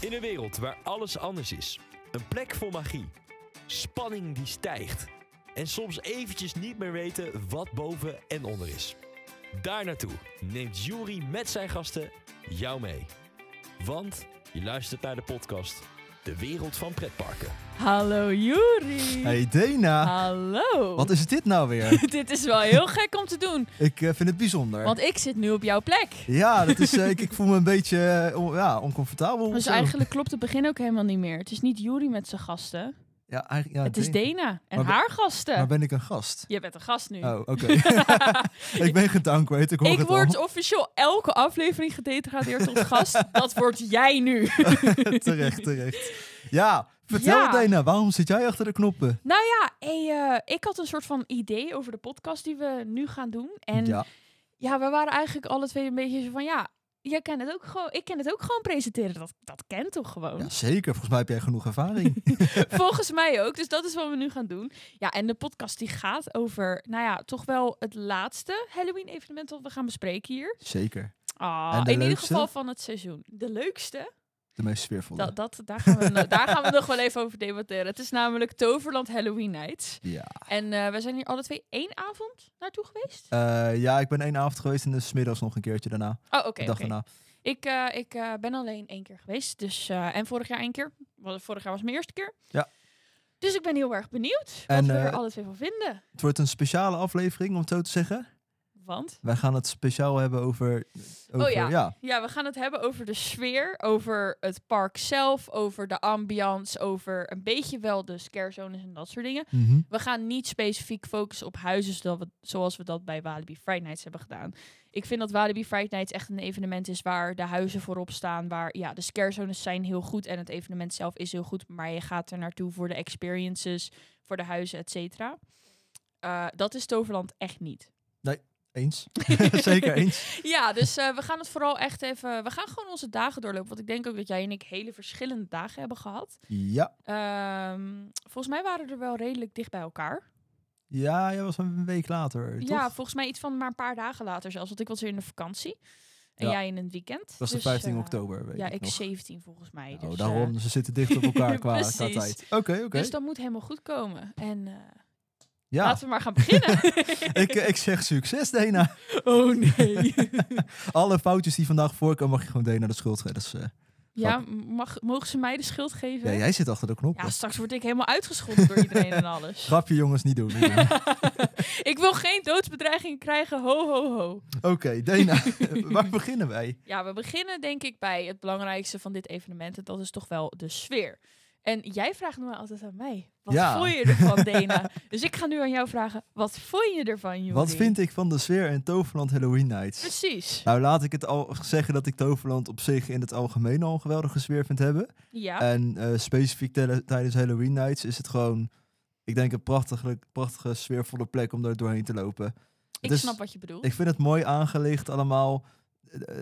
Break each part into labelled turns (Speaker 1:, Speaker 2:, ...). Speaker 1: In een wereld waar alles anders is. Een plek vol magie. Spanning die stijgt. En soms eventjes niet meer weten wat boven en onder is. Daar naartoe neemt Jury met zijn gasten jou mee. Want je luistert naar de podcast De Wereld van Pretparken.
Speaker 2: Hallo Juri.
Speaker 3: Hey Dena,
Speaker 2: Hallo.
Speaker 3: wat is dit nou weer?
Speaker 2: Dit is wel heel gek om te doen,
Speaker 3: ik eh, vind het bijzonder.
Speaker 2: want ik zit nu op jouw plek.
Speaker 3: Ja, dat is, eh, ik, ik voel me een beetje eh, on- ja, oncomfortabel. of
Speaker 2: Dus
Speaker 3: zo.
Speaker 2: eigenlijk klopt het begin ook helemaal niet meer. Het is niet Juri met zijn gasten.
Speaker 3: ja, eigenlijk ja,
Speaker 2: het is
Speaker 3: Dena.
Speaker 2: Dena en
Speaker 3: Maar we-
Speaker 2: haar
Speaker 3: Maar
Speaker 2: gasten.
Speaker 3: ben ik een gast?
Speaker 2: Je bent een gast nu.
Speaker 3: Oh, oké. ik ben gedowngrade, ik hoor
Speaker 2: ik
Speaker 3: het
Speaker 2: word
Speaker 3: al.
Speaker 2: officieel elke aflevering gedegradeerd tot gast. Dat word jij nu.
Speaker 3: terecht, terecht. Ja, vertel
Speaker 2: Ja.
Speaker 3: Dena, waarom zit jij achter de knoppen?
Speaker 2: Nou ja, hey, eh, ik had een soort van idee over de podcast die we nu gaan doen. En
Speaker 3: Ja,
Speaker 2: ja, we waren eigenlijk alle twee een beetje zo van ja, jij kent het ook gewoon, ik ken het ook gewoon presenteren. Dat, dat kent toch gewoon?
Speaker 3: ja, zeker. Volgens mij heb jij genoeg ervaring.
Speaker 2: Volgens mij ook. Dus dat is wat we nu gaan doen. Ja, en de podcast die gaat over, nou ja, toch wel het laatste Halloween evenement dat we gaan bespreken hier.
Speaker 3: zeker.
Speaker 2: Ah,
Speaker 3: En
Speaker 2: in
Speaker 3: de
Speaker 2: ieder
Speaker 3: leukste?
Speaker 2: geval van het seizoen. De leukste,
Speaker 3: De meest sfeervolle.
Speaker 2: dat, dat, daar, gaan we, no- daar gaan we nog wel even over debatteren. Het is namelijk Toverland Halloween Nights.
Speaker 3: Ja.
Speaker 2: En eh, we zijn hier alle twee één avond naartoe geweest.
Speaker 3: Eh, ja, ik ben één avond geweest en dus 's middags nog een keertje daarna.
Speaker 2: Oh, oké.
Speaker 3: de dag
Speaker 2: oké.
Speaker 3: daarna.
Speaker 2: Ik, eh, ik eh, ben alleen één keer geweest. Dus, eh, en vorig jaar één keer. Wa- Vorig jaar was mijn eerste keer.
Speaker 3: Ja.
Speaker 2: Dus ik ben heel erg benieuwd
Speaker 3: En,
Speaker 2: wat we er
Speaker 3: eh,
Speaker 2: alle twee van vinden.
Speaker 3: Het wordt een speciale aflevering, om het zo te zeggen.
Speaker 2: Want?
Speaker 3: Wij gaan het speciaal hebben over... over
Speaker 2: Oh ja.
Speaker 3: ja,
Speaker 2: Ja, we gaan het hebben over de sfeer, over het park zelf, over de ambiance, over een beetje wel de scare zones en dat soort dingen.
Speaker 3: Mhm.
Speaker 2: We gaan niet specifiek focussen op huizen zodat we- zoals we dat bij Walibi Friday Nights hebben gedaan. Ik vind dat Walibi Friday Nights echt een evenement is waar de huizen voorop staan, waar ja, de scare zones zijn heel goed en het evenement zelf is heel goed, maar je gaat er naartoe voor de experiences, voor de huizen, et cetera. Eh, dat is Toverland echt niet.
Speaker 3: Eens. Zeker eens.
Speaker 2: Ja, dus eh, we gaan het vooral echt even. We gaan gewoon onze dagen doorlopen. Want ik denk ook dat jij en ik hele verschillende dagen hebben gehad.
Speaker 3: Ja.
Speaker 2: Ehm, volgens mij waren we er wel redelijk dicht bij elkaar.
Speaker 3: Ja, jij was een week later. Toch?
Speaker 2: Ja, volgens mij iets van maar een paar dagen later zelfs. Want ik was weer in de vakantie. En
Speaker 3: Ja.
Speaker 2: jij in een weekend.
Speaker 3: dat was de
Speaker 2: Dus,
Speaker 3: 15
Speaker 2: eh,
Speaker 3: oktober. Weet
Speaker 2: Ja,
Speaker 3: ik
Speaker 2: ik
Speaker 3: nog.
Speaker 2: 17 volgens mij.
Speaker 3: Nou,
Speaker 2: dus, eh,
Speaker 3: daarom, ze zitten dicht op elkaar qua, qua
Speaker 2: Precies.
Speaker 3: tijd. Oké, oké.
Speaker 2: dus dat moet helemaal goed komen. En eh,
Speaker 3: ja,
Speaker 2: laten we maar gaan beginnen.
Speaker 3: ik, eh, ik zeg succes, Dena.
Speaker 2: oh nee.
Speaker 3: Alle foutjes die vandaag voorkomen, mag je gewoon Dena de schuld geven. Dat is, eh,
Speaker 2: ja, mag, mogen ze mij de schuld geven?
Speaker 3: ja, jij zit achter de knoppen.
Speaker 2: Ja, straks word ik helemaal uitgescholden door iedereen en alles.
Speaker 3: Grapje, jongens, niet doen. niet doen. oké,
Speaker 2: ik wil geen doodsbedreiging krijgen. Ho, ho, ho.
Speaker 3: Dena, waar beginnen wij?
Speaker 2: Ja, we beginnen denk ik bij het belangrijkste van dit evenement. En dat is toch wel de sfeer. En jij vraagt me altijd aan mij. Wat
Speaker 3: Ja.
Speaker 2: vond je ervan, Dena? dus ik ga nu aan jou vragen. Wat vond je ervan, Juri?
Speaker 3: Wat vind ik van de sfeer in Toverland Halloween Nights?
Speaker 2: Precies.
Speaker 3: Nou, laat ik het al zeggen dat ik Toverland op zich in het algemeen al een geweldige sfeer vind hebben.
Speaker 2: Ja.
Speaker 3: En eh, specifiek tele- tijdens Halloween Nights is het gewoon, ik denk, een prachtige, prachtige sfeervolle plek om daar doorheen te lopen.
Speaker 2: ik
Speaker 3: het is-
Speaker 2: snap wat je bedoelt.
Speaker 3: dus Ik vind het mooi aangelegd allemaal. Eh,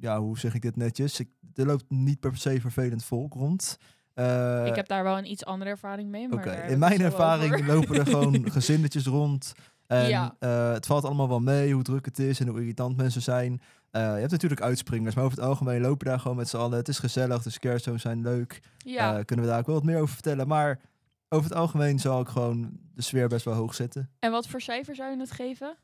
Speaker 3: ja, hoe zeg ik dit netjes? Ik, er loopt niet per se vervelend volk rond. Eh,
Speaker 2: Ik heb daar wel een iets andere ervaring mee. Maar eh,
Speaker 3: Oké,
Speaker 2: daar hebben
Speaker 3: in
Speaker 2: we het
Speaker 3: mijn
Speaker 2: zo
Speaker 3: ervaring
Speaker 2: over.
Speaker 3: lopen er gewoon gezinnetjes rond. En
Speaker 2: Ja.
Speaker 3: eh, het valt allemaal wel mee hoe druk het is en hoe irritant mensen zijn. Eh, je hebt natuurlijk uitspringers, maar over het algemeen lopen daar gewoon met z'n allen. Het is gezellig, de scarestones zijn leuk.
Speaker 2: Ja.
Speaker 3: Eh, kunnen we daar ook wel wat meer over vertellen. Maar over het algemeen zal ik gewoon de sfeer best wel hoog zetten.
Speaker 2: en wat voor cijfer zou je het geven?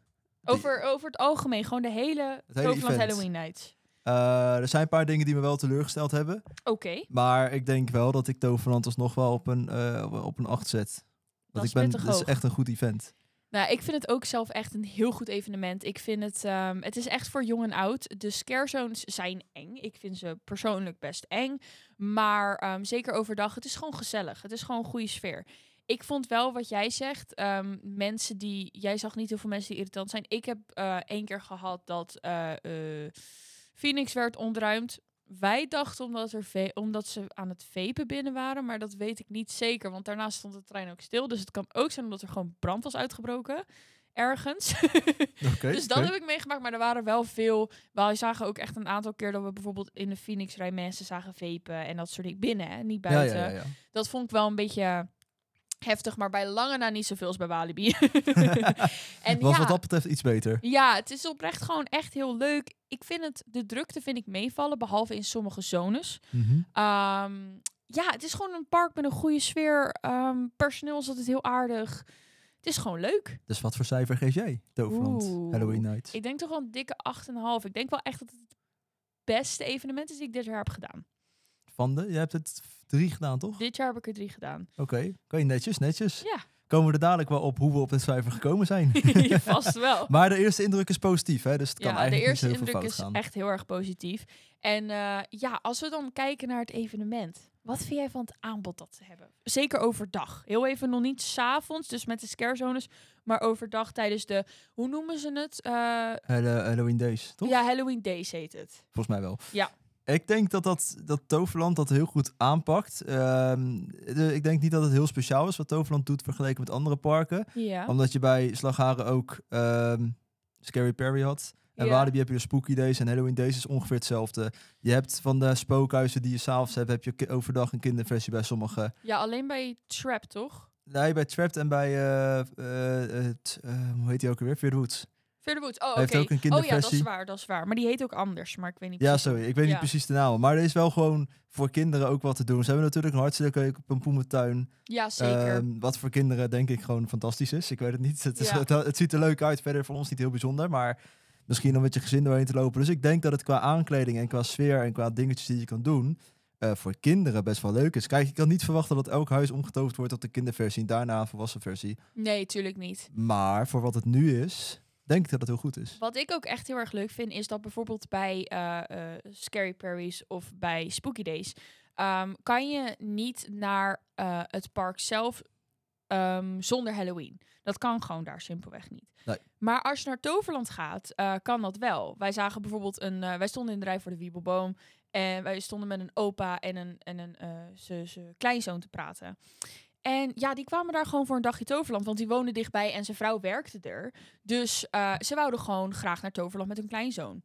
Speaker 2: Over, over het algemeen, gewoon de hele,
Speaker 3: Het hele
Speaker 2: Toverland
Speaker 3: event.
Speaker 2: Halloween Nights.
Speaker 3: Eh, er zijn een paar dingen die me wel teleurgesteld hebben.
Speaker 2: Oké,
Speaker 3: Maar ik denk wel dat ik Toverland alsnog wel op een, eh, op een 8 zet.
Speaker 2: dat
Speaker 3: Want
Speaker 2: is
Speaker 3: ik ben,
Speaker 2: pittig
Speaker 3: dat is
Speaker 2: hoog.
Speaker 3: echt een goed event.
Speaker 2: Nou, ik vind het ook zelf echt een heel goed evenement. Ik vind het, ehm, het is echt voor jong en oud. De scare zones zijn eng. Ik vind ze persoonlijk best eng. Maar ehm, zeker overdag, het is gewoon gezellig. Het is gewoon een goede sfeer. Ik vond wel wat jij zegt, ehm, mensen die, jij zag niet heel veel mensen die irritant zijn. Ik heb eh, één keer gehad dat eh, eh, Phoenix werd ontruimd. Wij dachten omdat, er ve- omdat ze aan het vepen binnen waren, maar dat weet ik niet zeker. Want daarna stond de trein ook stil. Dus het kan ook zijn omdat er gewoon brand was uitgebroken. Ergens.
Speaker 3: Oké.
Speaker 2: dus dat heb ik meegemaakt. Maar er waren wel veel. Wij zagen ook echt een aantal keer dat we bijvoorbeeld in de Phoenix rij mensen zagen vepen en dat soort dingen binnen, hè, niet
Speaker 3: ja,
Speaker 2: buiten.
Speaker 3: ja, ja, ja.
Speaker 2: Dat vond ik wel een beetje heftig, maar bij lange na niet zoveel als bij Walibi. en
Speaker 3: Was
Speaker 2: ja,
Speaker 3: wat dat betreft iets beter.
Speaker 2: ja, het is oprecht gewoon echt heel leuk. Ik vind het, de drukte vind ik meevallen, behalve in sommige zones. Ehm, ja, het is gewoon een park met een goede sfeer. Ehm, personeel is altijd heel aardig. Het is gewoon leuk.
Speaker 3: Dus wat voor cijfer geef jij, Toverland,
Speaker 2: Oeh.
Speaker 3: Halloween Nights?
Speaker 2: Ik denk toch wel een dikke 8,5. Ik denk wel echt dat het het beste evenement is die ik dit jaar heb gedaan.
Speaker 3: Van de, je hebt het drie gedaan, toch?
Speaker 2: Dit jaar heb ik er drie gedaan.
Speaker 3: Oké, kan je netjes, netjes.
Speaker 2: Ja.
Speaker 3: Komen we er dadelijk wel op hoe we op het cijfer gekomen zijn.
Speaker 2: Vast wel.
Speaker 3: maar de eerste indruk is positief, hè? Dus het kan
Speaker 2: Ja, de
Speaker 3: eigenlijk
Speaker 2: eerste
Speaker 3: niet zo heel
Speaker 2: indruk
Speaker 3: veel fout
Speaker 2: is
Speaker 3: gaan.
Speaker 2: echt heel erg positief. En eh, ja, als we dan kijken naar het evenement. Wat vind jij van het aanbod dat ze hebben? Zeker overdag. Heel even nog niet s'avonds, dus met de scare zones. Maar overdag tijdens de, hoe noemen ze het? Eh,
Speaker 3: Hallo- Halloween Days, toch?
Speaker 2: ja, Halloween Days heet het.
Speaker 3: Volgens mij wel.
Speaker 2: Ja.
Speaker 3: Ik denk dat, dat, dat Toverland dat heel goed aanpakt. Ehm, de- ik denk niet dat het heel speciaal is wat Toverland doet vergeleken met andere parken.
Speaker 2: Ja.
Speaker 3: Omdat je bij Slagharen ook ehm, Scary Perry had. En
Speaker 2: Ja.
Speaker 3: Walibi heb je de Spooky Days en Halloween Days is ongeveer hetzelfde. Je hebt van de spookhuizen die je s'avonds hebt, heb je ki- overdag een kinderversie bij sommige.
Speaker 2: ja, alleen bij Trap, toch?
Speaker 3: Nee, bij Trapped en bij, eh, eh, het, eh, hoe heet die ook weer? Fear the Woods.
Speaker 2: Verder Woods. Oh, oké.
Speaker 3: Hij heeft ook een
Speaker 2: Oh ja, dat is
Speaker 3: kinderversie.
Speaker 2: waar, dat is waar. Maar die heet ook anders, maar ik weet niet
Speaker 3: Ja,
Speaker 2: precies
Speaker 3: sorry, ik weet
Speaker 2: Ja.
Speaker 3: niet precies de naam. Maar er is wel gewoon voor kinderen ook wat te doen. Ze hebben natuurlijk een hartstikke leuke pompoentuin.
Speaker 2: hoe- Ja, zeker.
Speaker 3: Ehm, wat voor kinderen denk ik gewoon fantastisch is. Ik weet het niet. Het, is,
Speaker 2: Ja.
Speaker 3: het, het ziet er leuk uit. Verder voor ons niet heel bijzonder. Maar misschien om met je gezin doorheen te lopen. Dus ik denk dat het qua aankleding en qua sfeer en qua dingetjes die je kan doen. eh, voor kinderen best wel leuk is. Kijk, ik kan niet verwachten dat elk huis omgetoverd wordt tot de kinderversie en daarna een volwassen versie.
Speaker 2: nee, tuurlijk niet.
Speaker 3: Maar voor wat het nu is, denk ik dat het heel goed is.
Speaker 2: Wat ik ook echt heel erg leuk vind, is dat bijvoorbeeld bij eh, eh, Scary Perry's of bij Spooky Days, ehm, kan je niet naar eh, het park zelf ehm, zonder Halloween. Dat kan gewoon daar simpelweg niet.
Speaker 3: Nee.
Speaker 2: Maar als je naar Toverland gaat, eh, kan dat wel. Wij zagen bijvoorbeeld een, eh, wij stonden in de rij voor de Wiebelboom en wij stonden met een opa en een, en een eh, ze- ze kleinzoon te praten. En ja, die kwamen daar gewoon voor een dagje Toverland, want die woonde dichtbij en zijn vrouw werkte er. Dus eh, ze wouden gewoon graag naar Toverland met hun kleinzoon.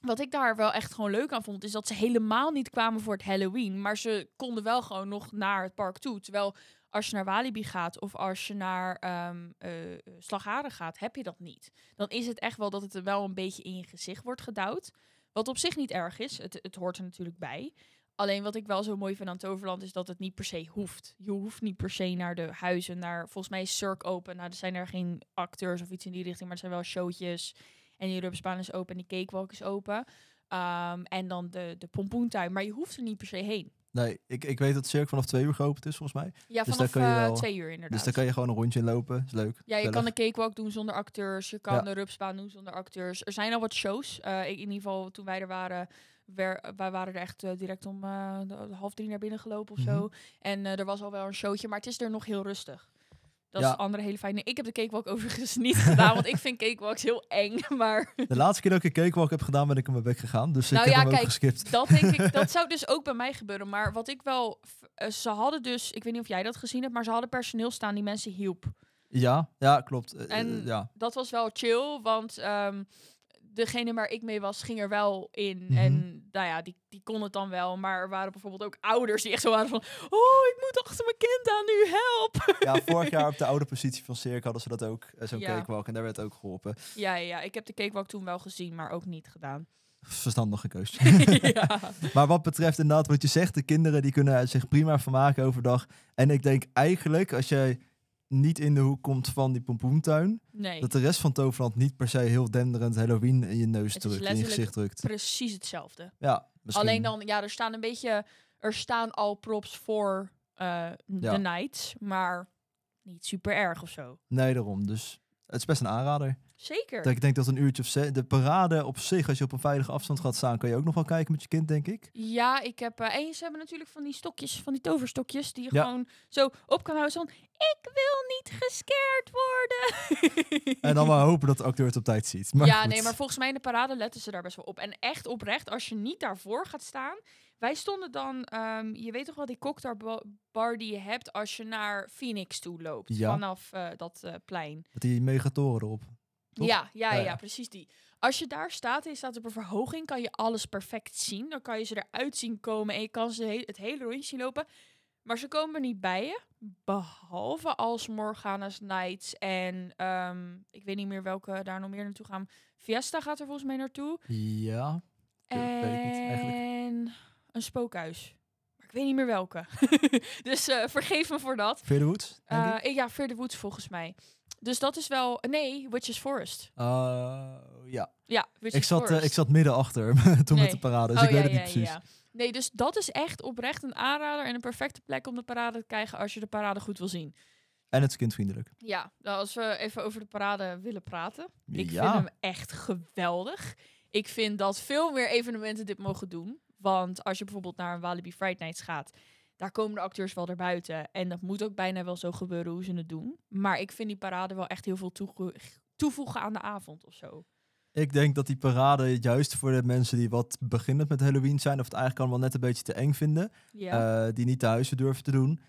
Speaker 2: Wat ik daar wel echt gewoon leuk aan vond, is dat ze helemaal niet kwamen voor het Halloween. Maar ze konden wel gewoon nog naar het park toe. Terwijl als je naar Walibi gaat of als je naar ehm eh, Slagharen gaat, heb je dat niet. Dan is het echt wel dat het er wel een beetje in je gezicht wordt gedouwd. Wat op zich niet erg is, het, het hoort er natuurlijk bij. Alleen wat ik wel zo mooi vind aan Toverland is dat het niet per se hoeft. Je hoeft niet per se naar de huizen, naar volgens mij is Cirque open. Nou, er zijn er geen acteurs of iets in die richting, maar er zijn wel showtjes. En die rubbersbaan is open en die cakewalk is open. Ehm, en dan de, de pompoentuin. Maar je hoeft er niet per se heen.
Speaker 3: Nee, ik, ik weet dat het cirkel vanaf twee uur geopend is, volgens mij.
Speaker 2: Ja,
Speaker 3: Dus daar
Speaker 2: vanaf
Speaker 3: kan je
Speaker 2: eh,
Speaker 3: wel-
Speaker 2: twee uur inderdaad.
Speaker 3: Dus daar kan je gewoon een rondje in lopen. Is leuk.
Speaker 2: Ja, je
Speaker 3: gezellig.
Speaker 2: kan de cakewalk doen zonder acteurs. Je kan
Speaker 3: Ja.
Speaker 2: de rupsbaan doen zonder acteurs. Er zijn al wat shows. Eh, ik- in ieder geval, toen wij er waren, wer- wij waren er echt eh, direct om eh, de- half drie naar binnen gelopen of
Speaker 3: Mhm.
Speaker 2: zo. En eh, er was al wel een showtje, maar het is er nog heel rustig. Dat is
Speaker 3: Ja.
Speaker 2: het andere hele fijne. Ik heb de cakewalk overigens niet gedaan, want ik vind cakewalks heel eng. Maar
Speaker 3: De laatste keer dat ik een cakewalk heb gedaan, ben ik in mijn bek gegaan. Dus
Speaker 2: Nou
Speaker 3: ik heb
Speaker 2: ja,
Speaker 3: hem
Speaker 2: kijk,
Speaker 3: ook geskipt.
Speaker 2: dat denk ik, dat zou dus ook bij mij gebeuren. Maar wat ik wel, v- eh, ze hadden dus, ik weet niet of jij dat gezien hebt, maar ze hadden personeel staan die mensen hielp.
Speaker 3: Ja, ja, klopt. Eh, eh,
Speaker 2: En-
Speaker 3: ja.
Speaker 2: dat was wel chill, want ehm, degene waar ik mee was, ging er wel in.
Speaker 3: Mhm.
Speaker 2: En nou ja, die, die kon het dan wel. Maar er waren bijvoorbeeld ook ouders die echt zo waren van... Oh, ik moet achter mijn kind aan nu, help!
Speaker 3: ja, vorig jaar op de oude positie van Cirque hadden ze dat ook, eh, zo'n
Speaker 2: Ja.
Speaker 3: cakewalk. En daar werd ook geholpen.
Speaker 2: Ja, ja, ja, ik heb de cakewalk toen wel gezien, maar ook niet gedaan.
Speaker 3: Verstandige keus.
Speaker 2: ja.
Speaker 3: maar wat betreft inderdaad wat je zegt, de kinderen die kunnen er zich prima van maken overdag. En ik denk eigenlijk, als jij niet in de hoek komt van die pompoentuin,
Speaker 2: Nee,
Speaker 3: dat de rest van Toverland niet per se heel denderend Halloween in je neus
Speaker 2: Het is
Speaker 3: drukt, in je
Speaker 2: letterlijk-
Speaker 3: gezicht drukt.
Speaker 2: precies hetzelfde.
Speaker 3: Ja, misschien.
Speaker 2: Alleen dan, ja, er staan een beetje... Er staan al props voor eh
Speaker 3: Ja.
Speaker 2: de nights, maar niet super erg of zo.
Speaker 3: Nee, daarom. Dus het is best een aanrader.
Speaker 2: Zeker.
Speaker 3: Dat ik denk dat een uurtje of zes... De parade op zich, als je op een veilige afstand gaat staan... kan je ook nog wel kijken met je kind, denk ik.
Speaker 2: Ja, ik heb. eh en ze hebben natuurlijk van die stokjes, van die toverstokjes, die je
Speaker 3: Ja.
Speaker 2: gewoon zo op kan houden. Zo'n. Ik wil niet gescared worden.
Speaker 3: En dan maar hopen dat de acteur het op tijd ziet. Maar
Speaker 2: ja,
Speaker 3: goed.
Speaker 2: nee, maar volgens mij in de parade letten ze daar best wel op. En echt oprecht, als je niet daarvoor gaat staan. Wij stonden dan, ehm, je weet toch wel, die cocktailbar die je hebt als je naar Phoenix toe loopt.
Speaker 3: Ja.
Speaker 2: Vanaf eh, dat eh, plein.
Speaker 3: Met die megatoren erop. Toch?
Speaker 2: Ja, ja, ja,
Speaker 3: Ja, ja.
Speaker 2: precies die. Als je daar staat en je staat op een verhoging, kan je alles perfect zien. Dan kan je ze eruit zien komen en je kan ze he- het hele rondje zien lopen. Maar ze komen niet bij je. Behalve als Morgana's Nights en ehm, ik weet niet meer welke daar nog meer naartoe gaan. Fiesta gaat er volgens mij naartoe.
Speaker 3: Ja. Dat weet ik niet eigenlijk.
Speaker 2: en een spookhuis. Maar ik weet niet meer welke. dus eh, vergeef me voor dat.
Speaker 3: Fear the Woods, denk ik.
Speaker 2: Eh, ja, Fear the Woods volgens mij. Dus dat is wel... Nee, Witch's Forest.
Speaker 3: Eh, ja.
Speaker 2: Ja, Witch's
Speaker 3: Ik zat, eh,
Speaker 2: Forest.
Speaker 3: ik zat midden achter toen met de
Speaker 2: Nee.
Speaker 3: parade, dus
Speaker 2: Oh,
Speaker 3: ik weet
Speaker 2: ja,
Speaker 3: het niet
Speaker 2: ja,
Speaker 3: precies.
Speaker 2: ja. Nee, dus dat is echt oprecht een aanrader en een perfecte plek om de parade te krijgen als je de parade goed wil zien.
Speaker 3: En het is kindvriendelijk.
Speaker 2: Ja, nou, als we even over de parade willen praten. Ik
Speaker 3: ja.
Speaker 2: vind hem echt geweldig. Ik vind dat veel meer evenementen dit mogen doen. Want als je bijvoorbeeld naar een Walibi Fright Nights gaat, daar komen de acteurs wel erbuiten. En dat moet ook bijna wel zo gebeuren hoe ze het doen. Maar ik vind die parade wel echt heel veel toege- toevoegen aan de avond of zo.
Speaker 3: Ik denk dat die parade juist voor de mensen die wat beginnend met Halloween zijn, of het eigenlijk allemaal net een beetje te eng vinden,
Speaker 2: Ja,
Speaker 3: eh, die niet de huizen durven te doen,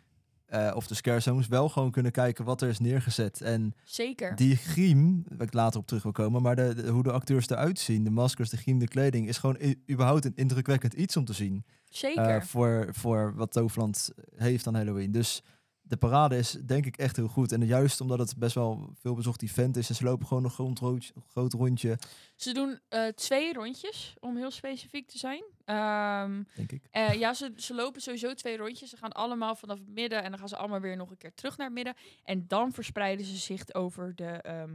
Speaker 3: eh, of de scare zones, wel gewoon kunnen kijken wat er is neergezet. En
Speaker 2: zeker.
Speaker 3: die griem, waar ik later op terug wil komen, maar de, de- hoe de acteurs eruit zien, de maskers, de griem, de kleding, is gewoon i- überhaupt een indrukwekkend iets om te zien. eh,
Speaker 2: zeker.
Speaker 3: voor, voor wat Toverland heeft aan Halloween. Dus de parade is denk ik echt heel goed. En juist omdat het best wel veel bezocht event is, en ze lopen gewoon een groot, rood- groot rondje,
Speaker 2: Ze doen eh, twee rondjes, om heel specifiek te zijn. Ehm,
Speaker 3: denk ik.
Speaker 2: eh, ja, ze, ze lopen sowieso twee rondjes. Ze gaan allemaal vanaf het midden en dan gaan ze allemaal weer nog een keer terug naar het midden. En dan verspreiden ze zich over de, ehm,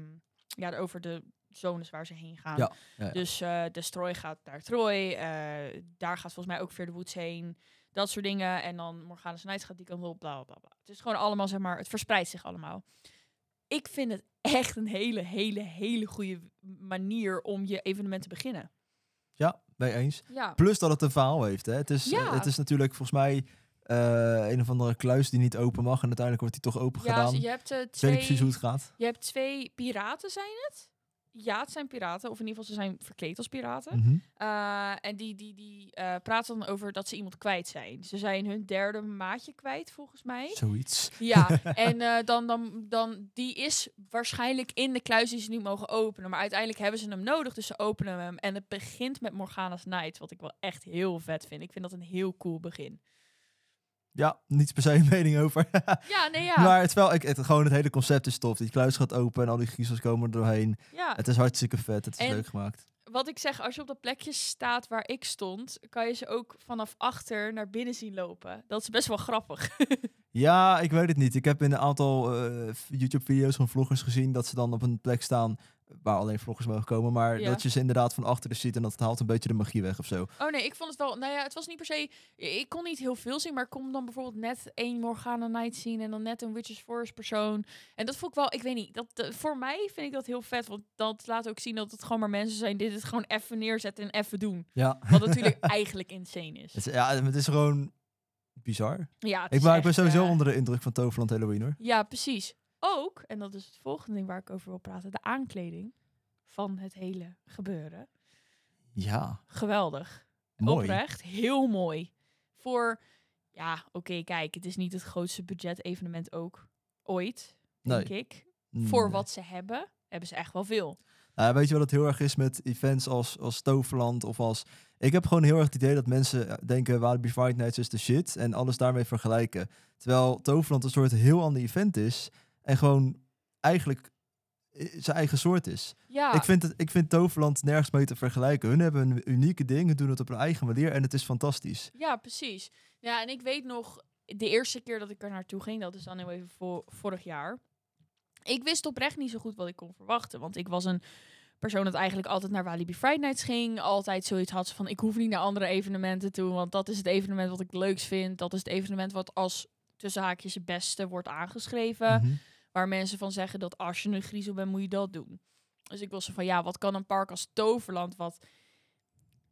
Speaker 2: ja, de- over de zones waar ze heen gaan.
Speaker 3: Ja, ja, ja.
Speaker 2: Dus eh Destroy gaat naar Troy. eh, daar gaat volgens mij ook Fear the Woods heen. Dat soort dingen. En dan Morgana Nights gaat die kant op. Bla, bla, bla. Het is gewoon allemaal, zeg maar, het verspreidt zich allemaal. Ik vind het echt een hele, hele, hele goede manier om je evenement te beginnen.
Speaker 3: Ja, mee eens.
Speaker 2: Ja,
Speaker 3: Plus dat het een verhaal heeft. Hè. Het, is,
Speaker 2: Ja.
Speaker 3: het is natuurlijk volgens mij eh, een of andere kluis die niet open mag. En uiteindelijk wordt die toch open
Speaker 2: ja
Speaker 3: gedaan.
Speaker 2: je hebt eh,
Speaker 3: Ik weet
Speaker 2: twee...
Speaker 3: niet precies hoe het gaat.
Speaker 2: Je hebt twee piraten, zijn het? Ja, het zijn piraten. Of in ieder geval, ze zijn verkleed als piraten.
Speaker 3: Mhm.
Speaker 2: Eh, en die, die, die eh, praten dan over dat ze iemand kwijt zijn. Ze zijn hun derde maatje kwijt, volgens mij.
Speaker 3: Zoiets.
Speaker 2: Ja, en eh, dan, dan, dan, die is waarschijnlijk in de kluis die ze niet mogen openen. Maar uiteindelijk hebben ze hem nodig, dus ze openen hem. En het begint met Morgana's Night, wat ik wel echt heel vet vind. Ik vind dat een heel cool begin.
Speaker 3: Ja, niet per se een mening over.
Speaker 2: Ja, nee, ja.
Speaker 3: Maar het, is wel, ik, het, gewoon het hele concept is tof. Die kluis gaat open en al die griezels komen er doorheen.
Speaker 2: ja.
Speaker 3: Het is hartstikke vet. Het is
Speaker 2: En-
Speaker 3: leuk gemaakt.
Speaker 2: wat ik zeg, als je op dat plekje staat waar ik stond, kan je ze ook vanaf achter naar binnen zien lopen. Dat is best wel grappig.
Speaker 3: Ja, ik weet het niet. Ik heb in een aantal eh, YouTube-video's van vloggers gezien dat ze dan op een plek staan waar alleen vloggers mogen komen. Maar
Speaker 2: Ja.
Speaker 3: dat je ze inderdaad van achteren ziet en dat het haalt een beetje de magie weg of zo.
Speaker 2: Oh nee, ik vond het wel. Nou ja, het was niet per se. Ik kon niet heel veel zien, maar ik kon dan bijvoorbeeld net één Morgana Night zien en dan net een Witches Forest persoon. En dat vond ik wel. Ik weet niet. Dat, eh, voor mij vind ik dat heel vet, want dat laat ook zien dat het gewoon maar mensen zijn die dit gewoon even neerzetten en even doen.
Speaker 3: Ja,
Speaker 2: Wat natuurlijk eigenlijk insane is.
Speaker 3: Het, is- ja, het is gewoon bizar.
Speaker 2: Ja, het
Speaker 3: Ik,
Speaker 2: is
Speaker 3: maar ik ben
Speaker 2: echt,
Speaker 3: sowieso
Speaker 2: eh,
Speaker 3: onder de indruk van Toverland Halloween hoor.
Speaker 2: Ja, precies. Ook, en dat is het volgende ding waar ik over wil praten, de aankleding van het hele gebeuren.
Speaker 3: Ja,
Speaker 2: Geweldig.
Speaker 3: mooi.
Speaker 2: Oprecht, heel mooi. Voor, ja, oké, kijk, het is niet het grootste budget-evenement ook ooit, denk ik.
Speaker 3: Nee.
Speaker 2: Voor wat ze hebben, hebben ze echt wel veel.
Speaker 3: Nou, weet je wat het heel erg is met events als, als Toverland of als... Ik heb gewoon heel erg het idee dat mensen eh, denken... Walibi Fright Nights is de shit en alles daarmee vergelijken. Terwijl Toverland een soort heel ander event is... en gewoon eigenlijk eh, zijn eigen soort is.
Speaker 2: Ja,
Speaker 3: Ik, vind het, ik vind Toverland nergens mee te vergelijken. Hun hebben een unieke dingen, doen het op hun eigen manier... en het is fantastisch.
Speaker 2: ja, precies. Ja, en ik weet nog, de eerste keer dat ik er naartoe ging, dat is dan heel even vo- vorig jaar. Ik wist oprecht niet zo goed wat ik kon verwachten, want ik was een persoon dat eigenlijk altijd naar Walibi Friday Nights ging. Altijd zoiets had van, ik hoef niet naar andere evenementen toe, want dat is het evenement wat ik het leukst vind. Dat is het evenement wat als tussen haakjes het beste wordt aangeschreven.
Speaker 3: Mhm.
Speaker 2: Waar mensen van zeggen dat als je een griezel bent, moet je dat doen. Dus ik was zo van, ja, wat kan een park als Toverland? Wat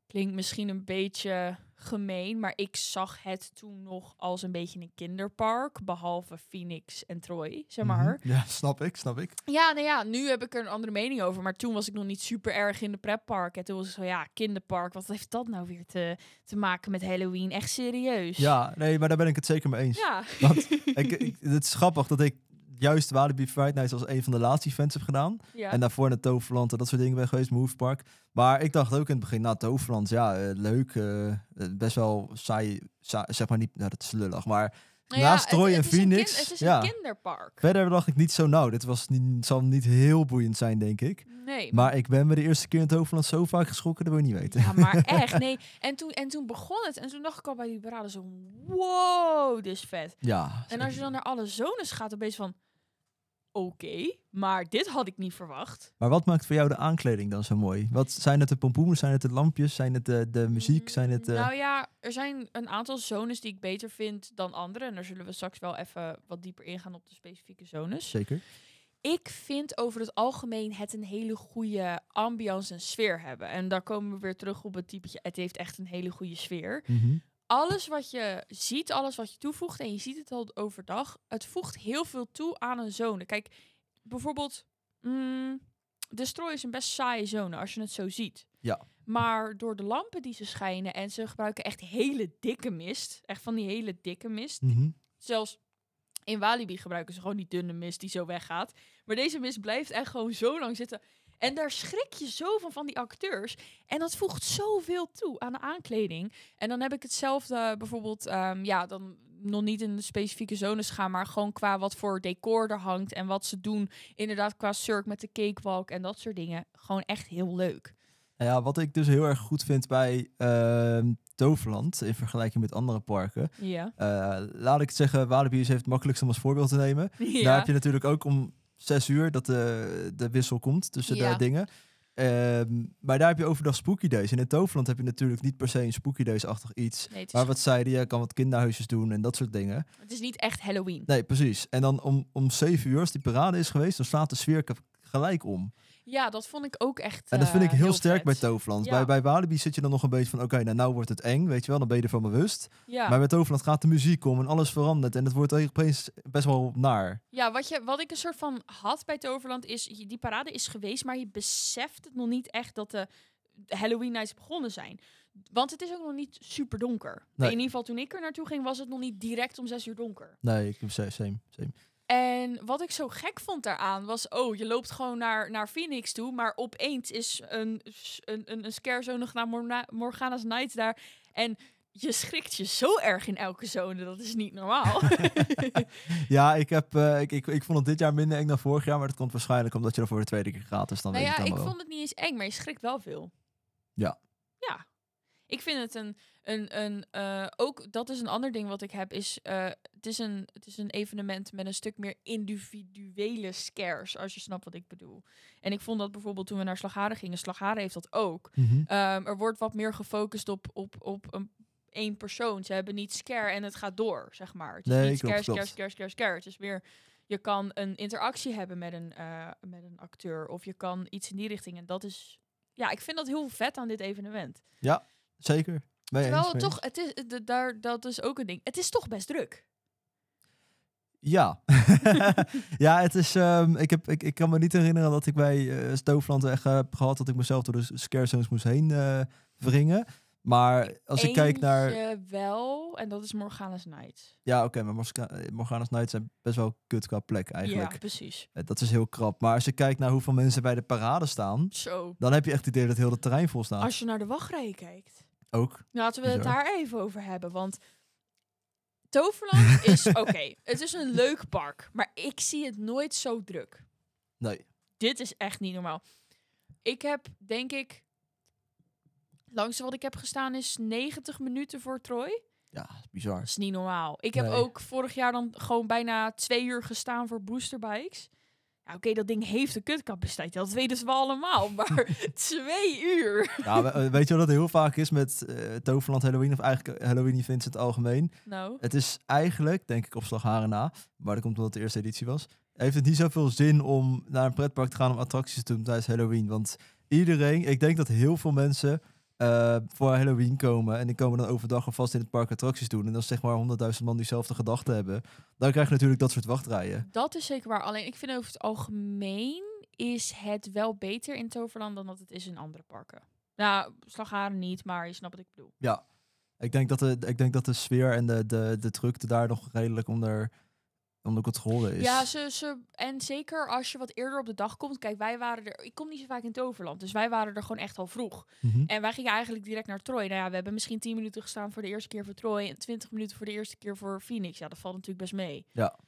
Speaker 2: klinkt misschien een beetje gemeen, maar ik zag het toen nog als een beetje een kinderpark. Behalve Phoenix en Troy, zeg maar.
Speaker 3: Mhm. Ja, snap ik, snap ik.
Speaker 2: Ja, nou ja, nu heb ik er een andere mening over. Maar toen was ik nog niet super erg in de pretpark. En toen was ik zo, ja, kinderpark. Wat heeft dat nou weer te, te maken met Halloween? Echt serieus.
Speaker 3: Ja, nee, maar daar ben ik het zeker mee eens.
Speaker 2: Ja.
Speaker 3: Want ik, ik- het is grappig dat ik juist Walibi Friday Nights als een van de laatste events heb gedaan.
Speaker 2: ja.
Speaker 3: En daarvoor naar Toverland en dat soort dingen ben geweest, Move Park. Maar ik dacht ook in het begin, nou Toverland, ja, eh, leuk. eh, eh, best wel saai, sa- zeg maar niet, nou dat is lullig, maar
Speaker 2: Nou
Speaker 3: Naast Troy en
Speaker 2: is een
Speaker 3: Phoenix,
Speaker 2: kind- het is
Speaker 3: ja.
Speaker 2: een kinderpark.
Speaker 3: Verder dacht ik niet zo nauw. Dit was niet, zal niet heel boeiend zijn, denk ik.
Speaker 2: Nee.
Speaker 3: Maar ik ben me de eerste keer in het Hoofdland zo vaak geschrokken, dat wil je niet weten.
Speaker 2: Ja, maar echt. Nee. En toen, en toen begon het. En toen dacht ik al bij die beraden zo... Wow, dit is vet.
Speaker 3: Ja.
Speaker 2: En als je dan naar alle zones gaat, dan ben je van... Oké, maar dit had ik niet verwacht.
Speaker 3: Maar wat maakt voor jou de aankleding dan zo mooi? Wat zijn het de pompoenen? Zijn het de lampjes? Zijn het de, de muziek? Zijn het
Speaker 2: Mm,
Speaker 3: eh,
Speaker 2: Nou ja, er zijn een aantal zones die ik beter vind dan andere. En daar zullen we straks wel even wat dieper ingaan op de specifieke zones.
Speaker 3: zeker?
Speaker 2: Ik vind over het algemeen het een hele goede ambiance en sfeer hebben. En daar komen we weer terug op het typetje. Het heeft echt een hele goede sfeer.
Speaker 3: Mhm.
Speaker 2: alles wat je ziet, alles wat je toevoegt, en je ziet het al overdag, het voegt heel veel toe aan een zone. Kijk, bijvoorbeeld, mm, Destroy is een best saaie zone als je het zo ziet.
Speaker 3: Ja.
Speaker 2: Maar door de lampen die ze schijnen en ze gebruiken echt hele dikke mist, echt van die hele dikke mist.
Speaker 3: Mhm.
Speaker 2: Zelfs in Walibi gebruiken ze gewoon die dunne mist die zo weggaat. Maar deze mist blijft echt gewoon zo lang zitten. En daar schrik je zo van, van die acteurs. En dat voegt zoveel toe aan de aankleding. En dan heb ik hetzelfde bijvoorbeeld, ehm, ja, dan nog niet in de specifieke zones gaan, maar gewoon qua wat voor decor er hangt en wat ze doen. Inderdaad, qua cirque met de cakewalk en dat soort dingen. Gewoon echt heel leuk.
Speaker 3: Nou ja, wat ik dus heel erg goed vind bij ehm Toverland in vergelijking met andere parken.
Speaker 2: Ja.
Speaker 3: eh, laat ik het zeggen, Walibi is heeft het makkelijkst om als voorbeeld te nemen. Daar Nou, heb je natuurlijk ook om zes uur dat de, de wissel komt tussen
Speaker 2: Ja.
Speaker 3: de dingen. Ehm, maar daar heb je overdag spooky days. En in Toverland heb je natuurlijk niet per se een spooky days-achtig iets.
Speaker 2: Nee, het, is,
Speaker 3: Maar wat zeiden, je kan wat kinderhuisjes doen en dat soort dingen.
Speaker 2: het is niet echt Halloween.
Speaker 3: Nee, precies. En dan om, om zeven uur, als die parade is geweest, dan slaat de sfeer ka- gelijk om.
Speaker 2: Ja, dat vond ik ook echt.
Speaker 3: En dat vind ik
Speaker 2: eh,
Speaker 3: heel, sterk
Speaker 2: vet.
Speaker 3: bij Toverland.
Speaker 2: Ja.
Speaker 3: Bij, bij Walibi zit je dan nog een beetje van, oké, nou, nou wordt het eng, weet je wel, dan ben je ervan bewust.
Speaker 2: Ja.
Speaker 3: Maar bij Toverland gaat de muziek om en alles verandert. En het wordt opeens best wel naar.
Speaker 2: Ja, wat, je, wat ik een soort van had bij Toverland is, je- die parade is geweest, maar je beseft het nog niet echt dat de de Halloween nights begonnen zijn. Want het is ook nog niet super donker.
Speaker 3: Nee.
Speaker 2: In ieder geval toen ik er naartoe ging, was het nog niet direct om zes uur donker.
Speaker 3: Nee, ik same, same.
Speaker 2: En wat ik zo gek vond daaraan was, oh, je loopt gewoon naar, naar Phoenix toe, maar opeens is een, s- een, een, een scare zone genaamd Morna- Morgana's Nights daar. En je schrikt je zo erg in elke zone, dat is niet normaal.
Speaker 3: Ja, ik, heb, eh, ik, ik, ik vond het dit jaar minder eng dan vorig jaar, maar dat komt waarschijnlijk omdat je er voor de tweede keer gaat. Dus dan
Speaker 2: Nou
Speaker 3: weet
Speaker 2: ja,
Speaker 3: ik
Speaker 2: ik
Speaker 3: dan wel.
Speaker 2: vond het niet eens eng, maar je schrikt wel veel.
Speaker 3: Ja.
Speaker 2: Ja. Ik vind het een... een, een eh, ook, dat is een ander ding wat ik heb, is... eh, het, is een, het is een evenement met een stuk meer individuele scares, als je snapt wat ik bedoel. En ik vond dat bijvoorbeeld toen we naar Slagharen gingen. Slagharen heeft dat ook.
Speaker 3: Mhm.
Speaker 2: Ehm, er wordt wat meer gefocust op, op, op een, één persoon. Ze hebben niet scare en het gaat door, zeg maar. Het is
Speaker 3: Nee,
Speaker 2: niet scare,
Speaker 3: klopt,
Speaker 2: scare, scare,
Speaker 3: klopt.
Speaker 2: scare, scare. Het is meer, je kan een interactie hebben met een, eh, met een acteur. Of je kan iets in die richting. En dat is, ja, ik vind dat heel vet aan dit evenement.
Speaker 3: Zeker. Mee eens,
Speaker 2: Terwijl het
Speaker 3: mee
Speaker 2: toch, het is, de, daar, dat is ook een ding. Het is toch best druk.
Speaker 3: Ja. ja, het is. ehm, ik, heb, ik, ik kan me niet herinneren dat ik bij eh, Stoofland echt eh, heb gehad dat ik mezelf door de s- scare zones moest heen eh, wringen. Maar als ik kijk naar.
Speaker 2: Eentje wel, en dat is Morgana's Night.
Speaker 3: Ja, oké, maar Mosca- eh, Morgana's Night zijn best wel kut qua plek eigenlijk.
Speaker 2: Ja, precies.
Speaker 3: Eh, Dat is heel krap. Maar als je kijkt naar hoeveel mensen bij de parade staan,
Speaker 2: Zo,
Speaker 3: dan heb je echt het idee dat heel het terrein vol staat.
Speaker 2: als je naar de wachtrijen kijkt...
Speaker 3: Ook.
Speaker 2: Laten we het
Speaker 3: Bizar.
Speaker 2: daar even over hebben, want Toverland is oké. het is een leuk park, maar ik zie het nooit zo druk.
Speaker 3: Nee.
Speaker 2: Dit is echt niet normaal. Ik heb denk ik langs wat ik heb gestaan is 90 minuten voor Troy.
Speaker 3: Ja, dat is bizar.
Speaker 2: Dat is niet normaal. Ik heb
Speaker 3: Nee.
Speaker 2: ook vorig jaar dan gewoon bijna twee uur gestaan voor boosterbikes. Ja, oké, dat ding heeft een kutcapaciteit. Dat weten ze wel allemaal. Maar twee uur.
Speaker 3: Ja, we- eh, weet je wat dat heel vaak is met eh, Toverland Halloween of eigenlijk eh, Halloween events in het algemeen?
Speaker 2: Nou,
Speaker 3: Het is eigenlijk, denk ik, op slagharen na. Maar dat komt omdat het de eerste editie was. Heeft het niet zoveel zin om naar een pretpark te gaan om attracties te doen tijdens Halloween. Want iedereen, ik denk dat heel veel mensen eh, voor Halloween komen. En die komen dan overdag alvast in het park attracties doen. En dat is zeg maar 100.000 man diezelfde gedachten hebben. Dan krijg je natuurlijk dat soort wachtrijen.
Speaker 2: Dat is zeker waar. Alleen ik vind over het algemeen is het wel beter in Toverland dan dat het is in andere parken. Nou, slagharen niet, maar je snapt wat ik bedoel.
Speaker 3: Ja, ik denk dat de, ik denk dat de sfeer en de, de, de drukte daar nog redelijk onder Omdat het geholpen is.
Speaker 2: Ja, ze, ze, en zeker als je wat eerder op de dag komt. Kijk, wij waren er. Ik kom niet zo vaak in Toverland, dus wij waren er gewoon echt al vroeg.
Speaker 3: Mhm.
Speaker 2: En wij gingen eigenlijk direct naar Troy. Nou ja, we hebben misschien 10 minuten gestaan voor de eerste keer voor Troy en 20 minuten voor de eerste keer voor Phoenix. Ja, dat valt natuurlijk best mee.
Speaker 3: Ja.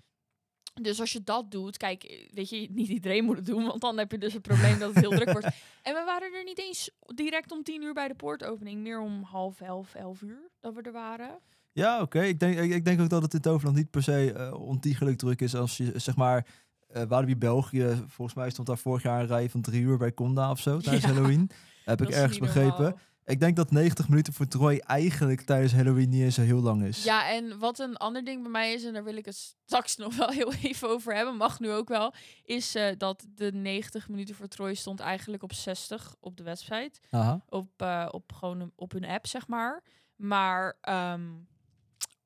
Speaker 2: Dus als je dat doet, kijk, eh, weet je, niet iedereen moet het doen, want dan heb je dus het probleem dat het heel druk wordt. En we waren er niet eens direct om 10 uur bij de poortopening, meer om half elf, elf uur dat we er waren.
Speaker 3: Ja, oké. Ik, denk, ik, ik denk ook dat het in Toverland niet per se eh, ontiegelijk druk is. Als je, zeg maar, eh Walibi België, volgens mij stond daar vorig jaar een rij van drie uur bij Conda of zo, tijdens
Speaker 2: Ja.
Speaker 3: Halloween. Heb
Speaker 2: Dat
Speaker 3: ik
Speaker 2: is
Speaker 3: ergens
Speaker 2: niet
Speaker 3: begrepen.
Speaker 2: normaal.
Speaker 3: Ik denk dat 90 minuten voor Troy eigenlijk tijdens Halloween niet eens zo heel lang is.
Speaker 2: Ja, en wat een ander ding bij mij is, en daar wil ik het straks nog wel heel even over hebben, mag nu ook wel, is eh, dat de 90 minuten voor Troy stond eigenlijk op 60 op de website.
Speaker 3: Aha.
Speaker 2: Op, eh, op gewoon een- op hun app, zeg maar. Maar ehm,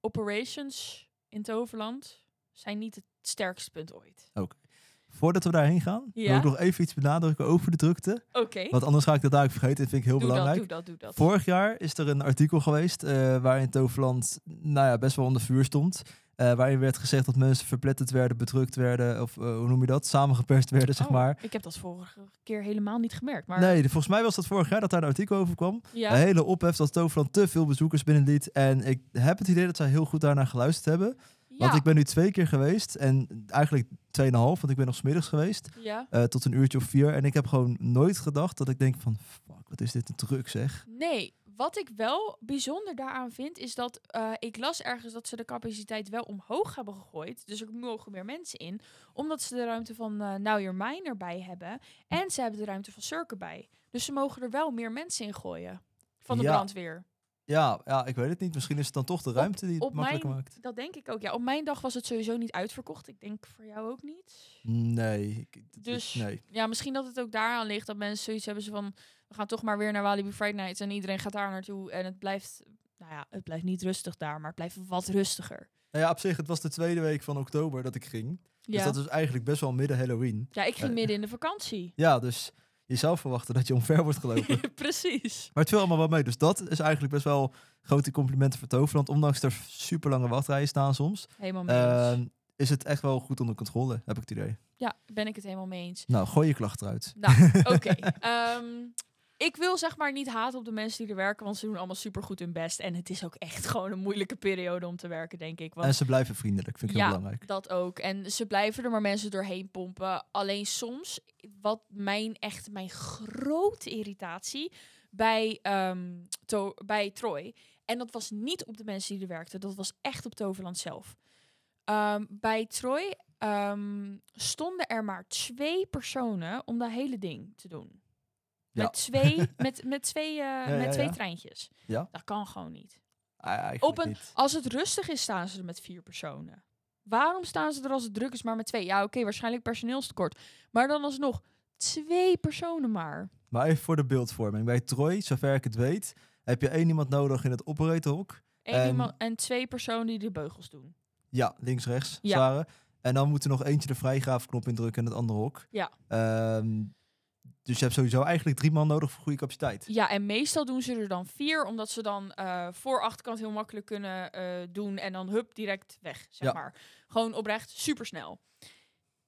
Speaker 2: operations in Toverland zijn niet het sterkste punt ooit.
Speaker 3: Voordat we daarheen gaan,
Speaker 2: Ja.
Speaker 3: wil ik nog even iets benadrukken over de drukte.
Speaker 2: Oké,
Speaker 3: Want anders ga ik dat dadelijk vergeten. Dat vind ik heel
Speaker 2: doe dat,
Speaker 3: belangrijk.
Speaker 2: doe dat, doe dat.
Speaker 3: Vorig jaar is er een artikel geweest eh, waarin Toverland nou ja, best wel onder vuur stond. Eh, waarin werd gezegd dat mensen verpletterd werden, bedrukt werden, of eh, hoe noem je dat? Samengeperst werden, zeg
Speaker 2: Oh,
Speaker 3: maar.
Speaker 2: Ik heb dat vorige keer helemaal niet gemerkt, maar
Speaker 3: Nee, de- volgens mij was dat vorig jaar dat daar een artikel over kwam.
Speaker 2: ja.
Speaker 3: Een hele ophef dat Toverland te veel bezoekers binnenliet. En ik heb het idee dat zij heel goed daarnaar geluisterd hebben.
Speaker 2: ja.
Speaker 3: Want ik ben nu twee keer geweest en eigenlijk tweeënhalf, want ik ben nog smiddags geweest.
Speaker 2: ja.
Speaker 3: eh, tot een uurtje of vier. En ik heb gewoon nooit gedacht dat ik denk van, fuck, wat is dit een druk zeg.
Speaker 2: Nee, wat ik wel bijzonder daaraan vind, is dat eh, ik las ergens dat ze de capaciteit wel omhoog hebben gegooid. Dus er mogen meer mensen in, omdat ze de ruimte van eh Now Your Mine erbij hebben. En ze hebben de ruimte van Cirque bij. Dus ze mogen er wel meer mensen in gooien. Van de
Speaker 3: Ja.
Speaker 2: brandweer.
Speaker 3: Ja, ja, ik weet het niet. Misschien is het dan toch de ruimte die het
Speaker 2: Op mijn,
Speaker 3: makkelijker maakt.
Speaker 2: dat denk ik ook. Ja, op mijn dag was het sowieso niet uitverkocht. Ik denk voor jou ook niet.
Speaker 3: Nee. ik- dat is-
Speaker 2: Dus-
Speaker 3: Nee.
Speaker 2: Ja, misschien dat het ook daaraan ligt dat mensen zoiets hebben ze van... we gaan toch maar weer naar Walibi Friday Nights en iedereen gaat daar naartoe. En het blijft, nou ja, het blijft niet rustig daar, maar het blijft wat rustiger.
Speaker 3: Nou ja, op zich, het was de tweede week van oktober dat ik ging. Dus
Speaker 2: Ja,
Speaker 3: dat is eigenlijk best wel midden Halloween.
Speaker 2: ja ik ging
Speaker 3: Eh.
Speaker 2: midden in de vakantie.
Speaker 3: Ja, dus je zou verwachten dat je omver wordt gelopen.
Speaker 2: Precies.
Speaker 3: maar het viel allemaal wel mee. Dus dat is eigenlijk best wel grote complimenten voor Toverland. Ondanks er super lange wachtrijen staan soms.
Speaker 2: Helemaal mee eens.
Speaker 3: eh, is het echt wel goed onder controle, heb ik het idee.
Speaker 2: ja, ben ik het helemaal mee eens.
Speaker 3: Nou, gooi je klacht eruit.
Speaker 2: Nou, oké. Ehm, ik wil zeg maar niet haten op de mensen die er werken, want ze doen allemaal supergoed hun best. En het is ook echt gewoon een moeilijke periode om te werken, denk ik. Want
Speaker 3: En ze blijven vriendelijk, vind ik
Speaker 2: Ja.
Speaker 3: heel belangrijk.
Speaker 2: Dat ook. En ze blijven er maar mensen doorheen pompen. Alleen soms, wat mijn echt mijn grote irritatie bij, ehm, To- bij Troy. En dat was niet op de mensen die er werkten. Dat was echt op Toverland zelf. Ehm, bij Troy ehm, stonden er maar twee personen om dat hele ding te doen.
Speaker 3: Ja.
Speaker 2: Met twee, met, met twee, eh, met
Speaker 3: ja,
Speaker 2: twee
Speaker 3: ja.
Speaker 2: treintjes.
Speaker 3: Ja.
Speaker 2: Dat kan gewoon niet.
Speaker 3: Ah, eigenlijk
Speaker 2: Op een-
Speaker 3: niet.
Speaker 2: Als het rustig is, staan ze er met vier personen. Waarom staan ze er als het druk is maar met twee? Ja, oké, waarschijnlijk personeelstekort. Maar dan alsnog twee personen maar.
Speaker 3: Maar even voor de beeldvorming. Bij Troy, zover ik het weet, heb je één iemand nodig in het operatorhok.
Speaker 2: Eén
Speaker 3: En-
Speaker 2: iemand en twee personen die de beugels doen.
Speaker 3: Ja, links, rechts,
Speaker 2: Ja.
Speaker 3: zware. En dan moet er nog eentje de vrijgraafknop indrukken en het andere hok.
Speaker 2: Ja.
Speaker 3: Ehm, dus je hebt sowieso eigenlijk drie man nodig voor goede capaciteit.
Speaker 2: Ja, en meestal doen ze er dan vier, omdat ze dan eh voor achterkant heel makkelijk kunnen eh, doen en dan hup direct weg, zeg
Speaker 3: Ja.
Speaker 2: maar. Gewoon oprecht supersnel.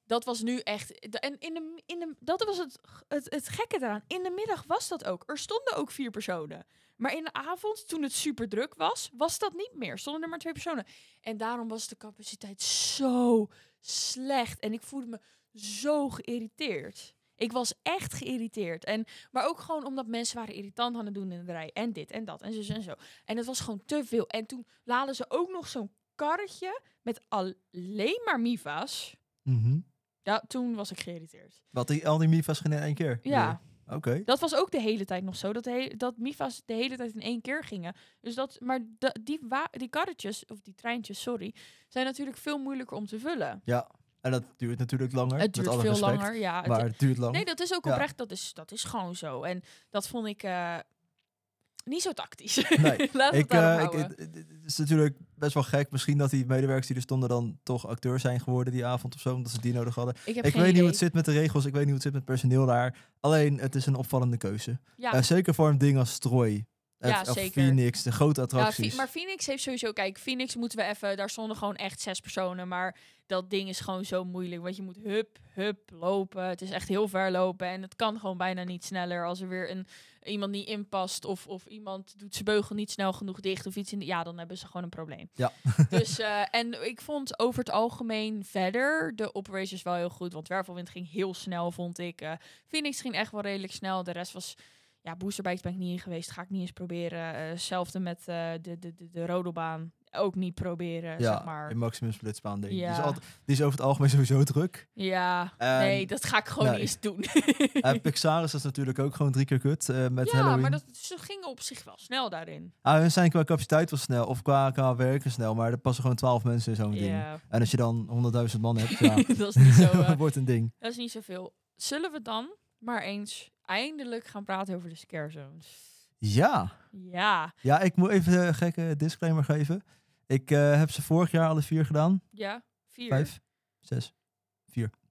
Speaker 2: Dat was nu echt. da- En in de, in de, dat was het, het, het gekke daaraan. In de middag was dat ook. Er stonden ook vier personen. Maar in de avond, toen het super druk was, was dat niet meer. Stonden er maar twee personen. En daarom was de capaciteit zo slecht. En ik voelde me zo geïrriteerd. Ik was echt geïrriteerd. En, maar ook gewoon omdat mensen waren irritant aan het doen in de rij. En dit en dat en zo en zo. En het was gewoon te veel. En toen laden ze ook nog zo'n karretje met alleen maar Miva's. Ja, toen was ik geïrriteerd.
Speaker 3: Mhm. Wat die, al die MIFA's gingen in één keer?
Speaker 2: Ja,
Speaker 3: Oké.
Speaker 2: dat was ook de hele tijd nog zo. Dat, de he- dat Miva's de hele tijd in één keer gingen. Dus dat, maar da- die, wa- die karretjes, of die treintjes, sorry, zijn natuurlijk veel moeilijker om te vullen.
Speaker 3: En dat duurt natuurlijk langer.
Speaker 2: Het duurt
Speaker 3: met
Speaker 2: veel
Speaker 3: alle respect,
Speaker 2: langer. Ja, het-
Speaker 3: Maar het duurt lang.
Speaker 2: Nee, dat is ook
Speaker 3: Ja.
Speaker 2: oprecht. Dat, is, dat is gewoon zo. En dat vond ik eh, niet zo tactisch.
Speaker 3: Nee,
Speaker 2: Laat het
Speaker 3: ik,
Speaker 2: daarop
Speaker 3: eh, ik,
Speaker 2: houden.
Speaker 3: het, het- het is natuurlijk best wel gek. Misschien dat die medewerkers die er stonden dan toch acteur zijn geworden die avond of zo. Omdat ze die nodig hadden.
Speaker 2: ik heb
Speaker 3: Ik weet
Speaker 2: geen
Speaker 3: niet
Speaker 2: idee.
Speaker 3: hoe het zit met de regels. Ik weet niet hoe het zit met personeel daar. Alleen, het is een opvallende keuze.
Speaker 2: Ja,
Speaker 3: Eh, zeker voor een ding als Strooi. Of-
Speaker 2: Ja,
Speaker 3: of
Speaker 2: zeker.
Speaker 3: Phoenix, de grote
Speaker 2: Ja,
Speaker 3: attracties.
Speaker 2: Phe- maar Phoenix heeft sowieso, kijk, Phoenix moeten we even, daar stonden gewoon echt zes personen, maar dat ding is gewoon zo moeilijk, want je moet hup, hup lopen. Het is echt heel ver lopen en het kan gewoon bijna niet sneller als er weer een, iemand niet inpast of, of iemand doet zijn beugel niet snel genoeg dicht of iets. In de, ja, dan hebben ze gewoon een probleem.
Speaker 3: Ja.
Speaker 2: dus, eh, en ik vond over het algemeen verder de operations wel heel goed, want Wervelwind ging heel snel, vond ik. Eh, Phoenix ging echt wel redelijk snel, de rest was ja, boosterbikes ben ik niet in geweest. Ga ik niet eens proberen. Eh, Hetzelfde met eh, de, de, de, de rodelbaan. Ook niet proberen,
Speaker 3: ja,
Speaker 2: zeg maar.
Speaker 3: in Maximum Splitsbaan denk ik. Die, is
Speaker 2: Ja.
Speaker 3: altijd- die is over het algemeen sowieso druk.
Speaker 2: Ja,
Speaker 3: Ehm,
Speaker 2: nee, dat ga ik gewoon niet
Speaker 3: nee.
Speaker 2: eens doen.
Speaker 3: Eh Pixaris is natuurlijk ook gewoon drie keer kut eh, met
Speaker 2: ja,
Speaker 3: Halloween.
Speaker 2: maar dat, ze gingen op zich wel snel daarin.
Speaker 3: Ah, hun zijn qua capaciteit wel snel, of qua, qua werken snel, maar er passen gewoon twaalf mensen in zo'n ding.
Speaker 2: Ja,
Speaker 3: En als je dan 100.000 man hebt, ja,
Speaker 2: dat is niet zo. eh,
Speaker 3: wordt een ding.
Speaker 2: dat is niet zoveel. Zullen we dan maar eens eindelijk gaan praten over de scare zones?
Speaker 3: Ja.
Speaker 2: Ja,
Speaker 3: ja, ik moet even eh, een gekke disclaimer geven. Ik eh, heb ze vorig jaar alle vier gedaan.
Speaker 2: ja, vier.
Speaker 3: Vijf, zes.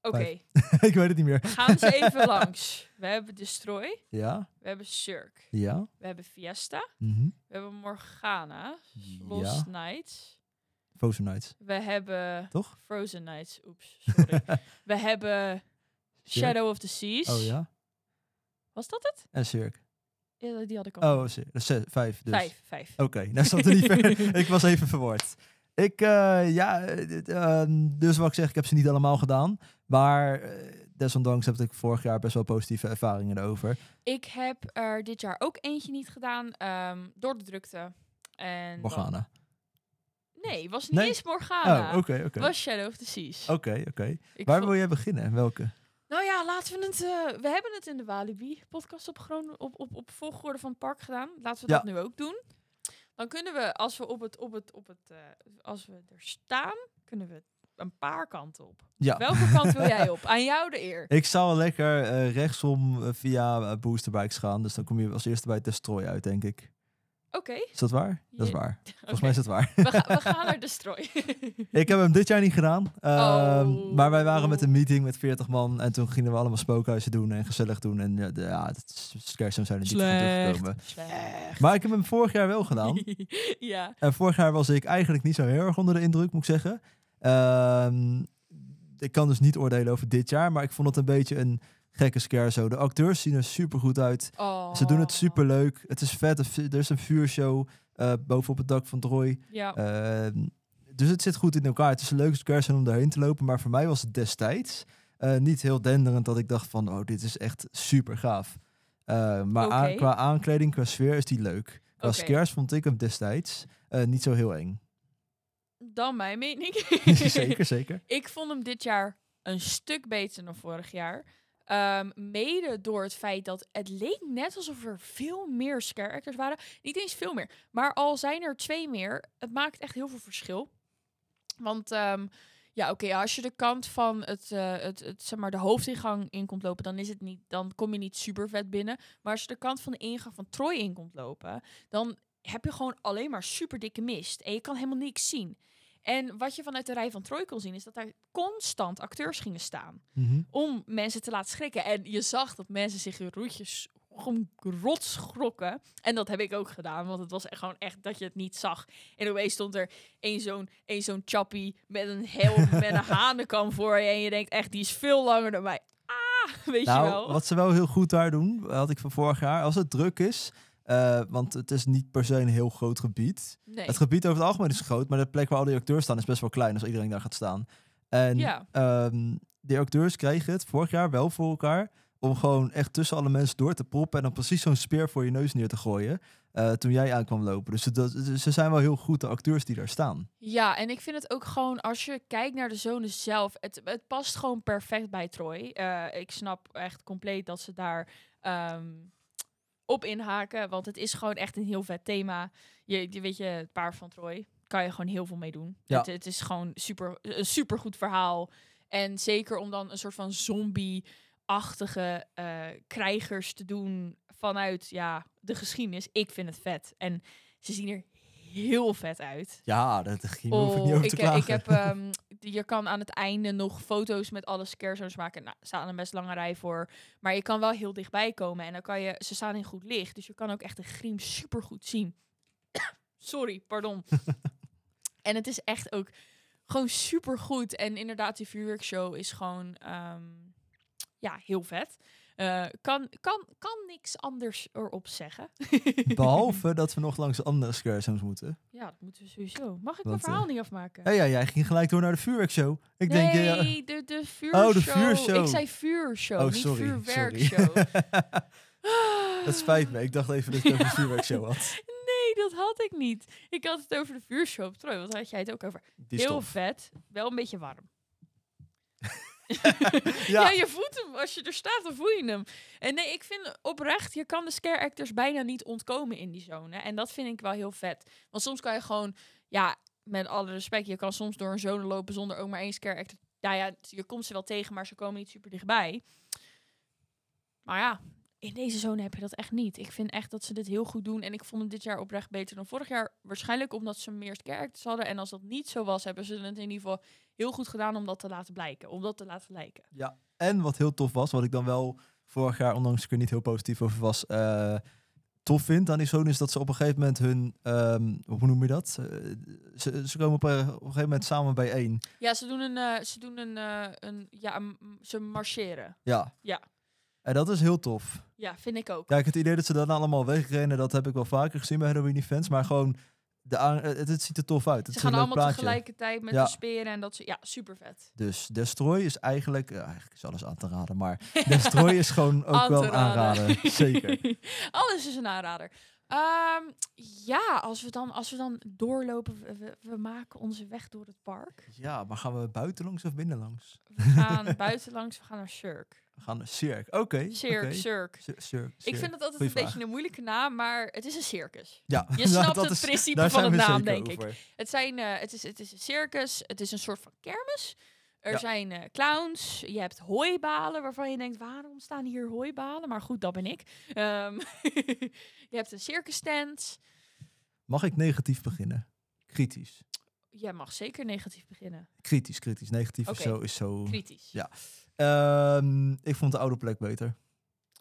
Speaker 2: Oké,
Speaker 3: ik weet het niet meer.
Speaker 2: we gaan ze even langs. We hebben Destroy,
Speaker 3: Ja,
Speaker 2: we hebben Cirque,
Speaker 3: ja.
Speaker 2: we hebben Fiesta,
Speaker 3: mhm.
Speaker 2: we hebben Morgana, Lost
Speaker 3: Ja,
Speaker 2: Nights.
Speaker 3: Frozen Nights.
Speaker 2: We hebben...
Speaker 3: Toch?
Speaker 2: Frozen Nights. Oeps, sorry. we hebben Shadow of the Seas.
Speaker 3: Oh ja.
Speaker 2: Was dat het?
Speaker 3: En Cirque.
Speaker 2: Ja, die had ik al.
Speaker 3: Oh, Cirque. Zes, vijf dus.
Speaker 2: Vijf, vijf.
Speaker 3: Oké, nou stond er niet ver. Ik was even verward. Ik, eh, ja, eh, dit, ehm, dus wat ik zeg, ik heb ze niet allemaal gedaan. Maar eh, desondanks heb ik vorig jaar best wel positieve ervaringen erover.
Speaker 2: Ik heb er dit jaar ook eentje niet gedaan ehm, door de drukte. En dan-
Speaker 3: Morgana.
Speaker 2: Nee, was niet
Speaker 3: Nee?
Speaker 2: eens Morgana.
Speaker 3: Oh, oké, oké.
Speaker 2: Was Shadow of the Seas.
Speaker 3: Oké, oké.
Speaker 2: Ik
Speaker 3: Waar
Speaker 2: vo-
Speaker 3: wil jij beginnen? Welke?
Speaker 2: Nou ja, laten we het. eh, we hebben het in de Walibi podcast op, Groen, op, op, op volgorde van het park gedaan. Laten we
Speaker 3: Ja.
Speaker 2: dat nu ook doen. Dan kunnen we, als we op het, op het, op het, eh, als we er staan, kunnen we een paar kanten op.
Speaker 3: Ja.
Speaker 2: Welke kant wil jij op? Aan jou de eer.
Speaker 3: Ik zou lekker eh, rechtsom eh, via eh, boosterbikes gaan. Dus dan kom je als eerste bij Destroy uit, denk ik.
Speaker 2: Oké,
Speaker 3: Is dat waar? Dat is
Speaker 2: Ja.
Speaker 3: waar. Volgens mij is dat waar.
Speaker 2: we, ga- we gaan naar Destroy.
Speaker 3: Ik heb hem dit jaar niet gedaan. Ehm,
Speaker 2: Oh.
Speaker 3: Maar wij waren met een meeting met 40 man. En toen gingen we allemaal spookhuizen doen en gezellig doen. En ja, de, ja het is- scarezone zijn er niet van teruggekomen.
Speaker 2: Slecht.
Speaker 3: Maar ik heb hem vorig jaar wel gedaan.
Speaker 2: ja.
Speaker 3: en vorig jaar was ik eigenlijk niet zo heel erg onder de indruk, moet ik zeggen. Ehm, ik kan dus niet oordelen over dit jaar. Maar ik vond het een beetje een gekke scarezone. De acteurs zien er super goed uit.
Speaker 2: Oh.
Speaker 3: Ze doen het super leuk. Het is vet. Er is een vuurshow eh, bovenop het dak van Troy.
Speaker 2: Ja.
Speaker 3: Ehm, dus het zit goed in elkaar. Het is een leuke scarezone om daarheen te lopen. Maar voor mij was het destijds eh, niet heel denderend dat ik dacht van... oh, dit is echt super gaaf. Eh, maar
Speaker 2: Oké.
Speaker 3: aan- qua aankleding, qua sfeer is die leuk. Qua
Speaker 2: Oké.
Speaker 3: scares vond ik hem destijds eh, niet zo heel eng.
Speaker 2: Dan mijn mening.
Speaker 3: zeker, zeker.
Speaker 2: Ik vond hem dit jaar een stuk beter dan vorig jaar. Ehm, mede door het feit dat het leek net alsof er veel meer scare actors waren. Niet eens veel meer. Maar al zijn er twee meer, het maakt echt heel veel verschil. Want ehm, ja, oké, als je de kant van het, eh, het, het, zeg maar, de hoofdingang in komt lopen, dan, is het niet, dan kom je niet super vet binnen. Maar als je de kant van de ingang van Troy in komt lopen, dan heb je gewoon alleen maar super dikke mist. En je kan helemaal niks zien. En wat je vanuit de rij van Troy kon zien, is dat daar constant acteurs gingen staan.
Speaker 3: Mhm.
Speaker 2: Om mensen te laten schrikken. En je zag dat mensen zich in roetjes gewoon rot schrokken. En dat heb ik ook gedaan, want het was echt gewoon echt dat je het niet zag. En opeens stond er één zo'n één zo'n chappie met een helm, met een hanenkam voor je. En je denkt echt, die is veel langer dan mij. Ah, weet je wel.
Speaker 3: Nou, wat ze wel heel goed daar doen, had ik van vorig jaar... als het druk is, eh, want het is niet per se een heel groot gebied...
Speaker 2: nee.
Speaker 3: Het gebied over het algemeen is groot, maar de plek waar al die acteurs staan is best wel klein als iedereen daar gaat staan. En
Speaker 2: Ja.
Speaker 3: ehm, die acteurs kregen het vorig jaar wel voor elkaar om gewoon echt tussen alle mensen door te proppen en dan precies zo'n speer voor je neus neer te gooien eh, toen jij aankwam lopen. Dus dat, ze zijn wel heel goed, de acteurs die daar staan.
Speaker 2: Ja, en ik vind het ook gewoon, als je kijkt naar de zone zelf, het, het past gewoon perfect bij Troy. Eh, ik snap echt compleet dat ze daar ehm, op inhaken, want het is gewoon echt een heel vet thema. Je, je weet je, het paard van Troy, kan je gewoon heel veel mee doen.
Speaker 3: Ja.
Speaker 2: Het, het is gewoon super, een supergoed verhaal. En zeker om dan een soort van zombie-achtige eh, krijgers te doen vanuit ja, de geschiedenis. Ik vind het vet. En ze zien er heel vet uit.
Speaker 3: Ja, dat ging
Speaker 2: Oh,
Speaker 3: niet over te
Speaker 2: ik, he- ik
Speaker 3: klagen.
Speaker 2: heb ehm, je kan aan het einde nog foto's met alle scare zones maken. Nou, er staat een best lange rij voor. Maar je kan wel heel dichtbij komen. En dan kan je, ze staan in goed licht. Dus je kan ook echt de griem super goed zien. Sorry, pardon. en het is echt ook gewoon super goed. En inderdaad, die vuurwerkshow is gewoon ehm, ja, heel vet. Eh, kan, kan, kan niks anders erop zeggen.
Speaker 3: Behalve dat we nog langs andere scare zones moeten.
Speaker 2: Ja, dat moeten we sowieso. Mag ik mijn
Speaker 3: Want, eh,
Speaker 2: verhaal niet afmaken?
Speaker 3: Ja, ja, jij ging gelijk door naar de vuurwerkshow. Ik denk,
Speaker 2: nee,
Speaker 3: eh, ja,
Speaker 2: de, de vuurshow.
Speaker 3: Oh, de vuurshow.
Speaker 2: Ik zei vuurshow,
Speaker 3: Oh,
Speaker 2: niet
Speaker 3: sorry,
Speaker 2: vuurwerkshow.
Speaker 3: het spijt me. Ik dacht even dat je het over de vuurwerkshow had.
Speaker 2: nee, dat had ik niet. Ik had het over de vuurshow op Troy, want daar had jij het ook over.
Speaker 3: Die
Speaker 2: Heel
Speaker 3: stof.
Speaker 2: vet, wel een beetje warm. ja.
Speaker 3: Ja,
Speaker 2: je voelt hem. Als je er staat, dan voel je hem. En nee, ik vind oprecht, je kan de scare actors bijna niet ontkomen in die zone. En dat vind ik wel heel vet. Want soms kan je gewoon, ja, met alle respect, je kan soms door een zone lopen zonder ook maar één scare actor. Nou ja, je komt ze wel tegen, maar ze komen niet super dichtbij. Maar ja, in deze zone heb je dat echt niet. Ik vind echt dat ze dit heel goed doen. En ik vond het dit jaar oprecht beter dan vorig jaar. Waarschijnlijk omdat ze meer scare actors hadden. En als dat niet zo was, hebben ze het in ieder geval heel goed gedaan om dat te laten blijken. Om dat te laten lijken.
Speaker 3: en wat heel tof was, wat ik dan wel vorig jaar, ondanks ik er niet heel positief over was, eh, tof vind aan die zone, is dat ze op een gegeven moment hun, ehm, hoe noem je dat? Eh, ze, ze komen op een, op een gegeven moment samen bijeen.
Speaker 2: Ja, ze doen een, eh, ze doen een, eh, een ja, een- m- ze marcheren.
Speaker 3: Ja.
Speaker 2: Ja.
Speaker 3: En dat is heel tof.
Speaker 2: Ja, vind ik ook.
Speaker 3: Ja, ik heb het idee dat ze daarna allemaal wegrennen. Dat heb ik wel vaker gezien bij Halloween events. Maar gewoon, de aan- eh, het, het ziet er tof uit. Het
Speaker 2: ze
Speaker 3: is een
Speaker 2: gaan
Speaker 3: leuk
Speaker 2: allemaal
Speaker 3: plaatje.
Speaker 2: tegelijkertijd met
Speaker 3: Ja.
Speaker 2: de speren en dat ze, ja, super vet.
Speaker 3: Dus Destroy is eigenlijk... ja, eigenlijk is alles aan te raden, maar Destroy is gewoon ook
Speaker 2: Aan
Speaker 3: wel
Speaker 2: te raden.
Speaker 3: aanraden. Zeker.
Speaker 2: Alles is een aanrader. Ehm, ja, als we dan, als we dan doorlopen, we, we- we maken onze weg door het park.
Speaker 3: Ja, maar gaan we buitenlangs of binnenlangs?
Speaker 2: We gaan buitenlangs, we gaan naar Cirque.
Speaker 3: We gaan naar Cirque. Oké. oké.
Speaker 2: Cirque, Cirque.
Speaker 3: Cir- Cirque,
Speaker 2: Ik
Speaker 3: Cirque.
Speaker 2: vind het altijd
Speaker 3: Goeie
Speaker 2: een
Speaker 3: vraag.
Speaker 2: beetje een moeilijke naam, maar het is een circus.
Speaker 3: Ja, nou,
Speaker 2: Je snapt
Speaker 3: dat
Speaker 2: het
Speaker 3: is-
Speaker 2: principe
Speaker 3: daar
Speaker 2: van
Speaker 3: zijn
Speaker 2: de
Speaker 3: we
Speaker 2: naam,
Speaker 3: zeker
Speaker 2: denk ik.
Speaker 3: over.
Speaker 2: Het, zijn, eh, het, is, het is een circus, het is een soort van kermis. Er
Speaker 3: Ja.
Speaker 2: zijn eh, clowns, je hebt hooibalen waarvan je denkt, waarom staan hier hooibalen? Maar goed, dat ben ik. Ehm, je hebt een circus tent.
Speaker 3: Mag ik negatief beginnen? Kritisch.
Speaker 2: Jij mag zeker negatief beginnen.
Speaker 3: Kritisch, kritisch. Negatief
Speaker 2: Oké.
Speaker 3: is zo... Is zo...
Speaker 2: Kritisch.
Speaker 3: Ja. Ehm, ik vond de oude plek beter.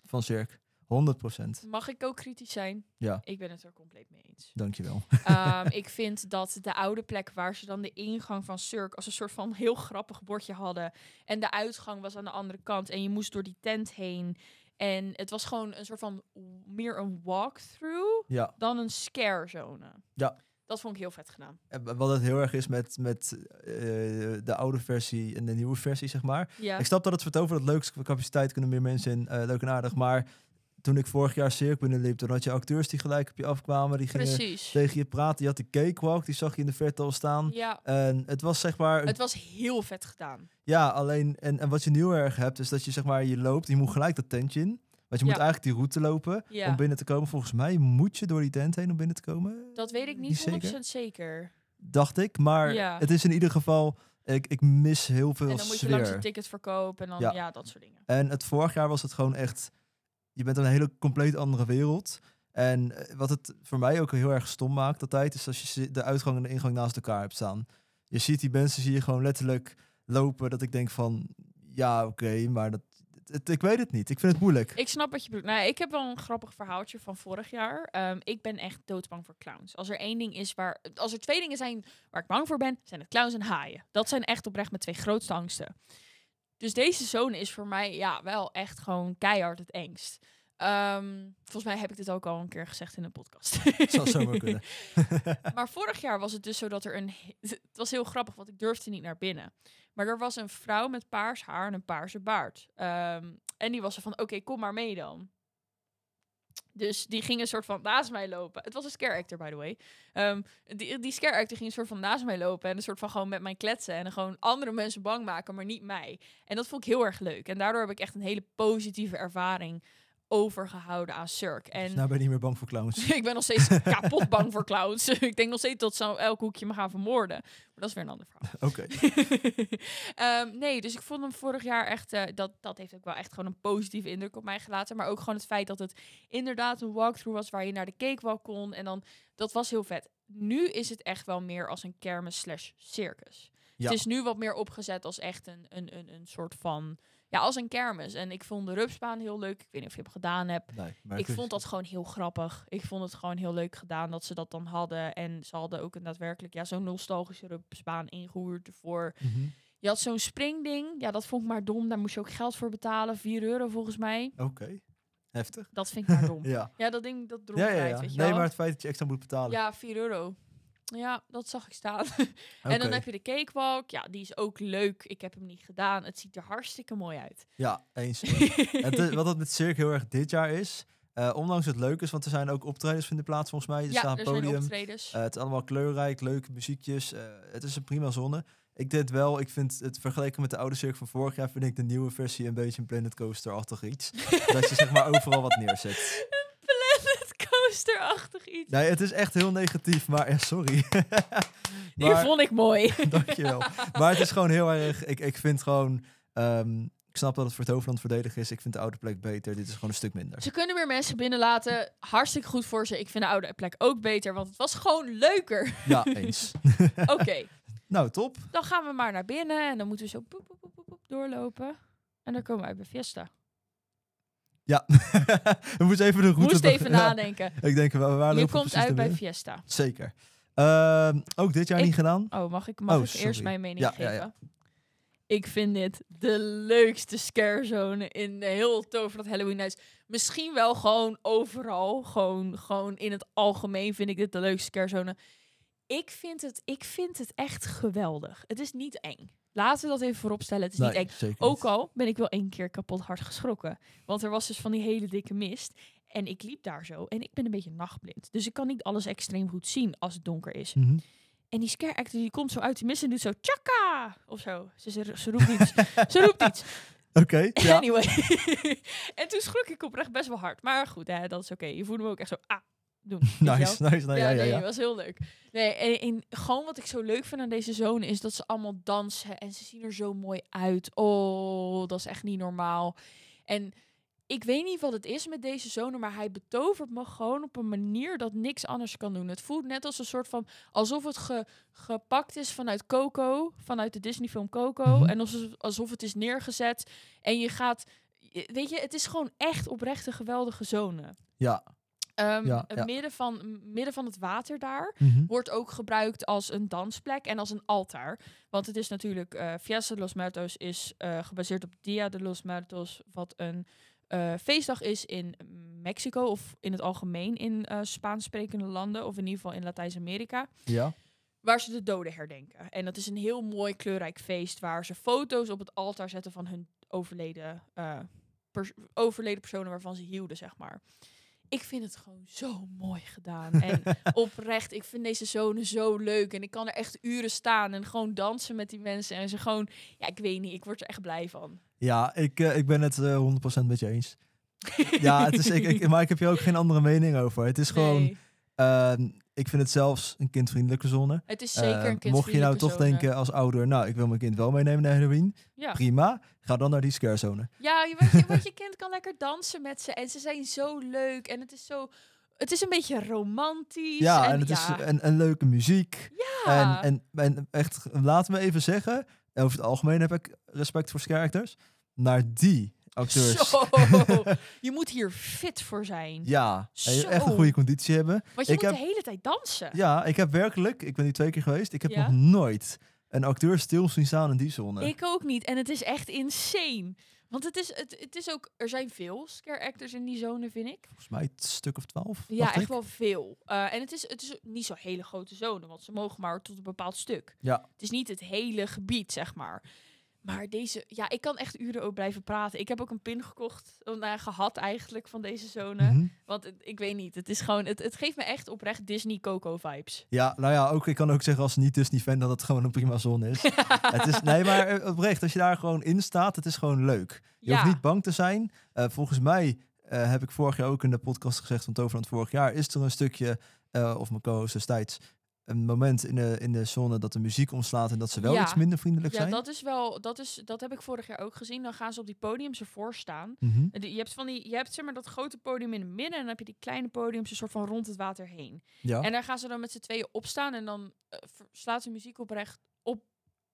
Speaker 3: Van Cirque. 100%.
Speaker 2: Mag ik ook kritisch zijn?
Speaker 3: Ja.
Speaker 2: Ik ben het er compleet mee eens.
Speaker 3: Dankjewel.
Speaker 2: Ehm, ik vind dat de oude plek waar ze dan de ingang van Cirque als een soort van heel grappig bordje hadden. En de uitgang was aan de andere kant. En je moest door die tent heen. En het was gewoon een soort van w- meer een walkthrough
Speaker 3: Ja,
Speaker 2: dan een scare zone.
Speaker 3: Ja.
Speaker 2: Dat vond ik heel vet gedaan.
Speaker 3: en wa- wat het heel erg is met, met eh, de oude versie en de nieuwe versie, zeg maar.
Speaker 2: Ja.
Speaker 3: Ik snap dat het wordt over dat leukste qua capaciteit kunnen meer mensen in, eh, leuk en aardig. Maar toen ik vorig jaar Cirque binnenliep, toen had je acteurs die gelijk op je afkwamen. Die gingen
Speaker 2: Precies.
Speaker 3: tegen je praten. Je had de cakewalk, die zag je in de verte al staan.
Speaker 2: Ja.
Speaker 3: En het was zeg maar...
Speaker 2: Het was heel vet gedaan.
Speaker 3: Ja, alleen... En, en wat je nu heel erg hebt, is dat je zeg maar, je loopt. Je moet gelijk dat tentje in. Want je moet
Speaker 2: Ja.
Speaker 3: eigenlijk die route lopen
Speaker 2: Ja.
Speaker 3: om binnen te komen. Volgens mij moet je door die tent heen om binnen te komen.
Speaker 2: Dat weet ik
Speaker 3: Niet
Speaker 2: niet
Speaker 3: zeker?
Speaker 2: 100% zeker.
Speaker 3: dacht ik. Maar
Speaker 2: Ja.
Speaker 3: het is in ieder geval, ik, ik mis heel veel
Speaker 2: En dan moet je langs het
Speaker 3: sfeer.
Speaker 2: ticket verkopen en dan ja,
Speaker 3: Ja.
Speaker 2: dat soort dingen.
Speaker 3: En het vorig jaar was het gewoon echt, je bent in een hele compleet andere wereld. En eh, wat het voor mij ook heel erg stom maakt altijd, is als je zi- de uitgang en de ingang naast elkaar hebt staan. Je ziet die mensen, zie je gewoon letterlijk lopen, dat ik denk van, ja oké, maar dat, het- ik weet het niet. Ik vind het moeilijk.
Speaker 2: Ik snap wat je bedoelt. Nou, ik heb wel een grappig verhaaltje van vorig jaar. Ehm, ik ben echt doodsbang voor clowns. Als er één ding is waar. Als er twee dingen zijn waar ik bang voor ben, zijn het clowns en haaien. Dat zijn echt oprecht mijn twee grootste angsten. Dus deze zone is voor mij ja, wel echt gewoon keihard het engst. Ehm, volgens mij heb ik dit ook al een keer gezegd in een podcast.
Speaker 3: Zou zomaar kunnen.
Speaker 2: Maar vorig jaar was het dus zo dat er een. he- Het was heel grappig, want ik durfde niet naar binnen. Maar er was een vrouw met paars haar en een paarse baard. Ehm, en die was er van: oké, kom maar mee dan. Dus die ging een soort van naast mij lopen. Het was een scare actor, by the way. Ehm, die, die scare actor ging een soort van naast mij lopen. En een soort van gewoon met mij kletsen. En gewoon andere mensen bang maken, maar niet mij. En dat vond ik heel erg leuk. En daardoor heb ik echt een hele positieve ervaring overgehouden aan Cirque.
Speaker 3: Dus
Speaker 2: En
Speaker 3: nou ben je niet meer bang voor clowns.
Speaker 2: ik ben nog steeds kapot bang voor clowns. ik denk nog steeds dat ze elk hoekje me gaan vermoorden. Maar dat is weer een ander verhaal.
Speaker 3: Oké.
Speaker 2: Ehm, nee, dus ik vond hem vorig jaar echt... eh, dat, dat heeft ook wel echt gewoon een positieve indruk op mij gelaten. Maar ook gewoon het feit dat het inderdaad een walkthrough was... waar je naar de cakewalk kon. En dan, dat was heel vet. Nu is het echt wel meer als een kermis slash circus.
Speaker 3: Ja.
Speaker 2: Het is nu wat meer opgezet als echt een, een, een, een soort van... Ja, als een kermis. En ik vond de Rupsbaan heel leuk. Ik weet niet of je hem gedaan hebt.
Speaker 3: Nee, maar
Speaker 2: Ik vond dat gewoon heel grappig. Ik vond het gewoon heel leuk gedaan dat ze dat dan hadden. En ze hadden ook een daadwerkelijk ja, zo'n nostalgische rupsbaan ingehuurd voor.
Speaker 3: Mhm.
Speaker 2: Je had zo'n springding. Ja, dat vond ik maar dom. Daar moest je ook geld voor betalen. 4 euro volgens mij.
Speaker 3: Oké, heftig.
Speaker 2: Dat vind ik maar dom.
Speaker 3: Ja.
Speaker 2: ja, dat ding, dat droeg
Speaker 3: Ja, ja, ja.
Speaker 2: weet
Speaker 3: Nee,
Speaker 2: je wel.
Speaker 3: maar het feit dat je extra moet betalen.
Speaker 2: Ja, 4 euro. Ja, dat zag ik staan. En dan
Speaker 3: Oké.
Speaker 2: heb je de cakewalk. Ja, die is ook leuk. Ik heb hem niet gedaan. Het ziet er hartstikke mooi uit.
Speaker 3: Ja, eens. het is, wat het met Cirque heel erg dit jaar is, eh, ondanks het leuk is, want er zijn ook optredens vinden plaats volgens mij. Er
Speaker 2: ja,
Speaker 3: staat
Speaker 2: er
Speaker 3: een
Speaker 2: zijn
Speaker 3: podium.
Speaker 2: optredens.
Speaker 3: Eh, het is allemaal kleurrijk, leuke muziekjes. eh, het is een prima zonne. Ik deed wel, ik vind het vergeleken met de oude cirque van vorig jaar, vind ik de nieuwe versie een beetje een Planet Coaster-achtig iets. Eh, dat je zeg maar overal wat neerzet.
Speaker 2: Planet Coaster-achtig iets.
Speaker 3: Nee, het is echt heel negatief, maar eh, sorry.
Speaker 2: Die vond ik mooi.
Speaker 3: Dankjewel. Maar het is gewoon heel erg. Ik, ik vind gewoon. ehm, ik snap dat het voor het hoofdland verdedig is. Ik vind de oude plek beter. Dit is gewoon een stuk minder.
Speaker 2: Ze kunnen weer mensen binnenlaten. Hartstikke goed voor ze. Ik vind de oude plek ook beter, want het was gewoon leuker.
Speaker 3: Ja, eens.
Speaker 2: Oké,
Speaker 3: Nou, top.
Speaker 2: dan gaan we maar naar binnen en dan moeten we zo poep, poep, poep, poep, poep doorlopen. En dan komen we uit bij Fiesta.
Speaker 3: Ja. We moeten even de route...
Speaker 2: Moest
Speaker 3: be-
Speaker 2: even
Speaker 3: Ja,
Speaker 2: nadenken.
Speaker 3: Ik denk, waar, waar
Speaker 2: Je
Speaker 3: lopen we
Speaker 2: komt
Speaker 3: precies
Speaker 2: uit bij
Speaker 3: naar
Speaker 2: Fiesta.
Speaker 3: binnen? Zeker. Ehm, ook dit jaar
Speaker 2: Ik-
Speaker 3: niet gedaan?
Speaker 2: Oh, mag ik, mag
Speaker 3: Oh,
Speaker 2: ik
Speaker 3: sorry.
Speaker 2: eerst mijn mening
Speaker 3: Ja, ja,
Speaker 2: geven?
Speaker 3: ja.
Speaker 2: Ik vind dit de leukste scarezone in de heel Tover dat Halloween Nights. Misschien wel gewoon overal. Gewoon, gewoon in het algemeen vind ik dit de leukste scarezone. Ik vind, het, ik vind het echt geweldig. Het is niet eng. Laten we dat even vooropstellen. Het is niet
Speaker 3: Nee,
Speaker 2: eng.
Speaker 3: zeker
Speaker 2: Ook
Speaker 3: niet.
Speaker 2: al ben ik wel één keer kapot hard geschrokken. Want er was dus van die hele dikke mist. En ik liep daar zo. En ik ben een beetje nachtblind. Dus ik kan niet alles extreem goed zien als het donker is.
Speaker 3: Mhm.
Speaker 2: En die scare actor die komt zo uit de mist en doet zo tjaka of zo. Ze, ze, ze roept iets. ze roept iets.
Speaker 3: Oké, ja.
Speaker 2: Anyway. en toen schrok ik oprecht best wel hard. Maar goed, hè, dat is oké. Je voelde me ook echt zo ah doen. weet je wel?
Speaker 3: Nice, nice. Nou, ja, ja,
Speaker 2: nee,
Speaker 3: ja.
Speaker 2: dat was heel leuk. Nee, en, en gewoon wat ik zo leuk vind aan deze zone is dat ze allemaal dansen en ze zien er zo mooi uit. Oh, dat is echt niet normaal. En ik weet niet wat het is met deze zone, maar hij betovert me gewoon op een manier dat niks anders kan doen. Het voelt net als een soort van alsof het ge- gepakt is vanuit Coco, vanuit de Disney-film Coco,
Speaker 3: Mhm.
Speaker 2: en alsof, alsof het is neergezet. En je gaat, je- weet je, het is gewoon echt oprecht een geweldige zone.
Speaker 3: Ja.
Speaker 2: Ehm,
Speaker 3: Ja,
Speaker 2: het
Speaker 3: ja.
Speaker 2: Midden, van, midden van het water daar
Speaker 3: Mhm.
Speaker 2: wordt ook gebruikt als een dansplek en als een altaar. Want het is natuurlijk, eh Fiesta de los Muertos is eh, gebaseerd op Dia de los Muertos, wat een eh, feestdag is in Mexico of in het algemeen in eh Spaans sprekende landen, of in ieder geval in Latijns-Amerika
Speaker 3: Ja.
Speaker 2: waar ze de doden herdenken. En dat is een heel mooi kleurrijk feest waar ze foto's op het altaar zetten van hun overleden, eh, pers- overleden personen waarvan ze hielden, zeg maar. Ik vind het gewoon zo mooi gedaan. En oprecht, ik vind deze zone zo leuk. En ik kan er echt uren staan en gewoon dansen met die mensen. En ze gewoon, ja, ik weet niet, ik word er echt blij van.
Speaker 3: Ja, ik, eh, ik ben het eh, 100% met je eens. Ja, het is, ik, ik, maar ik heb hier ook geen andere mening over. Het is gewoon,
Speaker 2: Nee,
Speaker 3: ehm, ik vind het zelfs een kindvriendelijke zone.
Speaker 2: het is zeker
Speaker 3: Eh,
Speaker 2: een kind.
Speaker 3: Mocht je nou toch denken als ouder, nou, ik wil mijn kind wel meenemen naar Halloween,
Speaker 2: Ja.
Speaker 3: prima. Ga dan naar die scarezone.
Speaker 2: Ja, je, want, je, want je kind kan lekker dansen met ze. En ze zijn zo leuk. En het is zo... Het is een beetje romantisch.
Speaker 3: Ja, en,
Speaker 2: en
Speaker 3: het
Speaker 2: ja.
Speaker 3: is eh, en, en leuke muziek.
Speaker 2: Ja.
Speaker 3: En, en, en echt, laat me even zeggen, over het algemeen heb ik respect voor scare actors. Naar die acteurs.
Speaker 2: Zo. je moet hier fit voor zijn.
Speaker 3: Ja, en
Speaker 2: Zo.
Speaker 3: echt een goede conditie hebben.
Speaker 2: Want je
Speaker 3: Ik
Speaker 2: moet
Speaker 3: heb-
Speaker 2: de hele tijd dansen.
Speaker 3: Ja, ik heb werkelijk, ik ben nu twee keer geweest, ik heb
Speaker 2: Ja?
Speaker 3: nog nooit een acteur stil zien staan in die zone.
Speaker 2: Ik ook niet. En het is echt insane. Want het is, het, het is ook... Er zijn veel scare actors in die zone, vind ik.
Speaker 3: Volgens mij een stuk of twaalf.
Speaker 2: Ja, echt wel veel. Eh, en het is, het is niet zo'n hele grote zone, want ze mogen maar tot een bepaald stuk.
Speaker 3: Ja.
Speaker 2: Het is niet het hele gebied, zeg maar. Maar deze, ja, ik kan echt uren ook blijven praten. Ik heb ook een pin gekocht, of, nou ja, gehad eigenlijk van deze zone.
Speaker 3: Mhm.
Speaker 2: Want het- ik weet niet, het is gewoon, het, het geeft me echt oprecht Disney Coco vibes.
Speaker 3: Ja, nou ja, ook, ik kan ook zeggen als niet Disney-fan dat het gewoon een prima zon is. het is. Nee, maar eh, oprecht, als je daar gewoon in staat, het is gewoon leuk. Je
Speaker 2: Ja.
Speaker 3: hoeft niet bang te zijn. Eh, volgens mij eh, heb ik vorig jaar ook in de podcast gezegd van Toverland vorig jaar, is er een stukje, eh, of mijn co-host destijds, een moment in de, in de zone dat de muziek omslaat en dat ze wel
Speaker 2: Ja.
Speaker 3: iets minder vriendelijk
Speaker 2: Ja,
Speaker 3: zijn.
Speaker 2: dat is wel, dat is, dat heb ik vorig jaar ook gezien. Dan gaan ze op die podiums ervoor staan.
Speaker 3: Mhm.
Speaker 2: En die- Je hebt, van die, je hebt zeg maar dat grote podium in het midden en dan heb je die kleine podiums een soort van rond het water heen.
Speaker 3: ja.
Speaker 2: En daar gaan ze dan met z'n tweeën opstaan en dan eh, ver- slaat de muziek oprecht op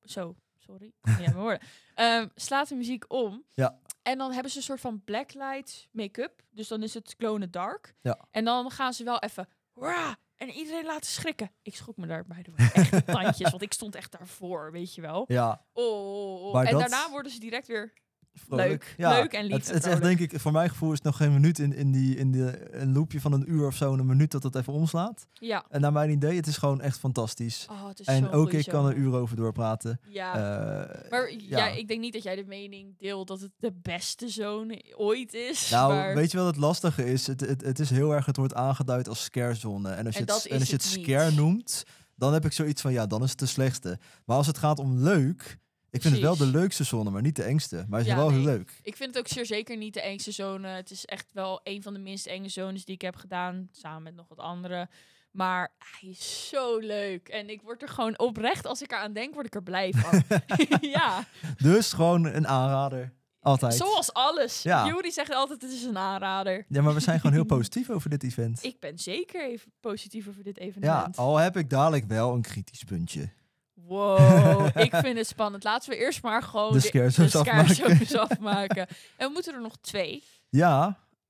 Speaker 2: zo, sorry, ja, mijn woorden. Ehm, slaat de muziek om.
Speaker 3: Ja.
Speaker 2: En dan hebben ze een soort van blacklight make-up. Dus dan is het klonen dark.
Speaker 3: Ja.
Speaker 2: En dan gaan ze wel even... "Hoera!" En iedereen laten schrikken. Ik schrok me daar bij de way echt de tandjes, want ik stond echt daarvoor, weet je wel.
Speaker 3: Ja,
Speaker 2: Oh, oh, oh.
Speaker 3: Maar
Speaker 2: En
Speaker 3: dat-
Speaker 2: daarna worden ze direct weer...
Speaker 3: vrolijk.
Speaker 2: Leuk.
Speaker 3: Ja,
Speaker 2: Leuk en lief
Speaker 3: Het,
Speaker 2: en
Speaker 3: het is echt,
Speaker 2: vrolijk.
Speaker 3: denk ik, voor mijn gevoel is het nog geen minuut in, in, die, in die, een loopje van een uur of zo, een minuut dat dat even omslaat.
Speaker 2: Ja.
Speaker 3: En naar mijn idee, het is gewoon echt fantastisch.
Speaker 2: Oh, het is
Speaker 3: en
Speaker 2: zo'n
Speaker 3: ook
Speaker 2: goeie
Speaker 3: ik kan
Speaker 2: show.
Speaker 3: er uren over doorpraten.
Speaker 2: Ja.
Speaker 3: Eh,
Speaker 2: maar
Speaker 3: ja.
Speaker 2: ja. ik denk niet dat jij de mening deelt dat het de beste zone ooit is.
Speaker 3: Nou,
Speaker 2: maar...
Speaker 3: weet je wat het lastige is? Het, het, het is heel erg, het wordt aangeduid als scarezone. En als je
Speaker 2: En dat
Speaker 3: het, en
Speaker 2: is
Speaker 3: als je het
Speaker 2: het niet.
Speaker 3: scare noemt, dan heb ik zoiets van, ja, dan is het de slechtste. Maar als het gaat om leuk, ik vind het wel de
Speaker 2: Precies.
Speaker 3: leukste zone, maar niet de engste. Maar het is
Speaker 2: Ja,
Speaker 3: wel heel
Speaker 2: nee.
Speaker 3: leuk.
Speaker 2: Ik vind het ook zeer zeker niet de engste zone. Het is echt wel een van de minst enge zones die ik heb gedaan. Samen met nog wat andere. Maar hij is zo leuk. En ik word er gewoon oprecht, als ik eraan denk, word ik er blij van. ja,
Speaker 3: Dus gewoon een aanrader. Altijd.
Speaker 2: zoals alles.
Speaker 3: Ja.
Speaker 2: Jury zegt altijd, het is een aanrader.
Speaker 3: Ja, maar we zijn gewoon heel positief over dit event.
Speaker 2: Ik ben zeker even positief over dit
Speaker 3: ja,
Speaker 2: evenement.
Speaker 3: al heb ik dadelijk wel een kritisch puntje.
Speaker 2: Wow, ik vind het spannend. Laten we eerst maar gewoon
Speaker 3: De
Speaker 2: de,
Speaker 3: scare
Speaker 2: de
Speaker 3: zones
Speaker 2: scare
Speaker 3: afmaken.
Speaker 2: zones afmaken. en we moeten er nog twee.
Speaker 3: Ja,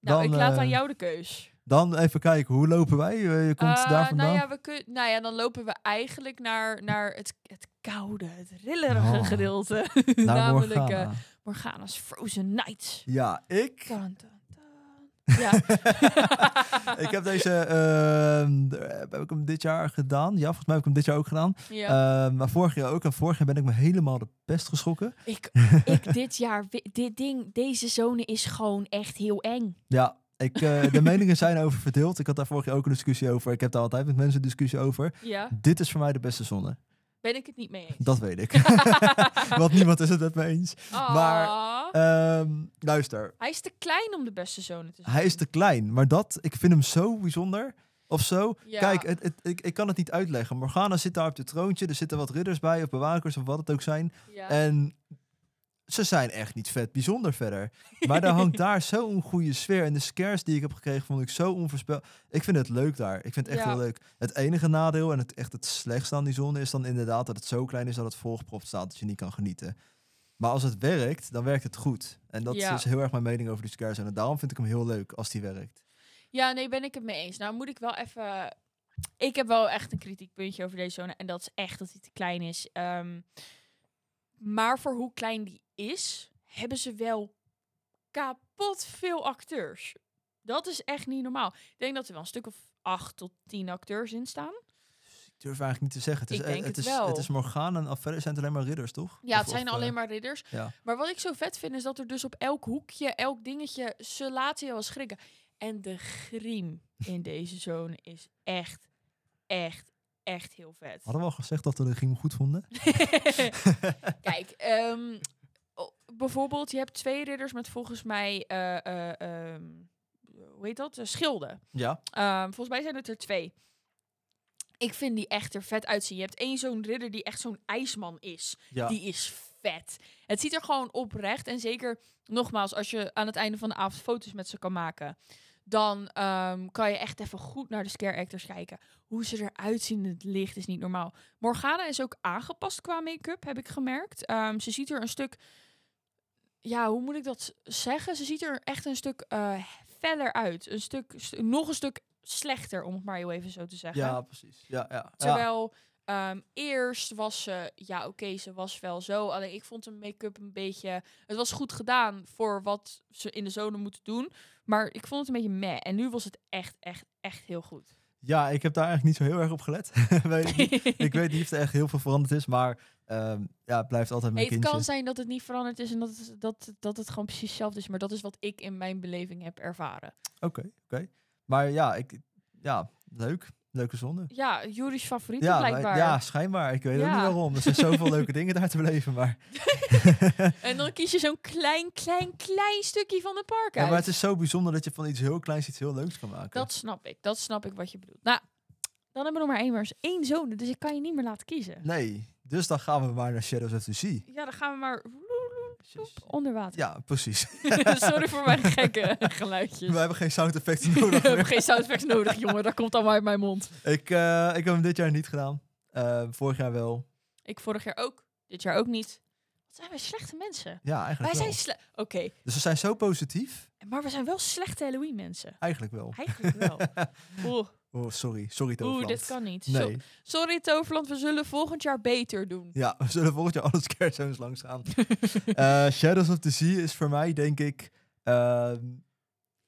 Speaker 2: Nou,
Speaker 3: Dan,
Speaker 2: ik laat
Speaker 3: eh,
Speaker 2: aan jou de keus.
Speaker 3: dan even kijken, hoe lopen wij? Eh, Je komt
Speaker 2: Eh,
Speaker 3: daar vandaan?
Speaker 2: Nou ja, we kun, nou ja, dan lopen we eigenlijk naar, naar het, het koude, het rillerige
Speaker 3: Oh.
Speaker 2: gedeelte.
Speaker 3: Naar
Speaker 2: Namelijk eh,
Speaker 3: Morgana.
Speaker 2: Morgana's Frozen Night.
Speaker 3: Ja, ik...
Speaker 2: Dun, dun, dun. Ja.
Speaker 3: ik heb deze, ehm, heb ik hem dit jaar gedaan? Ja, volgens mij heb ik hem dit jaar ook gedaan.
Speaker 2: ja.
Speaker 3: Ehm, maar vorig jaar ook. En vorig jaar ben ik me helemaal de pest geschrokken.
Speaker 2: ik, ik dit jaar, wi- dit ding, deze zone is gewoon echt heel eng.
Speaker 3: Ja, ik, eh, de meningen zijn over verdeeld. Ik had daar vorig jaar ook een discussie over. Ik heb daar altijd met mensen een discussie over.
Speaker 2: Ja,
Speaker 3: Dit is voor mij de beste zonne.
Speaker 2: ben ik het niet mee eens.
Speaker 3: Dat weet ik. Want niemand is het met me eens. maar-
Speaker 2: Ah.
Speaker 3: Ehm, luister,
Speaker 2: hij is te klein om de beste zone te zijn.
Speaker 3: hij is te klein. Maar dat, ik vind hem zo bijzonder. Of zo.
Speaker 2: Ja.
Speaker 3: Kijk, het, het- ik, ik kan het niet uitleggen. Morgana zit daar op het troontje. Er zitten wat ridders bij of bewakers of wat het ook zijn.
Speaker 2: Ja.
Speaker 3: En ze zijn echt niet vet bijzonder verder. Maar daar hangt daar zo'n goede sfeer. En de scares die ik heb gekregen, vond ik zo onvoorspelbaar. Ik vind het leuk daar. Ik vind het echt
Speaker 2: Ja.
Speaker 3: heel leuk. Het enige nadeel en het echt het slechtste aan die zon is dan inderdaad dat het zo klein is dat het volgepropt staat dat je niet kan genieten. Maar als het werkt, dan werkt het goed. En dat
Speaker 2: Ja.
Speaker 3: is dus heel erg mijn mening over die scares. En daarom vind ik hem heel leuk als die werkt.
Speaker 2: Ja, nee, ben ik het mee eens. Nou moet ik wel even... Ik heb wel echt een kritiekpuntje over deze zone. En dat is echt dat hij te klein is. Ehm, maar voor hoe klein die is, hebben ze wel kapot veel acteurs. Dat is echt niet normaal. Ik denk dat er wel een stuk of acht tot tien acteurs in staan.
Speaker 3: Dus Ik durf eigenlijk niet te zeggen. Het is, e-
Speaker 2: Ik denk
Speaker 3: het
Speaker 2: het
Speaker 3: is,
Speaker 2: wel.
Speaker 3: het is Morgana en verder zijn het alleen maar ridders, toch?
Speaker 2: Ja, het
Speaker 3: Of-
Speaker 2: zijn
Speaker 3: of,
Speaker 2: alleen
Speaker 3: eh,
Speaker 2: maar ridders.
Speaker 3: ja.
Speaker 2: Maar wat ik zo vet vind, is dat er dus op elk hoekje, elk dingetje, ze laten je wel schrikken. En de griem in deze zone is echt, echt, echt heel vet.
Speaker 3: Hadden we al gezegd dat we de riem goed vonden?
Speaker 2: Kijk, ehm, o- bijvoorbeeld, je hebt twee ridders met volgens mij, eh, eh, ehm, hoe heet dat? Eh, schilden.
Speaker 3: Ja.
Speaker 2: Ehm, volgens mij zijn het er twee. Ik vind die echt er vet uitzien. Je hebt één zo'n ridder die echt zo'n ijsman is.
Speaker 3: ja.
Speaker 2: Die is vet. Het ziet er gewoon oprecht. En zeker, nogmaals, als je aan het einde van de avond foto's met ze kan maken. Dan ehm, kan je echt even goed naar de scare actors kijken. Hoe ze eruit zien in het licht is niet normaal. Morgana is ook aangepast qua make-up, heb ik gemerkt. Ehm, ze ziet er een stuk... Ja, hoe moet ik dat s- zeggen? Ze ziet er echt een stuk eh feller uit. Een stuk, st- nog een stuk slechter, om het maar heel even zo te zeggen.
Speaker 3: Ja, precies. Ja, ja. ja.
Speaker 2: Terwijl ehm, eerst was ze, ja oké, ze was wel zo. Alleen ik vond hun make-up een beetje... Het was goed gedaan voor wat ze in de zone moeten doen. Maar ik vond het een beetje meh. En nu was het echt, echt, echt heel goed.
Speaker 3: Ja, ik heb daar eigenlijk niet zo heel erg op gelet. Weet ik, niet. ik weet niet of er echt heel veel veranderd is, maar ehm, ja, het blijft altijd mijn
Speaker 2: het
Speaker 3: kindje.
Speaker 2: kan zijn dat het niet veranderd is en dat, het- dat, dat het gewoon precies hetzelfde is. Maar dat is wat ik in mijn beleving heb ervaren.
Speaker 3: Oké, oké. Maar ja, ik, ja, leuk. Leuke zonde.
Speaker 2: Ja, Juris favoriet
Speaker 3: Ja, maar-
Speaker 2: blijkbaar.
Speaker 3: ja, schijnbaar. Ik weet ook
Speaker 2: Ja.
Speaker 3: niet waarom. Er zijn zoveel leuke dingen daar te beleven, maar,
Speaker 2: En dan kies je zo'n klein, klein, klein stukje van de park
Speaker 3: ja,
Speaker 2: uit.
Speaker 3: maar het is zo bijzonder dat je van iets heel kleins iets heel leuks kan maken.
Speaker 2: Dat snap ik. Dat snap ik wat je bedoelt. Nou, dan hebben we nog maar één, maar er is één zone, dus ik kan je niet meer laten kiezen.
Speaker 3: Nee, dus dan gaan we maar naar Shadows of the Sea.
Speaker 2: Ja, dan gaan we maar onder water.
Speaker 3: Ja, precies.
Speaker 2: Sorry voor mijn gekke geluidjes.
Speaker 3: We hebben geen sound effects
Speaker 2: We
Speaker 3: nodig
Speaker 2: hebben
Speaker 3: meer.
Speaker 2: geen sound effects nodig, jongen. Dat komt allemaal uit mijn mond.
Speaker 3: Ik, eh, ik heb hem dit jaar niet gedaan. Eh, vorig jaar wel.
Speaker 2: Ik vorig jaar ook. Dit jaar ook niet. Wat zijn wij slechte mensen?
Speaker 3: Ja,
Speaker 2: Wij
Speaker 3: eigenlijk
Speaker 2: zijn
Speaker 3: wel.
Speaker 2: slecht. Oké,
Speaker 3: Dus we zijn zo positief.
Speaker 2: maar we zijn wel slechte Halloween mensen.
Speaker 3: Eigenlijk wel.
Speaker 2: Eigenlijk wel. Oeh,
Speaker 3: Oh, sorry. Sorry,
Speaker 2: oeh
Speaker 3: Toverland.
Speaker 2: dit kan niet. Zo-
Speaker 3: Nee.
Speaker 2: sorry Toverland, we zullen volgend jaar beter doen.
Speaker 3: Ja, we zullen volgend jaar alle scare zones langs gaan. Eh, Shadows of the Sea is voor mij, denk ik... ehm,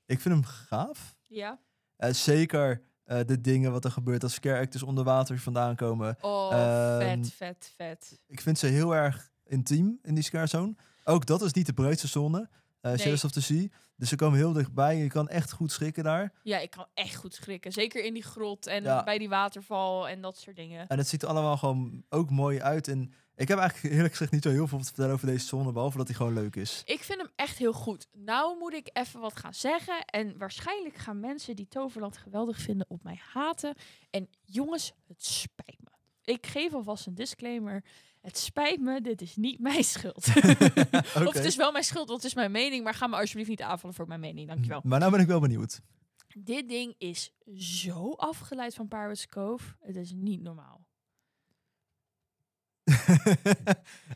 Speaker 3: ik vind hem gaaf.
Speaker 2: Ja.
Speaker 3: Eh, zeker eh, de dingen wat er gebeurt als scare actors onder water vandaan komen.
Speaker 2: Oh,
Speaker 3: Ehm,
Speaker 2: vet, vet, vet.
Speaker 3: Ik vind ze heel erg intiem in die scare zone. Ook dat is niet de breedste zone. eh,
Speaker 2: Nee.
Speaker 3: Shadows of the Sea. Dus ze komen heel dichtbij. Je kan echt goed schrikken daar.
Speaker 2: Ja, ik kan echt goed schrikken. Zeker in die grot en
Speaker 3: Ja.
Speaker 2: bij die waterval en dat soort dingen.
Speaker 3: En het ziet er allemaal gewoon ook mooi uit. En ik heb eigenlijk eerlijk gezegd niet zo heel veel te vertellen over deze zone. Behalve dat hij gewoon leuk is.
Speaker 2: Ik vind hem echt heel goed. Nou moet ik even wat gaan zeggen. En waarschijnlijk gaan mensen die Toverland geweldig vinden op mij haten. En jongens, het spijt me. Ik geef alvast een disclaimer. Het spijt me, dit is niet mijn schuld. Of
Speaker 3: Oké.
Speaker 2: het is wel mijn schuld, want het is mijn mening. Maar ga me alsjeblieft niet aanvallen voor mijn mening. Dankjewel.
Speaker 3: Maar nou ben ik wel benieuwd.
Speaker 2: Dit ding is zo afgeleid van Pirates Cove. Het is niet normaal.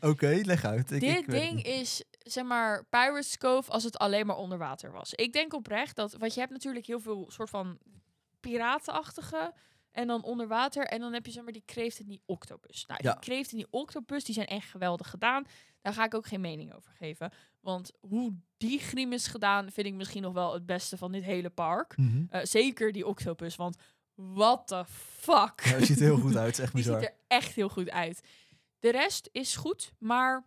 Speaker 3: Oké, leg uit. Ik, ik
Speaker 2: Dit
Speaker 3: weet het
Speaker 2: ding
Speaker 3: niet.
Speaker 2: is, zeg maar, Pirates Cove als het alleen maar onder water was. Ik denk oprecht dat, want je hebt natuurlijk heel veel soort van piratenachtige en dan onder water. En dan heb je, zeg maar, die kreeft en die octopus. Nou,
Speaker 3: Ja.
Speaker 2: die kreeft en die octopus, die zijn echt geweldig gedaan. Daar ga ik ook geen mening over geven. Want hoe die griem is gedaan, vind ik misschien nog wel het beste van dit hele park.
Speaker 3: Mhm.
Speaker 2: Eh, zeker die octopus, want what the fuck.
Speaker 3: Ja, het ziet er heel goed uit. Het is echt
Speaker 2: Die ziet
Speaker 3: bizar.
Speaker 2: er echt heel goed uit. De rest is goed, maar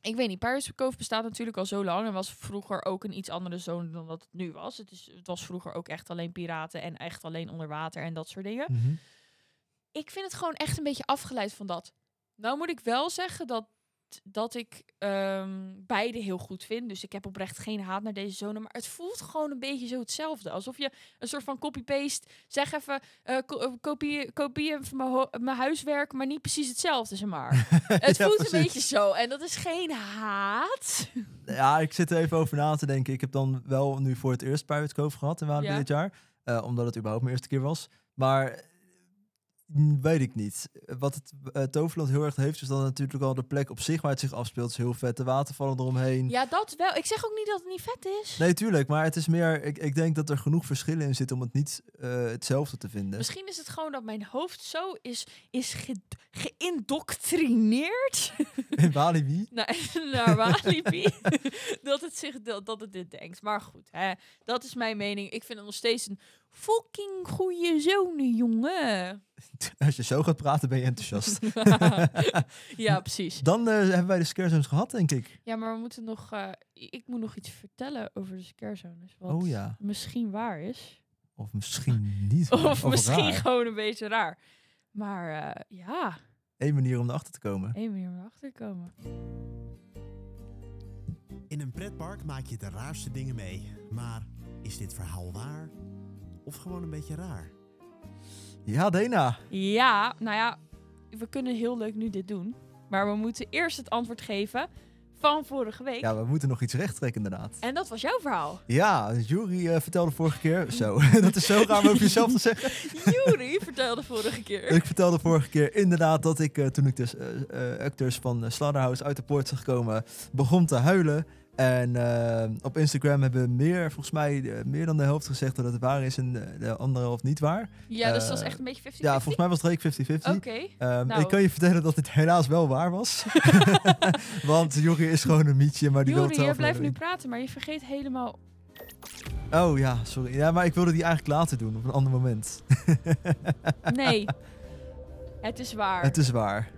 Speaker 2: ik weet niet. Pirates Cove bestaat natuurlijk al zo lang en was vroeger ook een iets andere zone dan dat het nu was. Het, is, het was vroeger ook echt alleen piraten en echt alleen onder water en dat soort dingen.
Speaker 3: Mhm.
Speaker 2: Ik vind het gewoon echt een beetje afgeleid van dat. Nou moet ik wel zeggen dat, dat ik ehm, beide heel goed vind. Dus ik heb oprecht geen haat naar deze zone. Maar het voelt gewoon een beetje zo hetzelfde. Alsof je een soort van copy-paste. Zeg even, eh, ko- eh, kopie, kopie even mijn, ho- mijn huiswerk, maar niet precies hetzelfde, zeg maar. het
Speaker 3: Ja,
Speaker 2: voelt een
Speaker 3: precies.
Speaker 2: beetje zo. En dat is geen haat.
Speaker 3: Ja, ik zit er even over na te denken. Ik heb dan wel nu voor het eerst Pirate Cove gehad in Walibi
Speaker 2: Ja.
Speaker 3: dit jaar. Eh, omdat het überhaupt mijn eerste keer was. Maar eh, mm, weet ik niet. Wat het eh, Toverland heel erg heeft, is dan natuurlijk al de plek op zich waar het zich afspeelt. Het is heel vet, de watervallen eromheen.
Speaker 2: Ja, dat wel. Ik zeg ook niet dat het niet vet is.
Speaker 3: Nee, tuurlijk. Maar het is meer, ik, ik denk dat er genoeg verschillen in zitten om het niet eh, hetzelfde te vinden.
Speaker 2: Misschien is het gewoon dat mijn hoofd zo is, is ge- geïndoctrineerd.
Speaker 3: In Walibi?
Speaker 2: naar, Nou, naar Walibi. dat, het zich, dat, dat het dit denkt. Maar goed, hè, dat is mijn mening. Ik vind het nog steeds een fucking goede zone, jongen.
Speaker 3: Als je zo gaat praten, ben je enthousiast.
Speaker 2: ja, precies.
Speaker 3: dan eh, hebben wij de scare zones gehad, denk ik.
Speaker 2: Ja, maar we moeten nog... eh, ik moet nog iets vertellen over de scare zones. Wat
Speaker 3: Oh ja.
Speaker 2: misschien waar is.
Speaker 3: Of misschien niet.
Speaker 2: Of, misschien
Speaker 3: raar.
Speaker 2: gewoon een beetje raar. Maar eh, ja,
Speaker 3: Eén manier om erachter te komen.
Speaker 2: één manier om erachter te komen.
Speaker 4: In een pretpark maak je de raarste dingen mee. Maar is dit verhaal waar? Of gewoon een beetje raar?
Speaker 2: Eh.
Speaker 3: Ja, Dena.
Speaker 2: Ja, nou ja, we kunnen heel leuk nu dit doen. Maar we moeten eerst het antwoord geven van vorige week.
Speaker 3: Ja, we moeten nog iets rechttrekken inderdaad.
Speaker 2: En dat was jouw verhaal.
Speaker 3: Ja, Jury eh, vertelde vorige keer... Zo, dat is zo raar om over jezelf te zeggen.
Speaker 2: Jury vertelde vorige keer.
Speaker 3: Ik vertelde vorige keer inderdaad dat ik, eh, toen ik dus eh, eh, acteurs van eh, Slaughterhouse uit de poort zag komen, begon te huilen. En eh, op Instagram hebben meer, volgens mij eh, meer dan de helft gezegd dat het waar is en eh, de andere helft niet waar.
Speaker 2: Ja, dus dat
Speaker 3: Eh,
Speaker 2: was echt een beetje 50
Speaker 3: Ja, volgens mij was het reek 50-50.
Speaker 2: Oké.
Speaker 3: Ehm,
Speaker 2: nou.
Speaker 3: Ik kan je vertellen dat dit helaas wel waar was. Want Jury is gewoon een mietje, maar die wil het
Speaker 2: Jury, jij
Speaker 3: zelf
Speaker 2: blijft
Speaker 3: wel
Speaker 2: nu
Speaker 3: doen.
Speaker 2: praten, maar je vergeet helemaal...
Speaker 3: Oh ja, sorry. Ja, maar ik wilde die eigenlijk later doen, op een ander moment.
Speaker 2: Nee. Het is waar.
Speaker 3: Het is waar.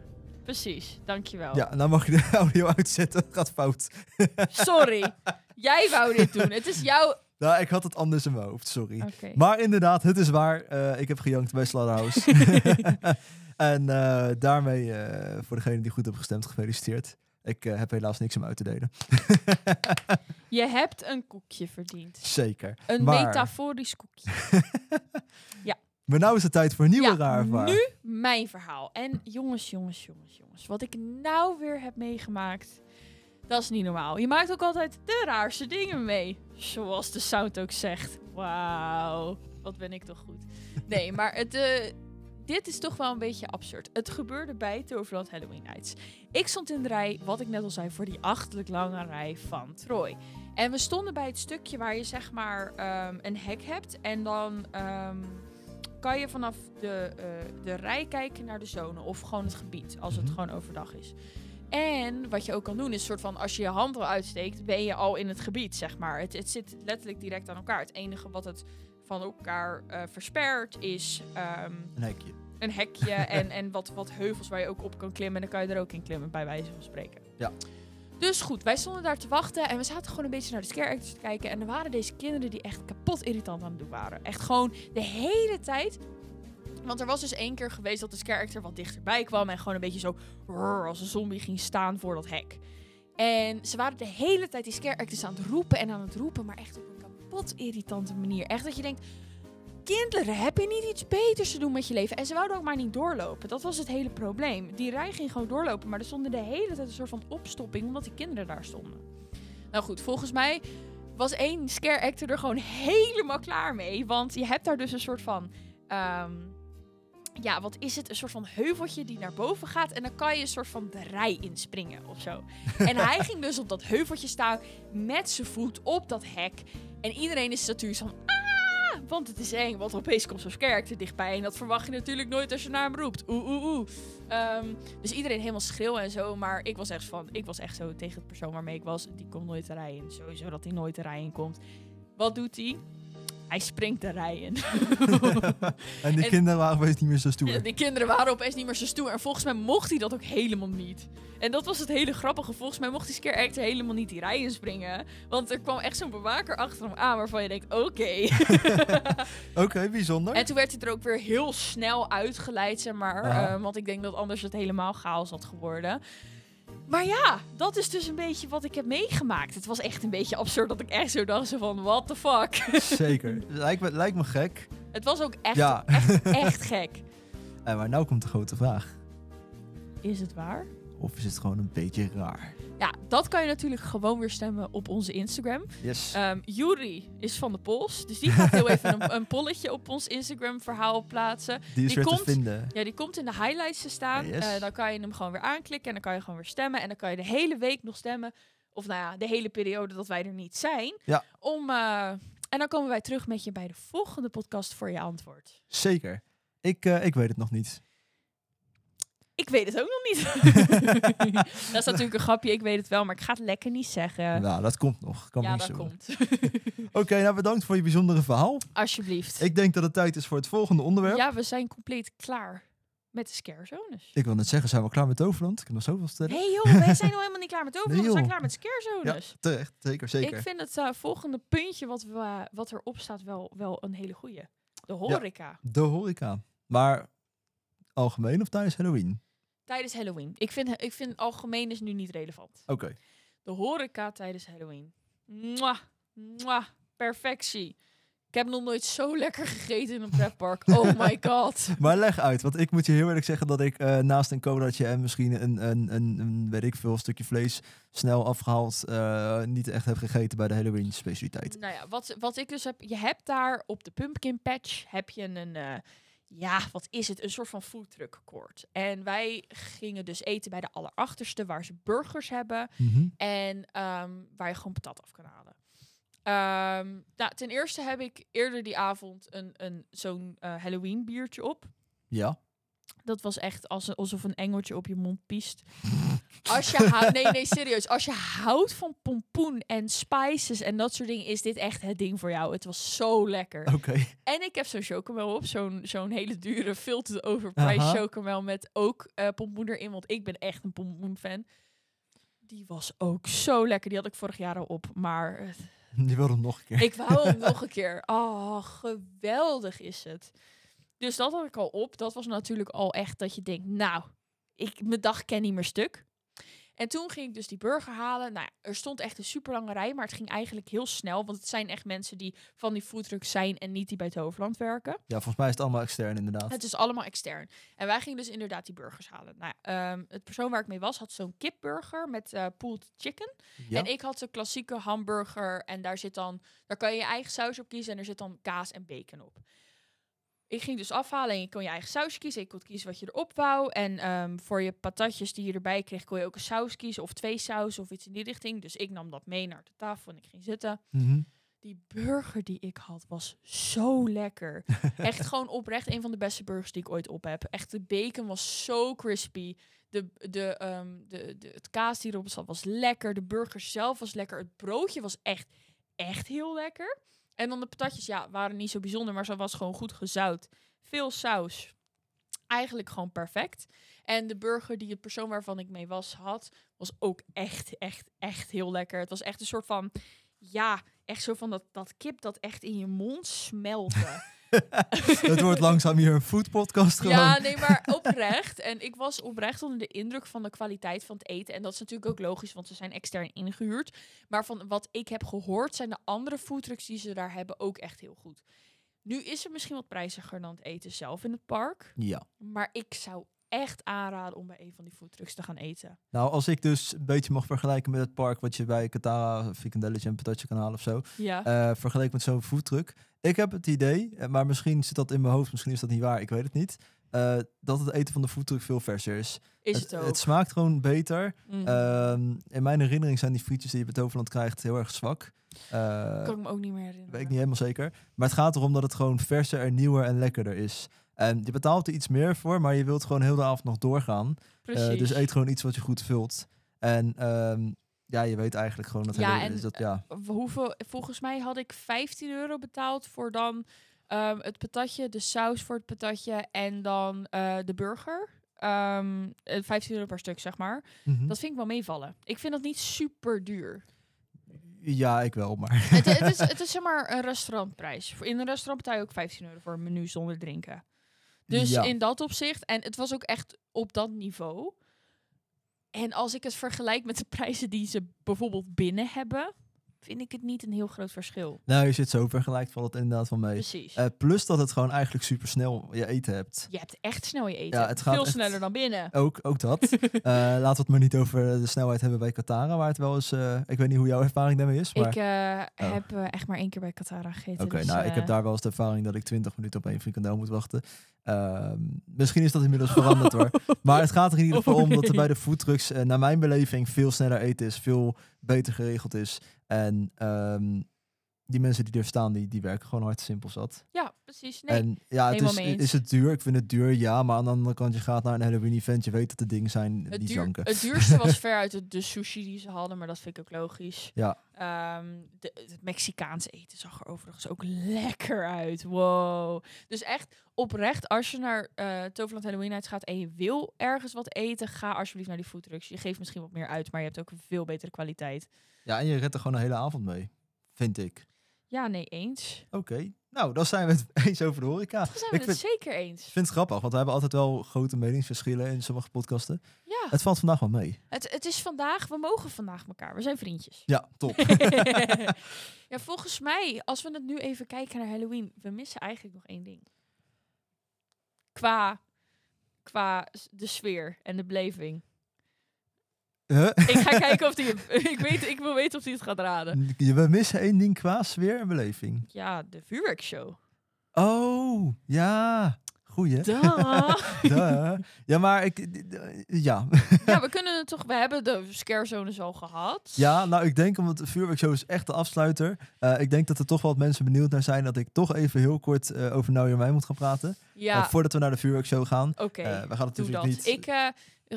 Speaker 2: Precies, dankjewel.
Speaker 3: Ja, nou mag je de audio uitzetten. Dat gaat fout.
Speaker 2: Sorry. Jij wou dit doen. Het is jouw...
Speaker 3: Nou, ik had het anders in mijn hoofd, sorry.
Speaker 2: Oké.
Speaker 3: Maar inderdaad, het is waar. Eh, ik heb gejankt bij Slaughterhouse. en eh, daarmee, eh, voor degene die goed hebben gestemd, gefeliciteerd. Ik eh, heb helaas niks om uit te delen.
Speaker 2: Je hebt een koekje verdiend.
Speaker 3: Zeker.
Speaker 2: Een
Speaker 3: maar,
Speaker 2: metaforisch koekje.
Speaker 3: maar nou is het tijd voor een nieuwe
Speaker 2: Ja,
Speaker 3: raar of waar.
Speaker 2: nu mijn verhaal. En jongens, jongens, jongens, jongens. Wat ik nou weer heb meegemaakt, dat is niet normaal. Je maakt ook altijd de raarste dingen mee. Zoals de sound ook zegt. Wauw, wat ben ik toch goed. Nee, maar het, eh, dit is toch wel een beetje absurd. Het gebeurde bij Toverland Halloween Nights. Ik stond in de rij, wat ik net al zei, voor die achterlijk lange rij van Troy. En we stonden bij het stukje waar je zeg maar ehm, een hek hebt. En dan ehm, kan je vanaf de, eh, de rij kijken naar de zone. Of gewoon het gebied, als het
Speaker 3: Mhm.
Speaker 2: gewoon overdag is. En wat je ook kan doen is soort van als je je hand al uitsteekt, ben je al in het gebied, zeg maar. Het, het zit letterlijk direct aan elkaar. Het enige wat het van elkaar eh, verspert is ehm,
Speaker 3: Een hekje.
Speaker 2: een hekje en, en wat, wat heuvels waar je ook op kan klimmen. En dan kan je er ook in klimmen, bij wijze van spreken.
Speaker 3: Ja.
Speaker 2: Dus goed, wij stonden daar te wachten en we zaten gewoon een beetje naar de scare actors te kijken. En er waren deze kinderen die echt kapot irritant aan het doen waren. Echt gewoon de hele tijd. Want er was dus één keer geweest dat de scare actor wat dichterbij kwam en gewoon een beetje zo "Rrr", als een zombie ging staan voor dat hek. En ze waren de hele tijd die scare actors aan het roepen en aan het roepen, maar echt op een kapot irritante manier. Echt dat je denkt, kinderen, heb je niet iets beters te doen met je leven? En ze wouden ook maar niet doorlopen. Dat was het hele probleem. Die rij ging gewoon doorlopen, maar er stonden de hele tijd een soort van opstopping omdat die kinderen daar stonden. Nou goed, volgens mij was één scare actor er gewoon helemaal klaar mee. Want je hebt daar dus een soort van. ehm, ja, wat is het? Een soort van heuveltje die naar boven gaat. En dan kan je een soort van de rij inspringen of zo. En hij ging dus op dat heuveltje staan met zijn voet op dat hek. En iedereen is natuurlijk zo van... "Ah!" Want het is eng, want opeens komt zo'n kerk dichtbij. En dat verwacht je natuurlijk nooit als je naar hem roept. Oeh, oeh, oeh. Ehm, dus iedereen helemaal schreeuwen en zo. Maar ik was echt van... Ik was echt zo tegen het persoon waarmee ik was. Die komt nooit de rij in. Sowieso dat hij nooit de rij in komt. Wat doet hij? Hij springt de rij in.
Speaker 3: En die
Speaker 2: En-
Speaker 3: kinderen waren opeens niet meer zo stoer.
Speaker 2: Ja, die kinderen waren opeens niet meer zo stoer. En volgens mij mocht hij dat ook helemaal niet. En dat was het hele grappige. Volgens mij mocht die scare actor helemaal niet die rij inspringen. Want er kwam echt zo'n bewaker achter hem aan waarvan je denkt, oké.
Speaker 3: Oké, bijzonder.
Speaker 2: en toen werd hij er ook weer heel snel uitgeleid, zeg maar.
Speaker 3: Ja.
Speaker 2: eh, want ik denk dat anders het helemaal chaos had geworden. Maar ja, dat is dus een beetje wat ik heb meegemaakt. Het was echt een beetje absurd dat ik echt zo dacht zo van, what the fuck.
Speaker 3: Zeker. Lijkt me, lijkt me gek.
Speaker 2: Het was ook echt,
Speaker 3: Ja.
Speaker 2: echt, echt gek.
Speaker 3: Eh, maar nou komt de grote vraag.
Speaker 2: Is het waar?
Speaker 3: Of is het gewoon een beetje raar?
Speaker 2: Ja, dat kan je natuurlijk gewoon weer stemmen op onze Instagram.
Speaker 3: Yes.
Speaker 2: Ehm Yuri is van de Pols, dus die gaat heel even een, een polletje op ons Instagram verhaal plaatsen.
Speaker 3: die is
Speaker 2: die
Speaker 3: weer
Speaker 2: komt-
Speaker 3: te vinden.
Speaker 2: Ja, die komt in de highlights te staan.
Speaker 3: Ah, Yes.
Speaker 2: Eh, dan kan je hem gewoon weer aanklikken en dan kan je gewoon weer stemmen. En dan kan je de hele week nog stemmen, of nou ja, de hele periode dat wij er niet zijn.
Speaker 3: Ja.
Speaker 2: Om, eh, en dan komen wij terug met je bij de volgende podcast voor je antwoord.
Speaker 3: Zeker. Ik, eh, ik weet het nog niet.
Speaker 2: Ik weet het ook nog niet. dat is natuurlijk een grapje, ik weet het wel, maar ik ga het lekker niet zeggen.
Speaker 3: nou, dat komt nog. Kan me
Speaker 2: Eh. ja,
Speaker 3: niet
Speaker 2: dat
Speaker 3: zo.
Speaker 2: komt.
Speaker 3: Oké, nou bedankt voor je bijzondere verhaal.
Speaker 2: Alsjeblieft.
Speaker 3: Ik denk dat het tijd is voor het volgende onderwerp.
Speaker 2: Ja, we zijn compleet klaar met de scarezones.
Speaker 3: Ik wil net zeggen, zijn we al klaar met Toverland? Ik heb nog zoveel te vertellen.
Speaker 2: Nee joh, wij zijn nog helemaal niet klaar met over.
Speaker 3: Nee,
Speaker 2: we zijn
Speaker 3: joh.
Speaker 2: klaar met scarezones.
Speaker 3: Terecht, zeker, zeker.
Speaker 2: ik vind het eh, volgende puntje wat, we, eh, wat erop staat wel, wel een hele goeie. De horeca.
Speaker 3: De horeca. Maar algemeen of tijdens Halloween?
Speaker 2: Tijdens Halloween. Ik vind, ik vind algemeen is nu niet relevant.
Speaker 3: Oké.
Speaker 2: De horeca tijdens Halloween. Mwah, mwah, perfectie. Ik heb nog nooit zo lekker gegeten in een pretpark. Oh my god.
Speaker 3: Maar leg uit, want ik moet je heel eerlijk zeggen dat ik eh, naast een colaatje en misschien een, een, een, een, weet ik veel, stukje vlees snel afgehaald, eh, niet echt heb gegeten bij de Halloween specialiteit.
Speaker 2: Nou ja, wat, wat ik dus heb, je hebt daar op de Pumpkin Patch heb je een, eh, ja, wat is het, een soort van foodtruck court. En wij gingen dus eten bij de allerachterste, waar ze burgers hebben en ehm, waar je gewoon patat af kan halen. Ehm, nou, ten eerste heb ik eerder die avond een, een, zo'n eh, Halloween biertje op.
Speaker 3: Ja.
Speaker 2: Dat was echt als, alsof een engeltje op je mond piest. Als je houdt, nee, nee, serieus. Als je houdt van pompoen en spices en dat soort dingen, is dit echt het ding voor jou. Het was zo lekker.
Speaker 3: Oké.
Speaker 2: En ik heb zo'n chocomel op, zo'n zo'n hele dure, veel te overpriced
Speaker 3: Aha.
Speaker 2: chocomel met ook eh, pompoen erin, want ik ben echt een pompoenfan. Die was ook zo lekker. Die had ik vorig jaar al op, maar eh,
Speaker 3: Je wil hem nog een keer.
Speaker 2: ik wou hem nog een keer. Oh, geweldig is het. Dus dat had ik al op. Dat was natuurlijk al echt dat je denkt, nou, ik, mijn dag ken niet meer stuk. En toen ging ik dus die burger halen. Nou, ja, er stond echt een super lange rij, maar het ging eigenlijk heel snel. Want het zijn echt mensen die van die foodtruck zijn en niet die bij het Hoofdland werken.
Speaker 3: Ja, volgens mij is het allemaal extern inderdaad.
Speaker 2: Het is allemaal extern. En wij gingen dus inderdaad die burgers halen. Nou, ja, ehm, het persoon waar ik mee was had zo'n kipburger met eh pulled chicken.
Speaker 3: Ja.
Speaker 2: En ik had de klassieke hamburger en daar zit dan, daar kan je je eigen saus op kiezen en er zit dan kaas en bacon op. ik ging dus afhalen en je kon je eigen saus kiezen. Ik kon kiezen wat je erop wou. En ehm, voor je patatjes die je erbij kreeg, kon je ook een saus kiezen. Of twee sausen of iets in die richting. Dus ik nam dat mee naar de tafel en ik ging zitten.
Speaker 3: Mhm.
Speaker 2: Die burger die ik had was zo lekker. Echt gewoon oprecht een van de beste burgers die ik ooit op heb. Echt, de bacon was zo crispy. De, de, ehm, de, de, het kaas die erop zat was lekker. De burger zelf was lekker. Het broodje was echt, echt heel lekker. En dan de patatjes, ja, waren niet zo bijzonder, maar ze was gewoon goed gezout. Veel saus. Eigenlijk gewoon perfect. En de burger die de persoon waarvan ik mee was had, was ook echt, echt, echt heel lekker. Het was echt een soort van, ja, echt zo van dat, dat kip dat echt in je mond smelte.
Speaker 3: Het wordt langzaam hier een foodpodcast gewoon.
Speaker 2: Ja, nee, maar oprecht. En ik was oprecht onder de indruk van de kwaliteit van het eten. En dat is natuurlijk ook logisch, want ze zijn extern ingehuurd. Maar van wat ik heb gehoord, zijn de andere foodtrucks die ze daar hebben ook echt heel goed. Nu is het misschien wat prijziger dan het eten zelf in het park.
Speaker 3: ja.
Speaker 2: Maar ik zou echt aanraden om bij een van die foodtrucks te gaan eten.
Speaker 3: Nou, als ik dus een beetje mag vergelijken met het park wat je bij Katara, Vikendelletje en Patatje kan halen of zo.
Speaker 2: Ja.
Speaker 3: eh, vergeleken met zo'n foodtruck. Ik heb het idee, eh, maar misschien zit dat in mijn hoofd, misschien is dat niet waar, ik weet het niet. eh, dat het eten van de foodtruck veel verser is.
Speaker 2: Is het ook.
Speaker 3: smaakt gewoon beter.
Speaker 2: Mhm.
Speaker 3: Ehm, in mijn herinnering zijn die frietjes die je bij Toverland krijgt heel erg zwak. Eh,
Speaker 2: kan ik me ook niet meer
Speaker 3: dat
Speaker 2: herinneren.
Speaker 3: weet ik niet helemaal zeker. Maar het gaat erom dat het gewoon verser en nieuwer en lekkerder is. En je betaalt er iets meer voor, maar je wilt gewoon heel de avond nog doorgaan. Eh,
Speaker 2: Precies.
Speaker 3: dus eet gewoon iets wat je goed vult. En ehm, ja, je weet eigenlijk gewoon dat
Speaker 2: Ja,
Speaker 3: hele-
Speaker 2: en, eh,
Speaker 3: dus dat, ja.
Speaker 2: w- hoeveel, volgens mij had ik 15 euro betaald voor dan ehm, het patatje, de saus voor het patatje en dan eh, de burger. Ehm, eh, 15 euro per stuk, zeg maar.
Speaker 3: Mhm.
Speaker 2: Dat vind ik wel meevallen. Ik vind dat niet super duur.
Speaker 3: Ja, ik wel, maar
Speaker 2: het, het, is, het is zeg maar een restaurantprijs. Voor- In een restaurant betaal je ook 15 euro voor een menu zonder drinken. Dus
Speaker 3: Ja.
Speaker 2: in dat opzicht, en het was ook echt op dat niveau. En als ik het vergelijk met de prijzen die ze bijvoorbeeld binnen hebben, vind ik het niet een heel groot verschil.
Speaker 3: nou, als je het zo vergelijkt, valt het inderdaad wel mee.
Speaker 2: Precies.
Speaker 3: Eh, plus dat het gewoon eigenlijk super snel je eten hebt.
Speaker 2: je hebt echt snel je eten.
Speaker 3: Ja, het gaat
Speaker 2: Veel
Speaker 3: echt-
Speaker 2: sneller dan binnen.
Speaker 3: Ook, ook dat. Eh, laten we het maar niet over de snelheid hebben bij Katara, waar het wel eens... eh, ik weet niet hoe jouw ervaring daarmee is, maar...
Speaker 2: Ik eh,
Speaker 3: Oh.
Speaker 2: heb eh, echt maar één keer bij Katara gegeten.
Speaker 3: Oké,
Speaker 2: dus,
Speaker 3: nou, ik
Speaker 2: eh,
Speaker 3: heb daar wel eens de ervaring dat ik 20 minuten op één frikandel moet wachten. Ehm, misschien is dat inmiddels veranderd hoor. Maar het gaat er in ieder geval
Speaker 2: Oh,
Speaker 3: om dat er
Speaker 2: nee.
Speaker 3: bij de foodtrucks, eh, naar mijn beleving, veel sneller eten is, veel beter geregeld is. En ehm, die mensen die er staan, die, die werken gewoon hard simpel zat.
Speaker 2: Ja, precies. Nee,
Speaker 3: en ja, het
Speaker 2: helemaal
Speaker 3: is,
Speaker 2: mee eens.
Speaker 3: is het duur? Ik vind het duur, ja. Maar aan de andere kant, je gaat naar een Halloween event, je weet dat de dingen zijn
Speaker 2: het,
Speaker 3: die
Speaker 2: duur-
Speaker 3: janken.
Speaker 2: het duurste was veruit de, de sushi die ze hadden, maar dat vind ik ook logisch.
Speaker 3: Ja.
Speaker 2: Ehm, de, het Mexicaans eten zag er overigens ook lekker uit. Wow. Dus echt oprecht, als je naar eh Toverland Halloween Nights gaat en je wil ergens wat eten, ga alsjeblieft naar die foodtrucks. Je geeft misschien wat meer uit, maar je hebt ook een veel betere kwaliteit.
Speaker 3: Ja, en je redt er gewoon een hele avond mee, vind ik.
Speaker 2: Ja, nee, eens.
Speaker 3: Oké, nou, dan zijn we het eens over de horeca.
Speaker 2: Dan zijn
Speaker 3: Ik
Speaker 2: we het zeker eens.
Speaker 3: Ik vind het grappig, want we hebben altijd wel grote meningsverschillen in sommige podcasten.
Speaker 2: Ja.
Speaker 3: Het valt vandaag wel mee.
Speaker 2: Het, het is vandaag, we mogen vandaag elkaar. We zijn vriendjes.
Speaker 3: Ja, top.
Speaker 2: ja, volgens mij, als we het nu even kijken naar Halloween, we missen eigenlijk nog één ding. Qua, qua s- de sfeer en de beleving.
Speaker 3: Huh?
Speaker 2: Ik ga kijken of die. Ik, weet, ik wil weten of hij het gaat raden.
Speaker 3: We missen één ding qua sfeer en beleving.
Speaker 2: Ja, de vuurwerkshow.
Speaker 3: Oh, ja. Goeie.
Speaker 2: Da.
Speaker 3: Duh. Ja, maar ik... d- d- Ja.
Speaker 2: Ja, we kunnen het toch. We hebben de scare zones al gehad.
Speaker 3: ja, nou ik denk, omdat de vuurwerkshow is echt de afsluiter. Eh, ik denk dat er toch wat mensen benieuwd naar zijn... dat ik toch even heel kort eh, over Nou Your Mij moet gaan praten.
Speaker 2: Ja,
Speaker 3: Eh, voordat we naar de vuurwerkshow gaan.
Speaker 2: oké.
Speaker 3: Eh, we gaan het
Speaker 2: Doe
Speaker 3: natuurlijk
Speaker 2: dat.
Speaker 3: niet...
Speaker 2: Ik, eh,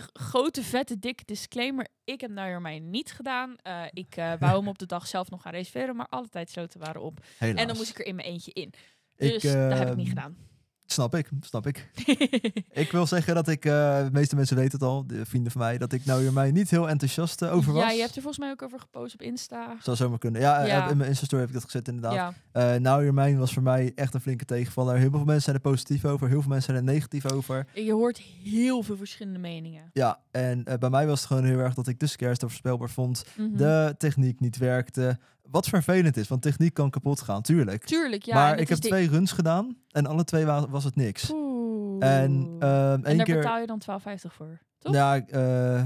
Speaker 2: g- grote, vette, dikke disclaimer. Ik heb nou mij niet gedaan. Eh, ik eh, wou hem op de dag zelf nog gaan reserveren, maar alle tijdsloten waren op.
Speaker 3: helaas.
Speaker 2: En dan moest ik er in mijn eentje in. Dus
Speaker 3: Ik,
Speaker 2: dat heb ik
Speaker 3: ehm,
Speaker 2: niet gedaan.
Speaker 3: Snap ik, snap ik. Ik wil zeggen dat ik, eh, de meeste mensen weten het al, de vrienden van mij, dat ik nou hier mij niet heel enthousiast eh, over was.
Speaker 2: ja, je hebt er volgens mij ook over gepost op Insta.
Speaker 3: Zou zomaar kunnen. Ja, eh,
Speaker 2: Ja.
Speaker 3: in mijn Insta-story heb ik dat gezet inderdaad.
Speaker 2: Ja,
Speaker 3: Eh, nou hier mijn was voor mij echt een flinke tegenvaller. Heel veel mensen zijn er positief over, heel veel mensen zijn er negatief over.
Speaker 2: je hoort heel veel verschillende meningen.
Speaker 3: Ja, en eh, bij mij was het gewoon heel erg dat ik de scares te voorspelbaar vond.
Speaker 2: Mhm.
Speaker 3: De techniek niet werkte. Wat vervelend is, want techniek kan kapot gaan, tuurlijk.
Speaker 2: Tuurlijk, ja. en
Speaker 3: maar
Speaker 2: het
Speaker 3: ik
Speaker 2: is
Speaker 3: heb
Speaker 2: dik.
Speaker 3: twee runs gedaan en alle twee wa- was het niks.
Speaker 2: Oeh.
Speaker 3: En ehm
Speaker 2: En
Speaker 3: één
Speaker 2: daar
Speaker 3: keer...
Speaker 2: betaal je dan 12,50 voor, toch?
Speaker 3: Ja, eh,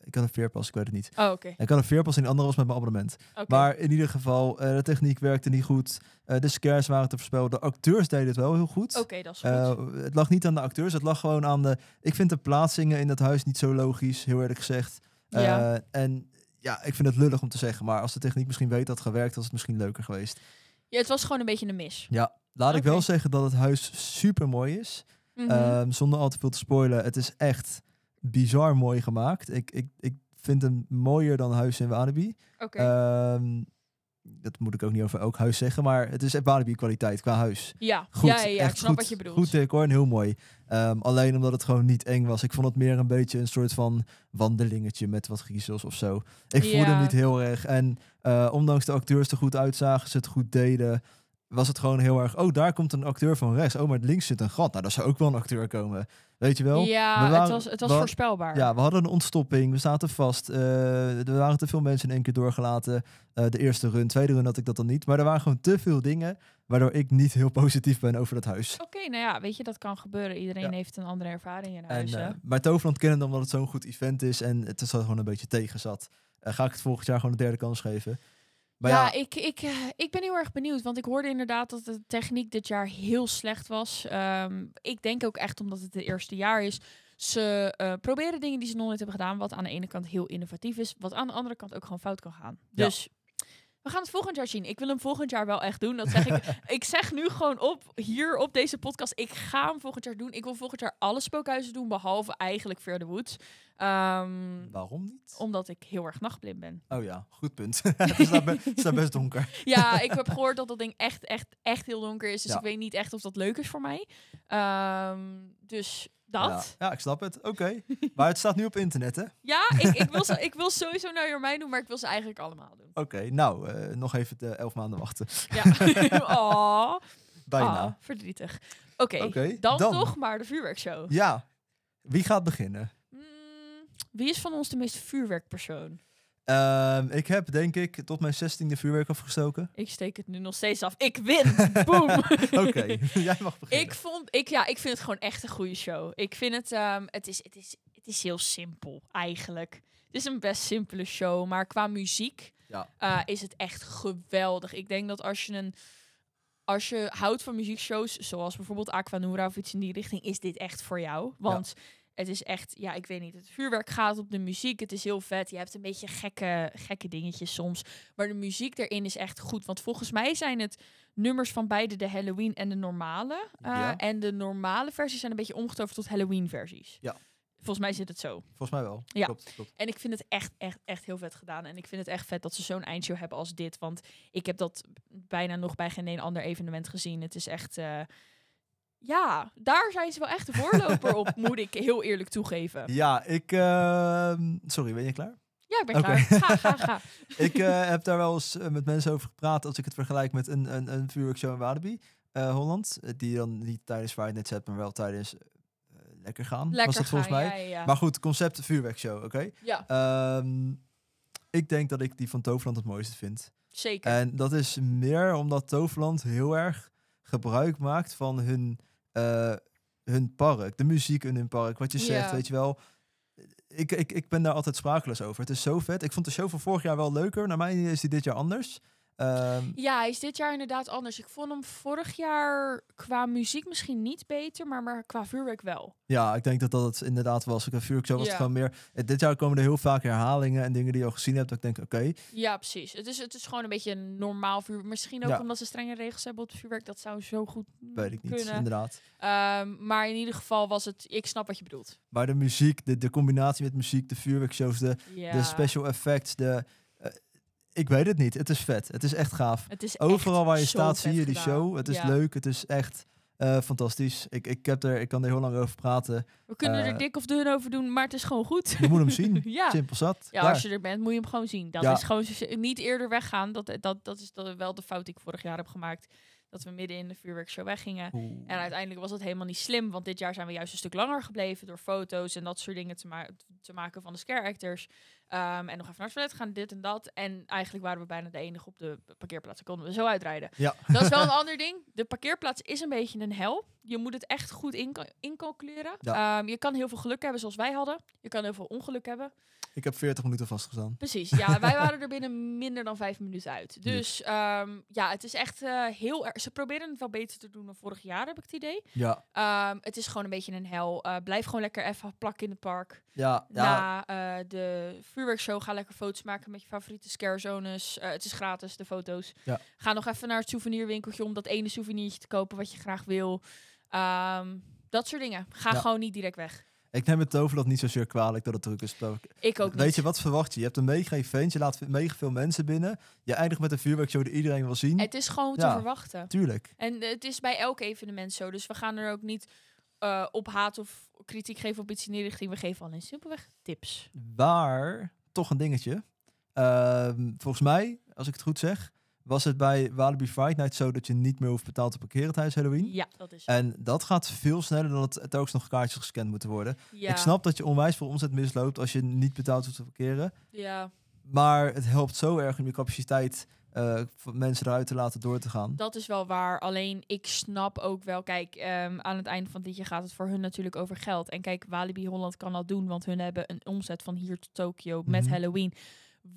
Speaker 3: Ik had een veerpas, ik weet het niet.
Speaker 2: Oh, oké.
Speaker 3: Ik had een veerpas en die andere was met mijn abonnement.
Speaker 2: Oké.
Speaker 3: Maar in ieder geval, eh, de techniek werkte niet goed. Eh, de scares waren te voorspellen. De acteurs deden het wel heel goed.
Speaker 2: Oké, dat is goed.
Speaker 3: Eh, het lag niet aan de acteurs, het lag gewoon aan de... Ik vind de plaatsingen in dat huis niet zo logisch, heel eerlijk gezegd. Eh,
Speaker 2: Ja.
Speaker 3: En ja, ik vind het lullig om te zeggen. Maar als de techniek misschien weet dat gewerkt, was het misschien leuker geweest.
Speaker 2: ja, het was gewoon een beetje een mis.
Speaker 3: Laat ik
Speaker 2: Oké.
Speaker 3: wel zeggen dat het huis super mooi is.
Speaker 2: Mhm.
Speaker 3: Ehm, zonder al te veel te spoilen, het is echt bizar mooi gemaakt. Ik, ik, ik vind hem mooier dan Huis in Walibi.
Speaker 2: Oké.
Speaker 3: Ehm, dat moet ik ook niet over elk huis zeggen, maar het is echt Walibi kwaliteit qua huis.
Speaker 2: ja.
Speaker 3: Goed,
Speaker 2: ja, ja, ja,
Speaker 3: echt
Speaker 2: ik snap
Speaker 3: goed,
Speaker 2: wat je bedoelt.
Speaker 3: Goed decor en heel mooi. Ehm, alleen omdat het gewoon niet eng was. Ik vond het meer een beetje een soort van wandelingetje met wat griezels of zo. Ik voelde hem
Speaker 2: Ja.
Speaker 3: niet heel erg. En eh, ondanks de acteurs er goed uitzagen, ze het goed deden, was het gewoon heel erg... Oh, daar komt een acteur van rechts. Oh, maar links zit een gat. Nou, daar zou ook wel een acteur komen. Weet je wel?
Speaker 2: ja,
Speaker 3: we
Speaker 2: het
Speaker 3: waren-
Speaker 2: was, het was
Speaker 3: we-
Speaker 2: voorspelbaar.
Speaker 3: Ja, we hadden een ontstopping, we zaten vast. eh, er waren te veel mensen in één keer doorgelaten. Eh, de eerste run, tweede run had ik dat dan niet. Maar er waren gewoon te veel dingen waardoor ik niet heel positief ben over dat huis.
Speaker 2: Oké, nou ja, weet je, dat kan gebeuren. Iedereen
Speaker 3: Ja.
Speaker 2: heeft een andere ervaring in
Speaker 3: En,
Speaker 2: huis. hè?
Speaker 3: eh, maar Toverland kennen omdat het zo'n goed event is en het is al gewoon een beetje tegen zat. Eh, ga ik het volgend jaar gewoon een derde kans geven? Maar ja,
Speaker 2: ja, ik, ik, eh, ik ben heel erg benieuwd. Want ik hoorde inderdaad dat de techniek dit jaar heel slecht was. Ehm, ik denk ook echt omdat het het eerste jaar is. Ze eh, proberen dingen die ze nog nooit hebben gedaan. Wat aan de ene kant heel innovatief is. Wat aan de andere kant ook gewoon fout kan gaan.
Speaker 3: Ja.
Speaker 2: Dus we gaan het volgend jaar zien. Ik wil hem volgend jaar wel echt doen. Dat zeg ik. ik zeg nu gewoon op hier op deze podcast. Ik ga hem volgend jaar doen. Ik wil volgend jaar alle spookhuizen doen. Behalve eigenlijk Fear the Woods. Ehm,
Speaker 3: waarom niet?
Speaker 2: omdat ik heel erg nachtblind ben.
Speaker 3: Oh ja, goed punt. het, is daar be- het is daar best donker.
Speaker 2: Ja, ik heb gehoord dat dat ding echt, echt, echt heel donker is. Dus
Speaker 3: Ja.
Speaker 2: ik weet niet echt of dat leuk is voor mij. Ehm, dus dat.
Speaker 3: Ja, ja, ik snap het. Oké. Maar het staat nu op internet, hè? Oké,
Speaker 2: Ja, ik, ik, wil, zo, ik wil sowieso naar Jormijn doen, maar ik wil ze eigenlijk allemaal doen.
Speaker 3: nou, eh, nog even de elf maanden wachten.
Speaker 2: Ja. oh,
Speaker 3: Bijna.
Speaker 2: verdrietig. Oké,
Speaker 3: Oké,
Speaker 2: dan,
Speaker 3: dan.
Speaker 2: toch maar de vuurwerkshow.
Speaker 3: Ja, wie gaat beginnen?
Speaker 2: Mm, wie is van ons de meest vuurwerkpersoon?
Speaker 3: Ehm, ik heb denk ik tot mijn 16e vuurwerk afgestoken.
Speaker 2: Ik steek het nu nog steeds af. Ik win! Boom!
Speaker 3: Oké, jij mag beginnen.
Speaker 2: Ik vond, ik, ja, ik vind het gewoon echt een goede show. Ik vind het, ehm, het, is, het, is, het is heel simpel eigenlijk. Het is een best simpele show, maar qua muziek
Speaker 3: Ja.
Speaker 2: eh, is het echt geweldig. Ik denk dat als je een, als je houdt van muziekshows, zoals bijvoorbeeld Aquanura of iets in die richting, is dit echt voor jou. Want het is echt, ja, ik weet niet, het vuurwerk gaat op de muziek. Het is heel vet. Je hebt een beetje gekke, gekke dingetjes soms. Maar de muziek erin is echt goed. Want volgens mij zijn het nummers van beide de Halloween en de normale. Eh,
Speaker 3: Ja.
Speaker 2: En de normale versies zijn een beetje omgetoverd tot Halloween versies.
Speaker 3: Ja.
Speaker 2: Volgens mij zit het zo.
Speaker 3: Volgens mij wel.
Speaker 2: Ja.
Speaker 3: Klopt, klopt.
Speaker 2: En ik vind het echt, echt, echt heel vet gedaan. En ik vind het echt vet dat ze zo'n eindshow hebben als dit. Want ik heb dat bijna nog bij geen een ander evenement gezien. Het is echt... eh, ja, daar zijn ze wel echt de voorloper op, moet ik heel eerlijk toegeven.
Speaker 3: Ja, ik... ehm, sorry, ben je klaar?
Speaker 2: Ja, ik ben
Speaker 3: Oké.
Speaker 2: klaar. Ga, ga, ga.
Speaker 3: ik eh, heb daar wel eens eh, met mensen over gepraat als ik het vergelijk met een, een, een vuurwerkshow in Walibi, eh, Holland. eh, Die dan niet tijdens waar je het net zet, maar wel tijdens eh, Lekker Gaan.
Speaker 2: Lekker
Speaker 3: was dat volgens
Speaker 2: gaan,
Speaker 3: mij.
Speaker 2: Ja, ja, ja.
Speaker 3: Maar goed, concept vuurwerkshow, oké?
Speaker 2: Ja,
Speaker 3: Ehm, ik denk dat ik die van Toverland het mooiste vind.
Speaker 2: zeker.
Speaker 3: En dat is meer omdat Toverland heel erg gebruik maakt van hun, eh, hun park. De muziek in hun park. Wat je zegt,
Speaker 2: Ja.
Speaker 3: weet je wel. Ik, ik, ik ben daar altijd sprakeloos over. Het is zo vet. Ik vond de show van vorig jaar wel leuker. Naar mij is die dit jaar anders. Ehm,
Speaker 2: Ja, hij is dit jaar inderdaad anders. Ik vond hem vorig jaar qua muziek misschien niet beter, maar, maar qua vuurwerk wel.
Speaker 3: ja, ik denk dat dat het inderdaad was. Ik heb vuurwerk zo was het
Speaker 2: Ja.
Speaker 3: gewoon meer. eh, Dit jaar komen er heel vaak herhalingen en dingen die je al gezien hebt. Dat ik denk, oké,
Speaker 2: Ja, precies. Het is, het is gewoon een beetje een normaal vuurwerk. Misschien ook
Speaker 3: Ja.
Speaker 2: omdat ze strenge regels hebben op het vuurwerk. Dat zou zo goed
Speaker 3: weet ik niet.
Speaker 2: kunnen.
Speaker 3: Inderdaad.
Speaker 2: Ehm, maar in ieder geval was het... Ik snap wat je bedoelt.
Speaker 3: Maar de muziek, de, de combinatie met muziek, de vuurwerkshows, de,
Speaker 2: Ja.
Speaker 3: De special effects, de... eh, ik weet het niet. Het is vet. Het is echt gaaf.
Speaker 2: Het is
Speaker 3: Overal
Speaker 2: echt
Speaker 3: waar je
Speaker 2: zo
Speaker 3: staat zie
Speaker 2: vet
Speaker 3: je die
Speaker 2: gedaan.
Speaker 3: show. Het is
Speaker 2: Ja.
Speaker 3: leuk. Het is echt eh, fantastisch. Ik, ik, heb er, ik kan er heel lang over praten.
Speaker 2: We kunnen
Speaker 3: Eh,
Speaker 2: er dik of dun over doen, maar het is gewoon goed.
Speaker 3: Je moet hem zien.
Speaker 2: ja.
Speaker 3: Simpel zat.
Speaker 2: Ja,
Speaker 3: Daar.
Speaker 2: als je er bent, moet je hem gewoon zien. Dat
Speaker 3: Ja.
Speaker 2: is gewoon zo- niet eerder weggaan. Dat, eh, dat, dat is dat wel de fout die ik vorig jaar heb gemaakt. Dat we midden in de vuurwerkshow weggingen.
Speaker 3: Oeh.
Speaker 2: En uiteindelijk was dat helemaal niet slim. Want dit jaar zijn we juist een stuk langer gebleven door foto's en dat soort dingen te, ma- te maken van de scare actors. Ehm, en nog even naar het toilet gaan, dit en dat. En eigenlijk waren we bijna de enige op de parkeerplaats. Dan konden we zo uitrijden.
Speaker 3: Ja.
Speaker 2: Dat is wel een ander ding. De parkeerplaats is een beetje een hel. je moet het echt goed inca- incalculeren.
Speaker 3: Ja.
Speaker 2: Ehm, je kan heel veel geluk hebben zoals wij hadden. Je kan heel veel ongeluk hebben.
Speaker 3: Ik heb 40 minuten vastgestaan.
Speaker 2: Precies, ja. wij waren er binnen minder dan vijf minuten uit. Dus ehm, ja, het is echt eh, heel erg... Ze proberen het wel beter te doen dan vorig jaar, heb ik het idee.
Speaker 3: Ja,
Speaker 2: Ehm, het is gewoon een beetje een hel. Eh, blijf gewoon lekker even plakken in het park.
Speaker 3: ja, ja.
Speaker 2: Na eh, de vuurwerkshow ga lekker foto's maken met je favoriete scarezones. Eh, het is gratis, de foto's.
Speaker 3: Ja.
Speaker 2: Ga nog even naar het souvenirwinkeltje om dat ene souvenirtje te kopen wat je graag wil. Ehm, dat soort dingen. Ga
Speaker 3: Ja.
Speaker 2: gewoon niet direct weg.
Speaker 3: Ik neem het toverland niet zozeer kwalijk dat het druk is.
Speaker 2: Ik ook
Speaker 3: Weet
Speaker 2: niet.
Speaker 3: je, wat verwacht je? Je hebt een mega event, je laat mega veel mensen binnen. Je eindigt met een vuurwerkshow die iedereen wil zien.
Speaker 2: Het is gewoon
Speaker 3: Ja.
Speaker 2: te verwachten.
Speaker 3: Tuurlijk.
Speaker 2: En het is bij elk evenement zo. Dus we gaan er ook niet eh, op haat of kritiek geven op iets in die richting. We geven alleen simpelweg tips.
Speaker 3: Waar, toch een dingetje. Ehm, volgens mij, als ik het goed zeg, was het bij Walibi Fright Night zo dat je niet meer hoeft betaald te parkeren tijdens Halloween.
Speaker 2: Ja, dat is
Speaker 3: En dat gaat veel sneller dan dat het telkens nog kaartjes gescand moeten worden.
Speaker 2: ja.
Speaker 3: Ik snap dat je onwijs veel omzet misloopt als je niet betaald hoeft te parkeren.
Speaker 2: Ja,
Speaker 3: Maar het helpt zo erg om je capaciteit eh, van mensen eruit te laten door te gaan.
Speaker 2: dat is wel waar. Alleen ik snap ook wel, kijk, ehm, aan het einde van dit jaar gaat het voor hun natuurlijk over geld. En kijk, Walibi Holland kan dat doen, want hun hebben een omzet van hier tot Tokio met
Speaker 3: Mhm.
Speaker 2: Halloween.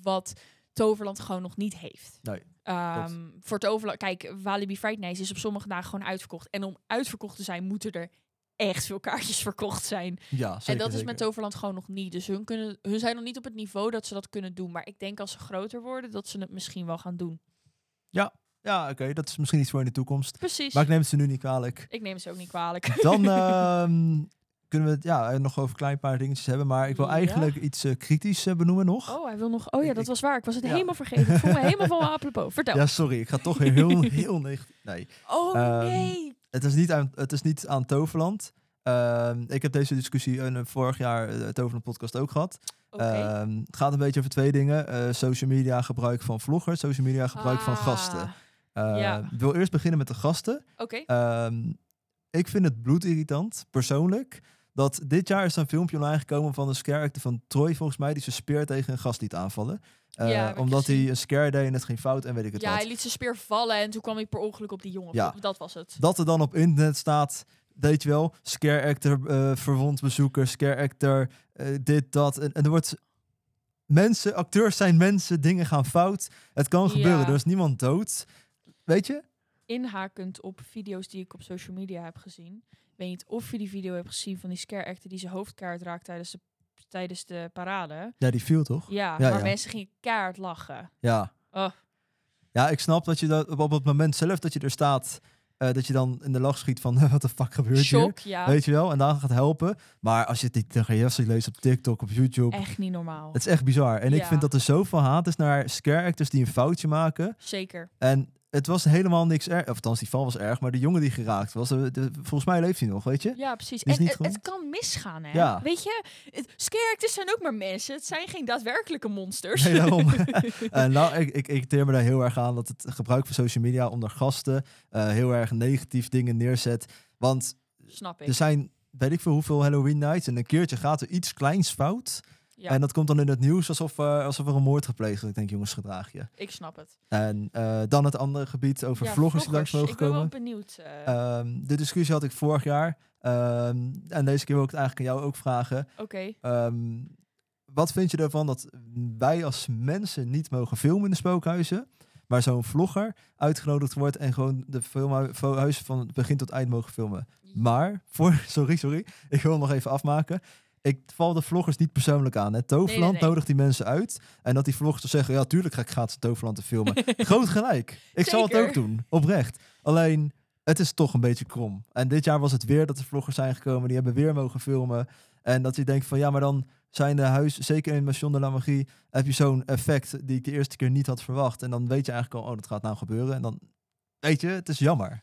Speaker 2: Wat Toverland gewoon nog niet heeft.
Speaker 3: Nee,
Speaker 2: Ehm, voor Toverland, kijk, Walibi Fright Nights is op sommige dagen gewoon uitverkocht. En om uitverkocht te zijn, moeten er echt veel kaartjes verkocht zijn.
Speaker 3: Ja, zeker.
Speaker 2: en dat is
Speaker 3: zeker.
Speaker 2: met Toverland gewoon nog niet. Dus hun, kunnen, hun zijn nog niet op het niveau dat ze dat kunnen doen. Maar ik denk als ze groter worden, dat ze het misschien wel gaan doen.
Speaker 3: Ja, oké, dat is misschien iets voor in de toekomst.
Speaker 2: Precies.
Speaker 3: Maar ik neem het ze nu niet kwalijk.
Speaker 2: Ik neem ze ook niet kwalijk.
Speaker 3: Dan ehm, kunnen we het ja, eh, nog over een klein paar dingetjes hebben. Maar ik wil
Speaker 2: Ja.
Speaker 3: eigenlijk iets eh, kritisch eh, benoemen nog.
Speaker 2: Oh, hij wil nog. Oh ja,
Speaker 3: Ik-
Speaker 2: dat was waar. Ik was het
Speaker 3: ja.
Speaker 2: helemaal vergeten. Ik voel me helemaal van apropos. Vertel.
Speaker 3: Ja, sorry, ik ga toch weer heel, heel negatief. Nee,
Speaker 2: Oh
Speaker 3: Ehm,
Speaker 2: nee.
Speaker 3: het is niet aan, het is niet aan Toverland. Ehm, ik heb deze discussie in een vorig jaar eh, Toverland podcast ook gehad.
Speaker 2: Oké.
Speaker 3: Ehm, het gaat een beetje over twee dingen. Eh, social media gebruik van vloggers, social media gebruik van
Speaker 2: Ah,
Speaker 3: gasten. Eh,
Speaker 2: ja.
Speaker 3: Ik wil eerst beginnen met de gasten.
Speaker 2: Oké.
Speaker 3: Ehm, ik vind het bloedirritant, persoonlijk. Dat dit jaar is er een filmpje online gekomen van een scare actor van Troy, volgens mij, die zijn speer tegen een gast liet aanvallen. Eh,
Speaker 2: Ja, heb ik
Speaker 3: omdat hij
Speaker 2: gezien.
Speaker 3: een scare deed en het ging fout en weet ik het
Speaker 2: Ja,
Speaker 3: wat.
Speaker 2: hij liet zijn speer vallen en toen kwam hij per ongeluk op die jongen.
Speaker 3: Ja.
Speaker 2: Dat was het.
Speaker 3: Dat er dan op internet staat, weet je wel, scare actor eh verwond bezoeker, scare actor, eh, dit, dat. En, en er wordt... Mensen, acteurs zijn mensen, dingen gaan fout. Het kan gebeuren,
Speaker 2: Ja.
Speaker 3: er is niemand dood. Weet je?
Speaker 2: Inhakend op video's die ik op social media heb gezien. Ik weet niet of je die video hebt gezien van die scare actor die zijn hoofdkaart raakt tijdens de, tijdens de parade.
Speaker 3: Ja, die viel toch?
Speaker 2: Ja,
Speaker 3: Ja,
Speaker 2: maar
Speaker 3: ja.
Speaker 2: mensen gingen kaart lachen.
Speaker 3: Ja.
Speaker 2: Oh.
Speaker 3: Ja, ik snap dat je dat op, op het moment zelf dat je er staat, eh, dat je dan in de lach schiet van wat de fuck gebeurt
Speaker 2: Shock, ja.
Speaker 3: hier. Weet je wel, en daar gaat helpen. Maar als je dit tegen Jesse leest op TikTok, op YouTube,
Speaker 2: Echt niet normaal.
Speaker 3: het is echt bizar. En ik
Speaker 2: Ja.
Speaker 3: vind dat er zoveel haat is naar scare actors die een foutje maken.
Speaker 2: Zeker.
Speaker 3: En het was helemaal niks erg. Of althans, die val was erg, maar de jongen die geraakt was, eh, de- volgens mij leeft hij nog, weet je?
Speaker 2: Ja, precies.
Speaker 3: Die is
Speaker 2: En
Speaker 3: niet
Speaker 2: het, het
Speaker 3: goed.
Speaker 2: kan misgaan, hè?
Speaker 3: Ja.
Speaker 2: Weet je, het, scare actors zijn ook maar mensen. Het zijn geen daadwerkelijke monsters.
Speaker 3: Nee, daarom. Eh, nou, ik, ik, ik teer me daar heel erg aan dat het gebruik van social media onder gasten eh, heel erg negatief dingen neerzet. Want
Speaker 2: Snap ik.
Speaker 3: Er zijn, weet ik veel hoeveel Halloween nights. En een keertje gaat er iets kleins fout.
Speaker 2: ja,
Speaker 3: En dat komt dan in het nieuws alsof, eh, alsof er een moord gepleegd is. Ik denk, jongens, gedraag je.
Speaker 2: ik snap het.
Speaker 3: En eh, dan het andere gebied over
Speaker 2: ja,
Speaker 3: vloggers die langs mogen
Speaker 2: Ik ben wel
Speaker 3: komen.
Speaker 2: benieuwd. eh,
Speaker 3: Ehm, de discussie had ik vorig jaar. Ehm, en deze keer wil ik het eigenlijk aan jou ook vragen.
Speaker 2: Oké.
Speaker 3: Ehm, wat vind je ervan dat wij als mensen niet mogen filmen in de spookhuizen? Maar zo'n vlogger uitgenodigd wordt en gewoon de filmhu- huizen van begin tot eind mogen filmen. Maar, voor, sorry, sorry, ik wil hem nog even afmaken. Ik val de vloggers niet persoonlijk aan. Hè. Toverland
Speaker 2: Nee, nee, nee.
Speaker 3: nodigt die mensen uit. En dat die vloggers dan zeggen, ja, tuurlijk ga ik gratis Toverland te filmen. Groot gelijk. Ik zal het
Speaker 2: Zeker.
Speaker 3: ook doen, oprecht. Alleen, het is toch een beetje krom. En dit jaar was het weer dat de vloggers zijn gekomen. Die hebben weer mogen filmen. En dat je denkt van, ja, maar dan zijn de huis, zeker in Machine de la Magie, heb je zo'n effect die ik de eerste keer niet had verwacht. En dan weet je eigenlijk al, oh, dat gaat nou gebeuren. En dan, weet je, het is jammer.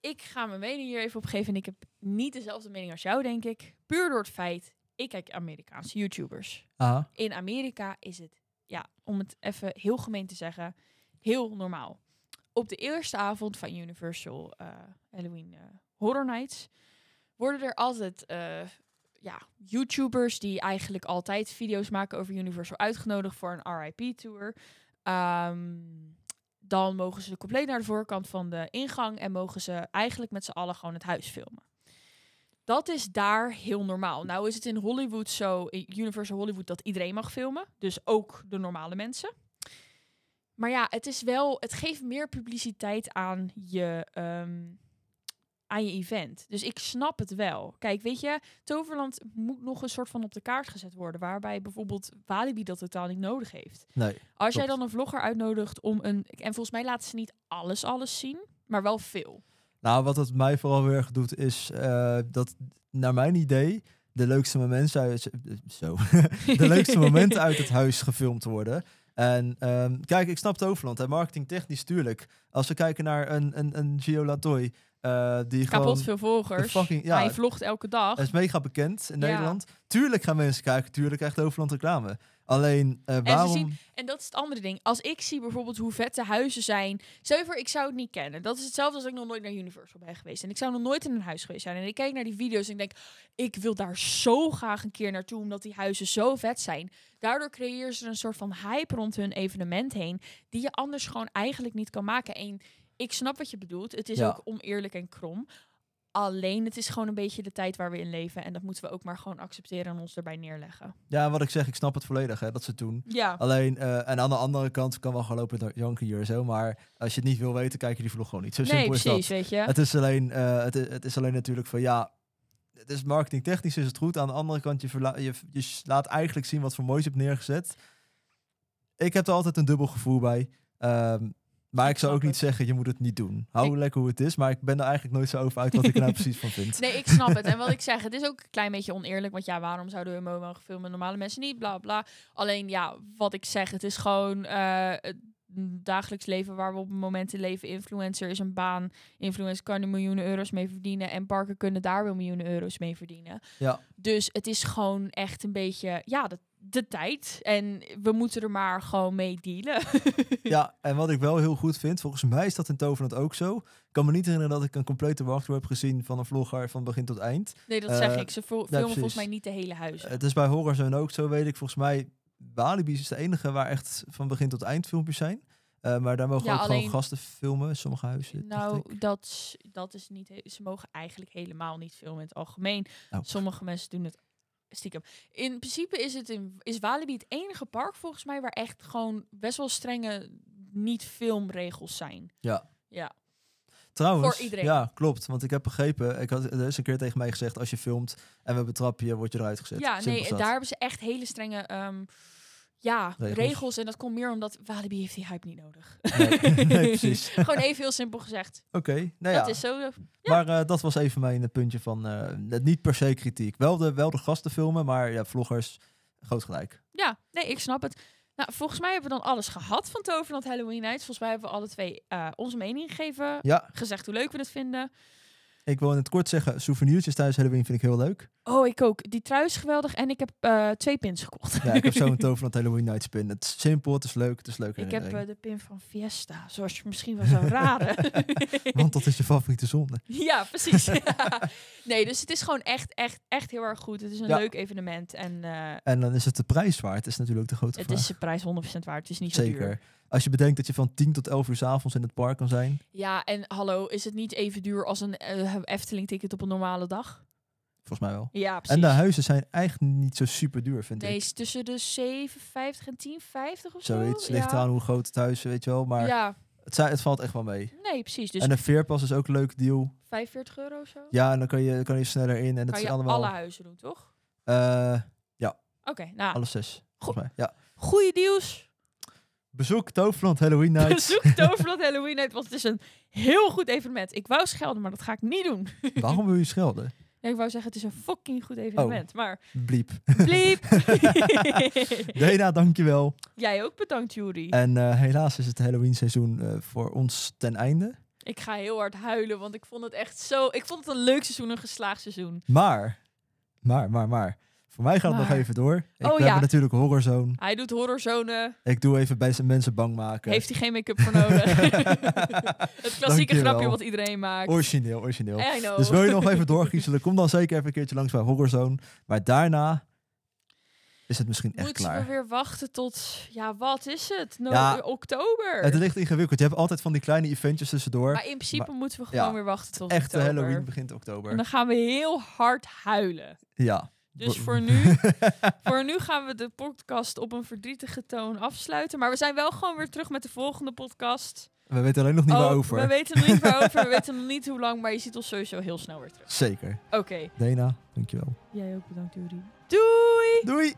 Speaker 2: Ik ga mijn mening hier even op geven. En ik heb niet dezelfde mening als jou, denk ik. Puur door het feit, ik kijk Amerikaanse YouTubers.
Speaker 3: Ah,
Speaker 2: In Amerika is het, ja, om het even heel gemeen te zeggen, heel normaal. Op de eerste avond van Universal eh, Halloween eh, Horror Nights worden er altijd eh, ja, YouTubers die eigenlijk altijd video's maken over Universal uitgenodigd voor een RIP tour. Ehm, Dan mogen ze compleet naar de voorkant van de ingang en mogen ze eigenlijk met z'n allen gewoon het huis filmen. Dat is daar heel normaal. Nou is het in Hollywood zo, in Universal Hollywood, dat iedereen mag filmen. Dus ook de normale mensen. Maar ja, het is wel, het geeft meer publiciteit aan je, ehm, aan je event. Dus ik snap het wel. Kijk, weet je, Toverland moet nog een soort van op de kaart gezet worden. Waarbij bijvoorbeeld Walibi dat totaal niet nodig heeft.
Speaker 3: Nee.
Speaker 2: Als jij
Speaker 3: Klopt.
Speaker 2: dan een vlogger uitnodigt om een. En volgens mij laten ze niet alles, alles zien, maar wel veel.
Speaker 3: Nou, wat het mij vooral heel erg doet, is eh, dat naar mijn idee de leukste momenten uit, eh, zo, de leukste momenten uit het huis gefilmd worden. En ehm, kijk, ik snap Toverland. En marketingtechnisch tuurlijk. Als we kijken naar een, een, een Gio Latoy, eh, die
Speaker 2: Kapot
Speaker 3: gewoon...
Speaker 2: veel volgers.
Speaker 3: de fucking- ja.
Speaker 2: Hij vlogt elke dag.
Speaker 3: Hij is mega bekend in
Speaker 2: Ja.
Speaker 3: Nederland. Tuurlijk gaan mensen kijken, tuurlijk krijgt Toverland reclame. Alleen, eh,
Speaker 2: ze
Speaker 3: waarom...
Speaker 2: zien- En dat is het andere ding. Als ik zie bijvoorbeeld hoe vet de huizen zijn. Stel je voor, ik zou het niet kennen. Dat is hetzelfde als ik nog nooit naar Universal ben geweest. En ik zou nog nooit in een huis geweest zijn. En ik kijk naar die video's en ik denk, ik wil daar zo graag een keer naartoe. Omdat die huizen zo vet zijn. Daardoor creëren ze een soort van hype rond hun evenement heen. Die je anders gewoon eigenlijk niet kan maken. En ik snap wat je bedoelt. Het is
Speaker 3: Ja.
Speaker 2: ook oneerlijk en krom. Alleen het is gewoon een beetje de tijd waar we in leven. En dat moeten we ook maar gewoon accepteren en ons erbij neerleggen.
Speaker 3: Ja, wat ik zeg, ik snap het volledig, hè, dat ze het doen.
Speaker 2: Ja.
Speaker 3: Alleen, eh, en aan de andere kant kan wel gaan lopen door janken hier en zo. Maar als je het niet wil weten, kijk je die vlog gewoon niet. Zo
Speaker 2: Nee,
Speaker 3: simpel is dat.
Speaker 2: precies, weet je.
Speaker 3: Het, is alleen, eh, het, is, het is alleen natuurlijk van ja. Het is marketingtechnisch is het goed. Aan de andere kant, je, verla- je, je s- laat eigenlijk zien wat voor moois je hebt neergezet. Ik heb er altijd een dubbel gevoel bij. Ehm, maar
Speaker 2: Ik
Speaker 3: ik zou ook
Speaker 2: snap
Speaker 3: niet zeggen, je moet het niet doen. Hou
Speaker 2: Ik-
Speaker 3: lekker hoe het is. Maar ik ben er eigenlijk nooit zo over uit wat ik er nou precies van vind.
Speaker 2: Nee, ik snap het. En wat ik zeg, het is ook een klein beetje oneerlijk. Want ja, waarom zouden we MOMO mogen filmen? Normale mensen niet, bla bla. Alleen ja, wat ik zeg, het is gewoon eh, het dagelijks leven waar we op het moment in leven. Influencer is een baan. Influencer kan er miljoenen euro's mee verdienen. En parken kunnen daar wel miljoenen euro's mee verdienen.
Speaker 3: Ja.
Speaker 2: Dus het is gewoon echt een beetje, ja, de, de tijd. En we moeten er maar gewoon mee dealen.
Speaker 3: Ja, en wat ik wel heel goed vind, volgens mij is dat in Toverland ook zo. Ik kan me niet herinneren dat ik een complete wachtroom heb gezien van een vlogger van begin tot eind.
Speaker 2: Nee, dat zeg
Speaker 3: Eh,
Speaker 2: ik. Ze vo- filmen volgens
Speaker 3: precies.
Speaker 2: mij niet de hele huizen.
Speaker 3: Het is bij Horrorzone ook zo, weet ik. Volgens mij, Walibi is de enige waar echt van begin tot eind filmpjes zijn. Eh, maar daar mogen
Speaker 2: Ja,
Speaker 3: ook
Speaker 2: alleen-
Speaker 3: gewoon gasten filmen, sommige huizen. dacht ik.
Speaker 2: Nou, dat, is- dat is niet. he- Ze mogen eigenlijk helemaal niet filmen in het algemeen.
Speaker 3: Oh.
Speaker 2: Sommige mensen doen het stiekem. In principe is het in is Walibi het enige park volgens mij waar echt gewoon best wel strenge niet-filmregels zijn.
Speaker 3: Ja.
Speaker 2: Ja.
Speaker 3: Trouwens,
Speaker 2: voor iedereen.
Speaker 3: ja, klopt. Want ik heb begrepen, ik had, er is een keer tegen mij gezegd, als je filmt en we betrappen je, word je eruit gezet.
Speaker 2: Ja,
Speaker 3: Simpel
Speaker 2: nee,
Speaker 3: is dat.
Speaker 2: daar hebben ze echt hele strenge ehm, ja, regels.
Speaker 3: Regels.
Speaker 2: En dat komt meer omdat Walibi heeft die hype niet nodig.
Speaker 3: Nee, nee, precies.
Speaker 2: gewoon even heel simpel gezegd.
Speaker 3: Oké, nou ja.
Speaker 2: Dat is zo.
Speaker 3: Maar eh, dat was even mijn eh, puntje van, eh, het niet per se kritiek. Wel de, wel de gasten filmen, maar ja, vloggers, groot gelijk.
Speaker 2: Ja, nee, ik snap het. Nou, volgens mij hebben we dan alles gehad van Toverland Halloween Nights. Volgens mij hebben we alle twee eh, onze mening gegeven.
Speaker 3: Ja,
Speaker 2: Gezegd hoe leuk we het vinden.
Speaker 3: ik wil in het kort zeggen, souvenirtjes thuis Halloween vind ik heel leuk.
Speaker 2: Oh, ik ook. Die trui is geweldig. En ik heb eh, twee pins gekocht.
Speaker 3: Ja, ik heb zo'n Toverland Halloween Night Spin. Het is simpel, het is leuk, het is leuk.
Speaker 2: ik heb eh, de pin van Fiesta, zoals je misschien wel zou raden. eh,
Speaker 3: Want dat is je favoriete zonde.
Speaker 2: ja, precies. Ja. Nee, dus het is gewoon echt, echt, echt heel erg goed. Het is een
Speaker 3: Ja.
Speaker 2: leuk evenement. En eh,
Speaker 3: En dan is het de prijs waard, is natuurlijk de grote
Speaker 2: het
Speaker 3: vraag.
Speaker 2: is de prijs 100% waard. Het is niet zo duur.
Speaker 3: Zeker. Als je bedenkt dat je van 10 tot 11 uur 's avonds in het park kan zijn.
Speaker 2: Ja, en hallo, is het niet even duur als een eh, Efteling-ticket op een normale dag?
Speaker 3: Volgens mij wel.
Speaker 2: Ja, precies.
Speaker 3: En de huizen zijn eigenlijk niet zo super duur, vind
Speaker 2: Nee,
Speaker 3: ik.
Speaker 2: is tussen de 7,50 en 10,50 of zo.
Speaker 3: Zoiets ligt
Speaker 2: ja.
Speaker 3: eraan hoe groot het huis is, weet je wel. Maar
Speaker 2: Ja,
Speaker 3: het, zi- het valt echt wel mee.
Speaker 2: nee, precies. Dus
Speaker 3: En een veerpas is ook een leuk deal.
Speaker 2: 45 euro of zo.
Speaker 3: Ja, en dan kan je, kan je sneller in. En dat
Speaker 2: kan
Speaker 3: is
Speaker 2: je
Speaker 3: allemaal...
Speaker 2: alle huizen doen, toch?
Speaker 3: eh,
Speaker 2: Oké, nou,
Speaker 3: Alle zes, volgens mij. Ja.
Speaker 2: goede deals.
Speaker 3: Bezoek Toverland Halloween Night.
Speaker 2: Bezoek Toverland Halloween Night, want het is een heel goed evenement. Ik wou schelden, maar dat ga ik niet doen.
Speaker 3: Waarom wil je schelden?
Speaker 2: Nee, ik wou zeggen, het is een fucking
Speaker 3: Oh.
Speaker 2: goed evenement. Maar,
Speaker 3: Bliep.
Speaker 2: bliep.
Speaker 3: Dena, dankjewel.
Speaker 2: Jij ook bedankt, Jury.
Speaker 3: En eh, helaas is het Halloween seizoen eh, voor ons ten einde.
Speaker 2: Ik ga heel hard huilen, want ik vond het echt zo... Ik vond het een leuk seizoen, een geslaagd seizoen.
Speaker 3: Maar, maar, maar, maar. Voor mij gaat het nog
Speaker 2: Maar.
Speaker 3: even door. Ik
Speaker 2: Oh,
Speaker 3: we
Speaker 2: ja.
Speaker 3: hebben natuurlijk Horrorzone.
Speaker 2: Hij doet horrorzone,
Speaker 3: Ik doe even bij zijn mensen bang maken.
Speaker 2: heeft hij geen make-up voor nodig. Het klassieke
Speaker 3: Dankjewel.
Speaker 2: grapje wat iedereen maakt.
Speaker 3: Origineel, origineel.
Speaker 2: I know.
Speaker 3: Dus wil je nog even doorgiezelen, kom dan zeker even een keertje langs bij Horrorzone. Maar daarna is het misschien echt
Speaker 2: Moeten we
Speaker 3: klaar.
Speaker 2: weer wachten tot, ja, wat is het? No- eh,
Speaker 3: Ja.
Speaker 2: oktober.
Speaker 3: Het ligt ingewikkeld. Je hebt altijd van die kleine eventjes tussendoor.
Speaker 2: maar in principe moeten we
Speaker 3: ja,
Speaker 2: gewoon weer wachten tot
Speaker 3: Echt
Speaker 2: oktober.
Speaker 3: Halloween begint
Speaker 2: En
Speaker 3: oktober.
Speaker 2: dan gaan we heel hard huilen.
Speaker 3: Ja.
Speaker 2: Dus
Speaker 3: Bo-
Speaker 2: voor nu, voor nu gaan we de podcast op een verdrietige toon afsluiten. Maar we zijn wel gewoon weer terug met de volgende podcast.
Speaker 3: We weten alleen nog niet meer
Speaker 2: Oh,
Speaker 3: over.
Speaker 2: We weten nog niet waarover, we weten nog niet hoe lang, maar je ziet ons sowieso heel snel weer terug.
Speaker 3: Zeker.
Speaker 2: Oké,
Speaker 3: Dena, dankjewel.
Speaker 2: jij ook bedankt, Juri. Doei!
Speaker 3: Doei!